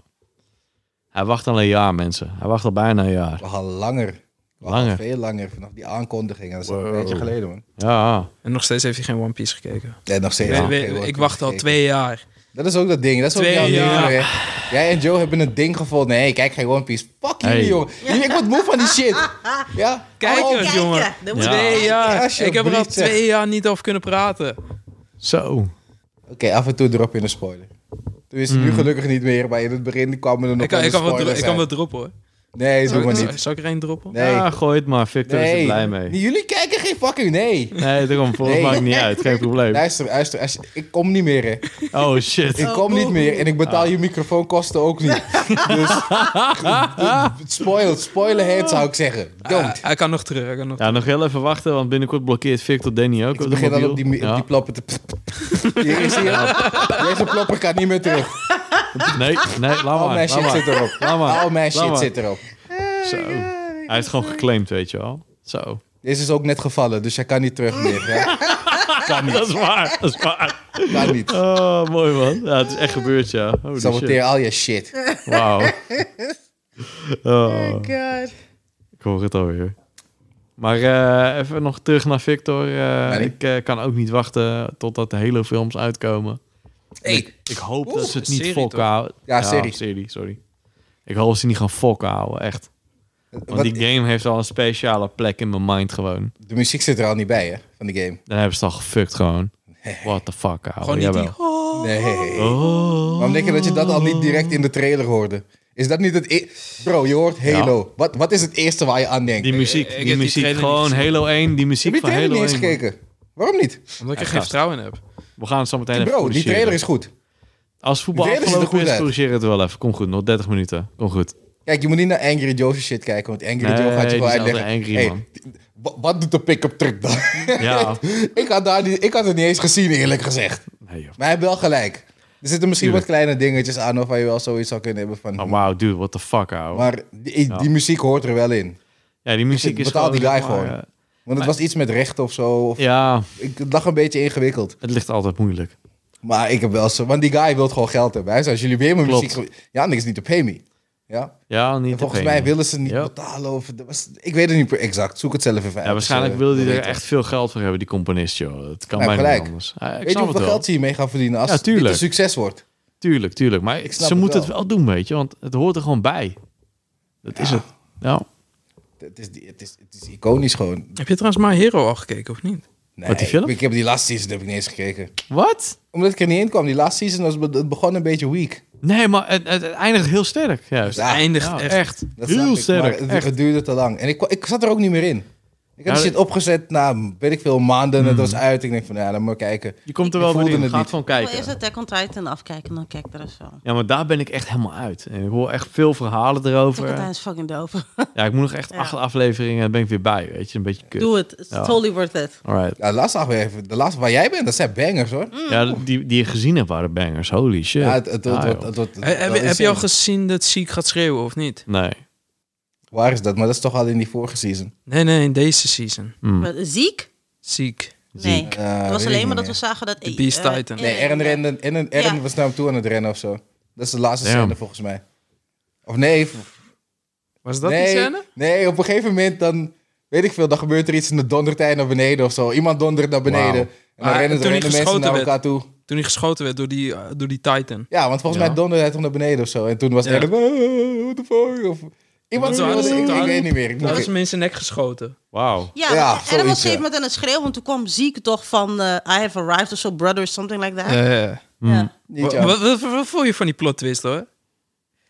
Hij wacht al een jaar, mensen. Hij wacht al bijna een jaar.
We hadden langer. We hadden
Langer.
Veel langer vanaf die aankondiging. Dat is al een
Wow.
beetje geleden man.
Ja.
En nog steeds heeft hij geen One Piece gekeken.
Ja, nog steeds.
We-
geen
we-
woord
ik
meer
wacht al
gekeken.
twee jaar.
Dat is ook dat ding. Dat is ook
Twee
jouw ding.
jaar.
hè. Jij en Joe hebben een ding gevonden. Nee, kijk geen One Piece. Fuck
Hey.
jullie, jongen. Jullie, ik word moe van die shit. Ja?
Kijk
Hallo.
eens,
Kijken,
jongen.
dan moet
Ja.
je
Twee
kijken.
jaar. Ik
alsjeblieft,
heb er al
zeg.
twee jaar niet over kunnen praten.
Zo.
Oké, af en toe drop je een spoiler. Toen is het
Hmm.
nu gelukkig niet meer, maar in het begin kwamen er nog
Ik kan,
wel
ik, kan
eens
wel dro-
spoilers
ik kan wel
uit.
droppen hoor.
Nee, doe
Zal
maar
ik,
niet.
zal ik er één droppen?
Nee.
Ja, gooi het maar. Victor is er
Nee.
blij mee.
Jullie kijken geen fucking... Nee.
Nee, daarom. Volgens
Nee.
maakt niet uit. Geen probleem.
Luister, luister. als- ik kom niet meer, hè.
Oh, shit.
Ik kom niet meer en ik betaal
Ah.
je microfoonkosten ook niet. dus spoil, spoiler heet zou ik zeggen.
Ah,
Don't.
hij kan nog terug. Hij kan nog
Ja, nog heel even wachten, want binnenkort blokkeert Victor Danny ook.
Ik
op de
begin al
mobiel.
op die, mi- op
Ja.
die ploppen te... Hier is hier. Deze plopper kan niet meer terug.
Nee, nee, laat maar.
Al mijn
laat
shit
maar.
zit erop.
Laat maar.
Al mijn
Laat
shit
maar.
zit erop.
Zo. Hij heeft gewoon geclaimd, weet je wel. Zo.
Deze is ook net gevallen, dus jij kan niet terug meer. Ja? Kan niet,
Dat is waar, dat is waar.
kan niet.
Oh, mooi man. Ja, het is echt gebeurd, ja. Holy shit.
Saboteer al je shit.
Wauw. Oh,
God.
ik hoor het alweer. Maar eh, even nog terug naar Victor. Eh,
Nee.
Ik eh, kan ook niet wachten totdat de hele films uitkomen.
Hey,
Ik hoop
Oeh,
dat ze het niet
serie
fokken
toch?
houden.
Ja, serie.
sorry. Ik hoop dat ze niet gaan fokken houden, echt. Want
wat-
die game heeft al een speciale plek in mijn mind gewoon.
de muziek zit er al niet bij, hè, van de game.
Dan hebben ze het al gefuckt gewoon. What the fuck, ouwe.
gewoon niet
Jawel.
die... Oh.
Nee.
Oh.
Waarom denk je dat je dat al niet direct in de trailer hoorde? Is dat niet het... e- Bro, je hoort Halo. Wat, wat is het eerste waar je aan denkt?
Die muziek,
Eh, Ik- ik
die
heb die
muziek.
trailer
gewoon
niet gezien.
Halo 1, die
Heb
muziek
je die
van
trailer
Halo
niet eens
1. man.
gekeken? Waarom niet?
Omdat ik er geen
Ja, gast.
vertrouwen in heb.
We gaan het zo meteen even
Bro, die
corrigeren.
trailer is goed.
Als voetbal
die trailer ziet er
afgelopen
goed
is,
uit.
corrigeer het wel even. Kom goed, nog 30 minuten. Kom goed.
Kijk, je moet niet naar Angry Joe's shit kijken, want Angry
Nee,
Joe gaat je
die
wel
is
uitleggen.
altijd angry, man.
wa- wat doet de pick-up truck dan?
Ja.
ik, had daar niet, ik had het niet eens gezien, eerlijk gezegd.
Nee, joh.
Maar hij heeft wel gelijk. Er zitten misschien
Tuurlijk.
wat kleine dingetjes aan of waar je wel zoiets zou kunnen hebben van...
Oh, wow, dude, what the fuck, ouwe.
Maar die, die muziek hoort er wel in.
ja, die muziek is
betaal die
gewoon...
guy gewoon.
eh,
Want het was iets met recht of zo. Of,
ja,
ik, het lag een beetje ingewikkeld.
het ligt altijd moeilijk.
Maar ik heb wel zo... Want die guy wil gewoon geld hebben. Hij zei, als jullie weer mijn
Klopt.
muziek... ge- Ja, niks niet te pay me. Ja?
Ja, niet
En
te
volgens
penen.
mij willen ze niet
Ja.
betalen of... er was- ik weet het niet per- exact. Zoek het zelf even uit.
Ja, waarschijnlijk
Dus, eh,
wilde hij
dan
er
weten we.
echt veel geld voor hebben, die componist, joh. Dat kan
Ja,
bijna
gelijk.
niet anders. Ja, ik
Weet je
snap het
hoeveel
wel.
geld ze hiermee gaan verdienen als
Ja,
dit een
tuurlijk.
succes wordt?
Tuurlijk, tuurlijk. Maar
Ik
ze
snap het
moeten
wel.
het wel doen, weet je. Want het hoort er gewoon bij. Dat is
Ja.
het. Nou, Ja.
Het is, het is, het is iconisch gewoon.
Heb je trouwens My Hero al gekeken of niet?
Nee,
Wat, die film?
Ik heb die laatste season heb ik niet eens gekeken.
Wat?
Omdat ik er niet in kwam. Die laatste season was, be- het begon een beetje weak.
Nee, maar het, het, het eindigt heel sterk. Juist.
Ja,
Het eindigt
Ja,
echt.
Dat snap
heel
ik, maar
sterk.
het,
echt.
het duurde te lang. En ik, kwa- ik zat er ook niet meer in. Ik had
Ja,
die shit
dat- Hmm.
opgezet na, weet ik veel, maanden. En het was uit. Ik denk van, ja, dan moet ik kijken.
Je komt er
ik
wel
voelde
weer in.
het
Gaat
niet.
gewoon
Ik wil eerst
kijken.
Attack on Titan afkijken, dan kijk ik de rest wel.
Ja, maar daar ben ik echt helemaal uit. En ik hoor echt veel verhalen erover.
Attack on Titan is fucking doof.
Ja, ik moet nog echt
Ja.
acht afleveringen en dan ben ik weer bij. Weet je, een beetje kut.
Doe het. It's
Ja.
totally worth it.
Alright.
Ja, de laatste aflevering, de laatste waar jij bent, dat zijn bangers hoor.
Mm.
Ja, die, die je gezien hebt waren bangers. Holy shit.
Ja, het, het, wordt-
Ah,
het,
joh.
wordt- het,
He-
wordt
heb,
wel
je- heb je al
insane.
gezien dat Ziek gaat schreeuwen of niet?
Nee.
Waar is dat? Maar dat is toch al in die vorige season.
Nee, nee, in deze season.
Maar Eh, ziek?
Ziek.
Nee.
Ziek.
Ja,
het
weet
was
ik
alleen maar
niet
dat we
meer.
zagen dat...
The Beast
eh,
Titan.
Nee, Eren,
eh,
rende, Eren, Eren
Ja.
was naar hem toe aan het rennen of zo. Dat is de laatste
Damn.
scène volgens mij. Of nee. v-
Was dat
nee,
die scène?
Nee, op een gegeven moment dan, weet ik veel, dan gebeurt er iets en dan dondert hij naar beneden of zo. Iemand dondert naar beneden.
Wauw.
En dan
Maar
rennen,
Ah, toen hij
rennen mensen
geschoten
naar
werd.
elkaar toe.
Toen hij geschoten werd door die, eh, door die Titan.
Ja, want volgens
Ja.
mij donderde het hem naar beneden of zo. En toen was
Ja.
het echt... "Ah, what the fuck? Of, iemand
zo
wilde-
hadden ze
ik,
het
ik
aan.
weet niet meer. Ik
Daar
moet-
is hem in zijn nek geschoten.
Wauw.
Ja,
Ja,
maar Adam was op een
zoiets, ja.
gegeven moment aan het schreeuwen, want toen kwam ziek toch van eh, I have arrived of so, brother, something like that.
Eh.
Mm.
Ja.
niet,
Wa-
ja.
Wat, wat, wat voel je van die plot twist hoor?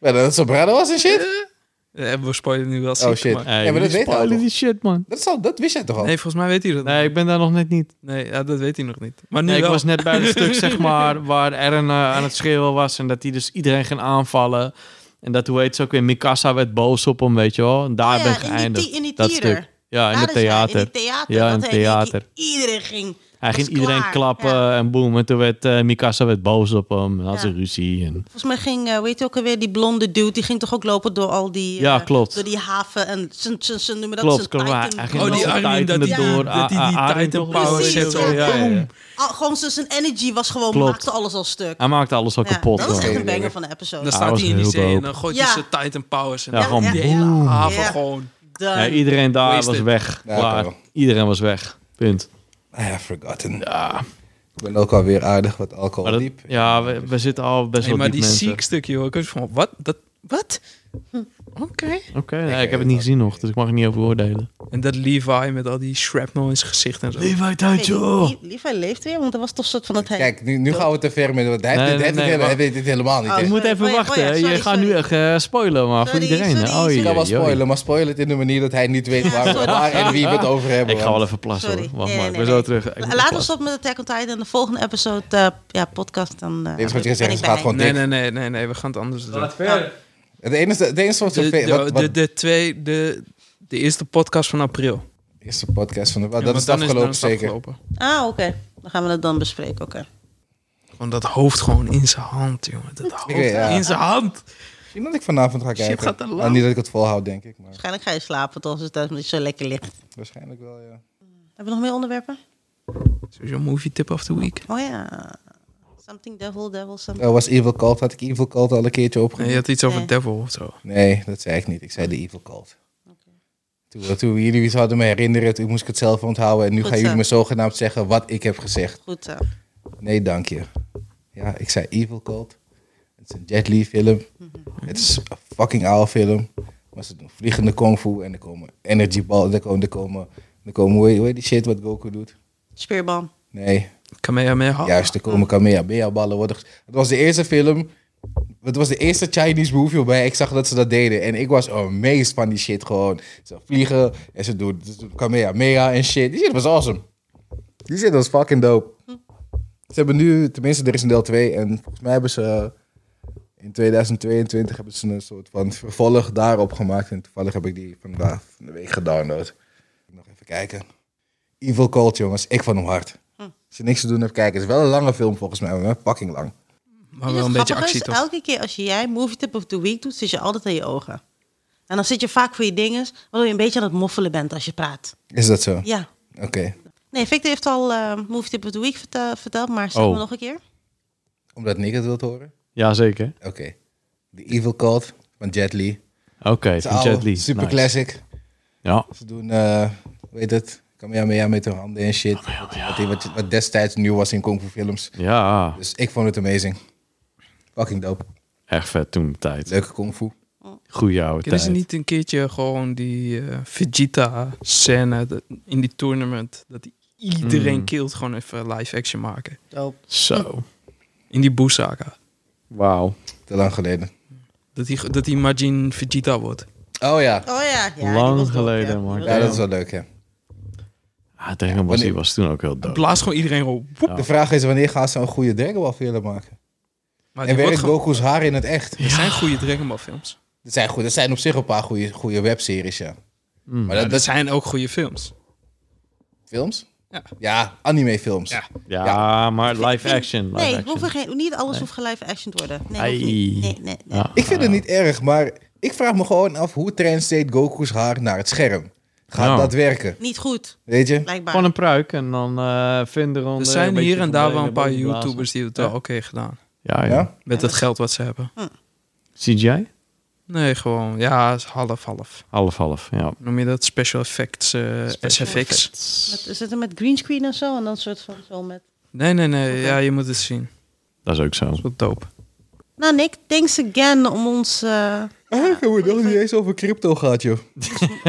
Ja, dat het zo brader was en shit?
Eh, we spoilen nu wel
Oh
ziek,
shit.
maar-
ja, maar dat weet hij al
Spoilen
toch?
die shit, man.
Dat, zal, dat wist jij toch al?
Nee, volgens mij weet hij dat
Nee, ik ben daar nog net niet.
Nee, ja, dat weet hij nog niet. Maar nu
Nee, ik
wel.
was net bij het stuk, zeg maar, waar Eren eh, aan het schreeuwen was. En dat hij dus iedereen ging aanvallen. En dat, hoe heet ze ook weer, Mikasa werd boos op hem, weet je wel. En daar
Ja,
ben
in
ik
die
geëindigd.
thi- in die
dat
theater.
stuk. Ja, Ah, in
Daar
het
is hij,
theater.
In het theater.
Ja, in
dat
het
hij-
theater.
i- Iedereen ging.
Hij
was
ging iedereen
klaar.
klappen
Ja.
en boem. En toen werd eh, Mikasa werd boos op hem. En had
Ja.
ze ruzie. En...
Volgens mij ging, eh, weet je ook alweer, die blonde dude, die ging toch ook lopen door al die... eh,
Ja, klopt.
Door die haven en zijn, zijn, zijn, noemen dat
Klopt,
zijn
klopt. Hij
Titan-
hij ging
Oh,
wel
die
zijn
Armin,
Titan
dat die-
er door.
dat hij die
Ah, ah, Armin
Titan
toch wel,
power
weet je
zet,
wel.
zo,
Ja, ja, ja.
Al, gewoon zijn- zijn energy was gewoon,
Klopt.
maakte alles al stuk.
Hij maakte alles al
Ja,
kapot.
dat is echt
gewoon.
een banger van de episode.
Dan
Ah,
staat
was
hij in die
heel
zee en
dope.
dan gooit
Ja.
hij zijn Titan Powers. En
Ja,
dan
gewoon
die hele
boem.
haven
Ja.
gewoon.
Done.
Ja, iedereen daar was
Wasted.
weg.
Ja,
Klaar.
oké.
Iedereen was weg. Punt.
I have forgotten. Ik ben ook alweer aardig wat alcohol
Maar dat-
diep.
ja, we, we zitten al best
Hey,
wel
maar
diep
die
mensen.
ziek stukje hoor. Ik was van, wat? Dat, wat? Oké.
Oké, nee, ik heb het niet gezien nog, dus ik mag er niet over oordelen.
En dat Levi met al die shrapnel in zijn gezicht en zo.
Levi
Hey,
oh.
Lie- Levi leeft weer, want dat was toch soort van dat hij...
Kijk, nu, nu gaan we te ver met... Want hij,
Nee,
dit-
nee,
hij, dit
nee,
hele-
maar-
hij weet dit helemaal niet.
Oh,
hè.
Je
Ah.
Ik
moet even
Oh ja,
wachten, hè.
sorry,
je gaat
sorry.
nu echt eh, spoilen, maar
Sorry,
voor iedereen.
sorry,
hè. oh,
sorry.
kan wel
jee, jee.
spoilen, maar spoil het in de manier dat hij niet weet waar, waar en wie we het over hebben.
Ik ga wel even plassen,
Sorry.
hoor. Wacht
Nee,
maar,
nee,
ik ben
nee,
zo
nee.
terug. Ik moet
La-
plassen.
Laten we stoppen met Attack on Titan. En de volgende episode, eh, ja, podcast, dan... eh
Dit is wat je
ben
gezegd
ik
is, gaat
bij.
gewoon
Nee,
dik.
nee, nee, nee, nee, we gaan het anders doen.
Het enige, het enige wat zo
De,
ver...
de,
Wat, wat
de, de, twee, de, de eerste podcast van april.
is de podcast van de...
Ja,
dat is
want dan
afgelopen
dan
zeker.
afgelopen.
Ah, oké. Dan gaan we dat dan bespreken, oké.
Gewoon dat hoofd gewoon in zijn hand, jongen. Dat hoofd
weet, ja.
in zijn hand.
Misschien dat ik vanavond ga
Shit,
kijken.
gaat dat lang?
Ah, niet dat ik het volhoud, denk ik. Maar
Waarschijnlijk ga je slapen, toch? Als het thuis niet zo lekker ligt.
waarschijnlijk wel, ja.
Hebben we nog meer onderwerpen?
Sowieso movie tip of the week.
Oh ja. Something devil, devil, something.
Oh, was Evil Cult? Had ik Evil Cult al een keertje
Nee,
opgenomen?
je had iets over
Nee.
Devil of zo.
Nee, dat zei ik niet. Ik zei de Evil Cult. Toen, toen jullie iets hadden me herinneren, toen moest ik het zelf onthouden. En nu
Goed
gaan
zo.
jullie me zogenaamd zeggen wat ik heb gezegd.
Goed eh, zo.
Nee, dank je. Ja, ik zei Evil Cult. Het is een Jet Li film.
Mhm.
Het is een fucking oude film. Maar ze doen vliegende kung fu en er komen energy balls. Er komen, er komen, er komen hoe heet- hoe heet die shit wat Goku doet?
Speerbal.
Nee,
Kamehameha.
Juist, er komen Kamehameha-ballen worden. ges- Het was de eerste film. Het was de eerste Chinese movie waarbij ik zag dat ze dat deden. En ik was amazed van die shit gewoon. Ze vliegen en ze doen, ze doen Kamehameha en shit. Die shit was awesome. Die shit was fucking dope. Ze hebben nu, tenminste, er is een deel 2. En volgens mij hebben ze eh, in 2022 hebben ze een soort van vervolg daarop gemaakt. En toevallig heb ik die vandaag van de week gedownload. Nog even kijken. Evil Cold, jongens. Ik vond hem hard. Als je niks te doen hebt, kijken. Het is wel een lange film volgens mij, maar fucking lang.
Maar
Weet
wel
je
een
wat
beetje
grappig
actie
is?
toch?
Elke keer als jij Movie Tip of the Week doet, zit je altijd aan je ogen. En dan zit je vaak voor je dingen, waardoor je een beetje aan het moffelen bent als je praat.
Is dat zo?
Ja.
Oké.
Nee, Victor heeft al eh Movie Tip of the Week vertel- verteld, maar zeg
Oh.
maar nog een keer.
Omdat Nick het wilt horen?
Jazeker.
Oké. The Evil Cult van Jet Li.
Oké,
Het is
van Jet
oude,
Li.
Super
Nice.
classic.
Ja.
Ze doen, eh hoe heet het? Kamehameha met hun handen en shit. Wat, die- wat, je- wat destijds nieuw was in kung fu films.
ja,
Dus ik vond het amazing. Fucking dope.
echt vet toen de tijd.
Leuke kung fu.
Goeie oude
Er is
tijd.
niet een keertje gewoon die eh, Vegeta-scène dat- in die tournament. Dat die iedereen
Mm.
kilt gewoon even live action maken.
Zo.
In die Boesaka.
Wauw.
Te lang geleden.
Dat die, dat die Majin Vegeta wordt.
Oh ja.
Oh ja. ja die
Lang
was dood,
geleden,
ja.
man.
Ja, dat is wel leuk, ja.
Ah, Dragon Ball Z
Wanneer-
was toen ook heel dope.
Blaas gewoon iedereen op. Woep.
Ja.
De vraag is, wanneer gaan ze een goede Dragon Ball film maken?
Maar die wordt
En werkt
gewoon-
Goku's haar in het echt?
Er zijn goede Dragon Ball films.
Dat zijn, goed, dat zijn op zich een paar goede, goede webseries, ja. Maar
Mm.
Ja, dus-
dat,
dat
dat zijn
zijn ook goede films.
films?
Ja.
Ja, anime-films.
Ja.
Ja, maar live action. Live
nee,
action.
hoeven geen, niet alles hoeft gelive action te worden. Nee,
Ai.
hoeft niet. nee, nee. nee.
Ja.
Ik vind het niet erg, maar ik vraag me gewoon af hoe translate Goku's haar naar het scherm. Gaat
Nou.
dat werken?
Niet goed,
Weet je?
blijkbaar.
Gewoon een pruik en dan eh vinden
Er zijn hier en daar wel een paar YouTubers die het wel
Ja.
oké gedaan.
Ja, ja.
Ja?
Met het geld wat ze hebben.
CGI?
Nee, gewoon. Ja, half half.
Half, half, ja.
Noem je dat? Special effects, eh, SFX.
Met- Is het er met greenscreen en zo? En dan soort van zo met...
Nee, nee, nee. Ja, je moet het zien. Dat
Dat is ook zo.
is wel dope.
Nou, Nick, thanks again om ons. eh,
Ah, ik heb het nog niet eens over crypto gehad, joh.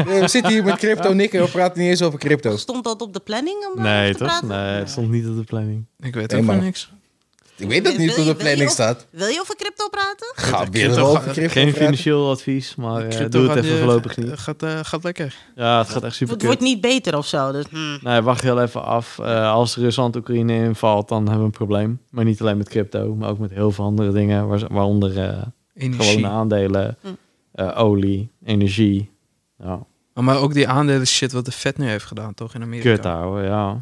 Nee, We zitten hier met crypto, Nick, en we praten niet eens over crypto.
stond dat op de planning om eh,
Nee,
te
toch?
praten?
Nee, het stond niet op de planning.
Ik weet
Nee,
ook van
maar-
niks.
Ik weet dat niet
Wil
hoe
je- wil
de
je
planning
op-
staat.
Wil je over crypto praten?
Ga weer
Crypto
wel
gaat-
over crypto
Geen
praten.
financieel advies, maar eh,
Crypto
doe
gaat,
het even
eh,
voorlopig niet.
Gaat, eh, gaat lekker.
Ja, het gaat echt super
Het wordt
kut.
niet beter of zo. Dus,
Nee, wacht heel even af. Eh, als Rusland Oekraïne invalt, dan hebben we een probleem. Maar niet alleen met crypto, maar ook met heel veel andere dingen. waar- Waaronder eh,
Energie.
gewone aandelen,
Hm.
eh, olie, energie. Ja,
Oh, Maar ook die aandelen shit wat de Fed nu heeft gedaan, toch? In Amerika.
kut houden, ja.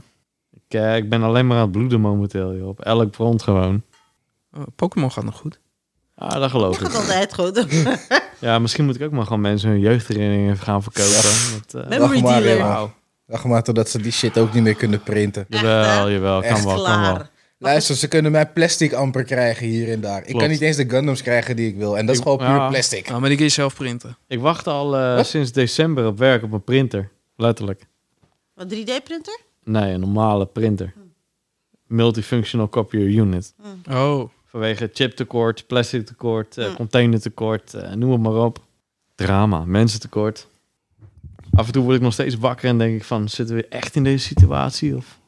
Ik, eh, ik ben alleen maar aan het bloeden momenteel, joh. Op elk front gewoon.
Oh, Pokémon gaat nog goed.
Ah, dat geloof
dat gaat
ik.
altijd goed.
Ja, misschien moet ik ook maar gewoon mensen hun jeugdherinneringen gaan verkopen. Want, eh,
Memory
Wacht maar,
dealer.
ja.
Wauw.
Wacht maar totdat ze die shit ook niet meer kunnen printen.
Echt, hè?
jawel, jawel, kan
Echt
wel, kan wel.
Klaar.
Luister, ze kunnen mij plastic amper krijgen hier en daar. Ik
Klopt.
kan niet eens de Gundams krijgen die ik wil. En dat is gewoon puur
ja.
plastic.
Nou, maar die kun je zelf printen.
Ik wacht al eh, sinds december op werk op een printer. Letterlijk.
Wat 3D-printer?
Nee, een normale printer.
Hm.
Multifunctional copier unit.
Oh.
Vanwege chiptekort, plastic tekort, eh,
Mm.
containertekort, eh, noem het maar op. Drama, mensentekort. Af en toe word ik nog steeds wakker en denk ik van, zitten we echt in deze situatie? Of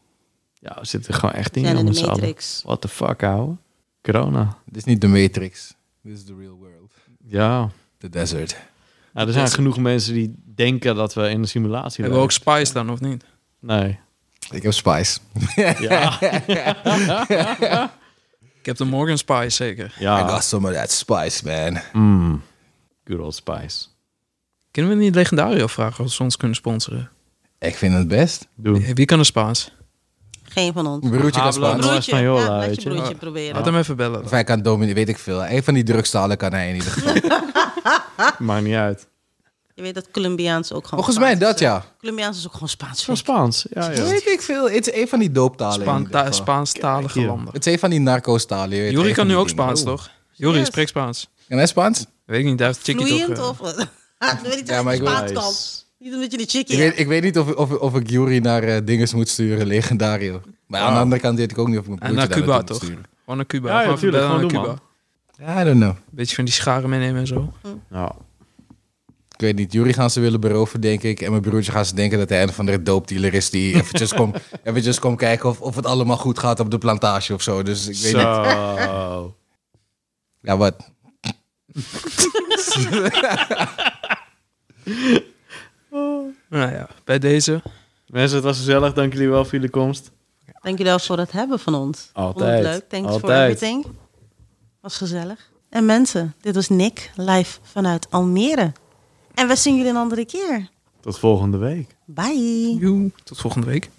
ja, we zitten er gewoon echt in.
Zijn
joh,
in
met
de
z'n allen.
Matrix.
What the fuck, ouwe? Corona.
Dit is niet de Matrix. Dit is the real world.
Ja.
The desert.
Nou, er zijn genoeg mensen die denken dat we in een simulatie
Hebben we ook
leven.
Spice dan, of niet?
Nee.
Ik heb Spice.
Ja.
Ik heb de Morgan Spice zeker.
I
ja.
got some of that spice, man.
Mm. Good old spice.
Kunnen we niet Legendario vragen als ze ons kunnen sponsoren?
Ik vind het best.
Doen.
Wie kan er Spaans?
Geen van ons.
Mijn broertje kan
Ah, belangrijk.
Spaans.
Noord
Broertje,
Spanjola,
ja, laat je
weet je.
broertje
Laat
proberen.
hem even bellen.
Of
dan.
hij kan Dominic, weet ik veel. Een van die drugstalen kan hij in ieder geval.
Maakt niet uit.
Je weet dat Colombiaans ook gewoon
Volgens mij
Spaans
dat,
is, hè?
ja.
Colombiaans is ook gewoon Spaans.
Van Spaans. Ja, ja.
Weet ik veel. Het is een van die dooptalen. in
Spaan,
ieder geval.
Spaanstalige
Kijk,
landen.
Het is een van die narco-talen. je weet,
Jori
een
kan
van
nu
die
ook
dingen.
Spaans, toch? Jori
Yes.
spreekt Spaans.
Kan hij Spaans?
Weet ik niet, daar heeft Chickie toch...
Vloeiend
eh,
of wat? Dat weet niet
Ja,
of
maar
je
ik weet-
Spaans kan.
Nice.
Niet omdat je de
Ik,
chickie
weet,
hebt.
ik weet niet of, of, of ik Jori naar eh dinges moet sturen. Legendario. Maar aan de andere kant weet ik ook niet of ik mijn
Ah. En
broertje
naar
daar
Cuba, toch?
naartoe moet sturen.
Gewoon naar Cuba.
Ja, ja,
Gewoon even
tuurlijk,
bellen
gewoon
naar
doen,
Cuba.
I don't know.
Beetje van die scharen meenemen en zo.
Ja.
Ik weet niet, Jury gaan ze willen beroven, denk ik. En mijn broertje gaan ze denken dat hij een van de doopdealer is... die eventjes komt eventjes kom kijken of, of het allemaal goed gaat op de plantage of zo. Dus ik weet niet.
Zo.
Ja, wat?
Nou ja, bij deze.
Mensen, het was gezellig. Dank jullie wel voor jullie komst.
Dankjewel voor het hebben van ons.
Altijd.
Vond het leuk. Thanks for
Altijd.
everything. Was gezellig. En mensen, dit was Nick live vanuit Almere. En we zien jullie een andere keer.
Tot volgende week.
Bye.
Joe. Tot volgende week.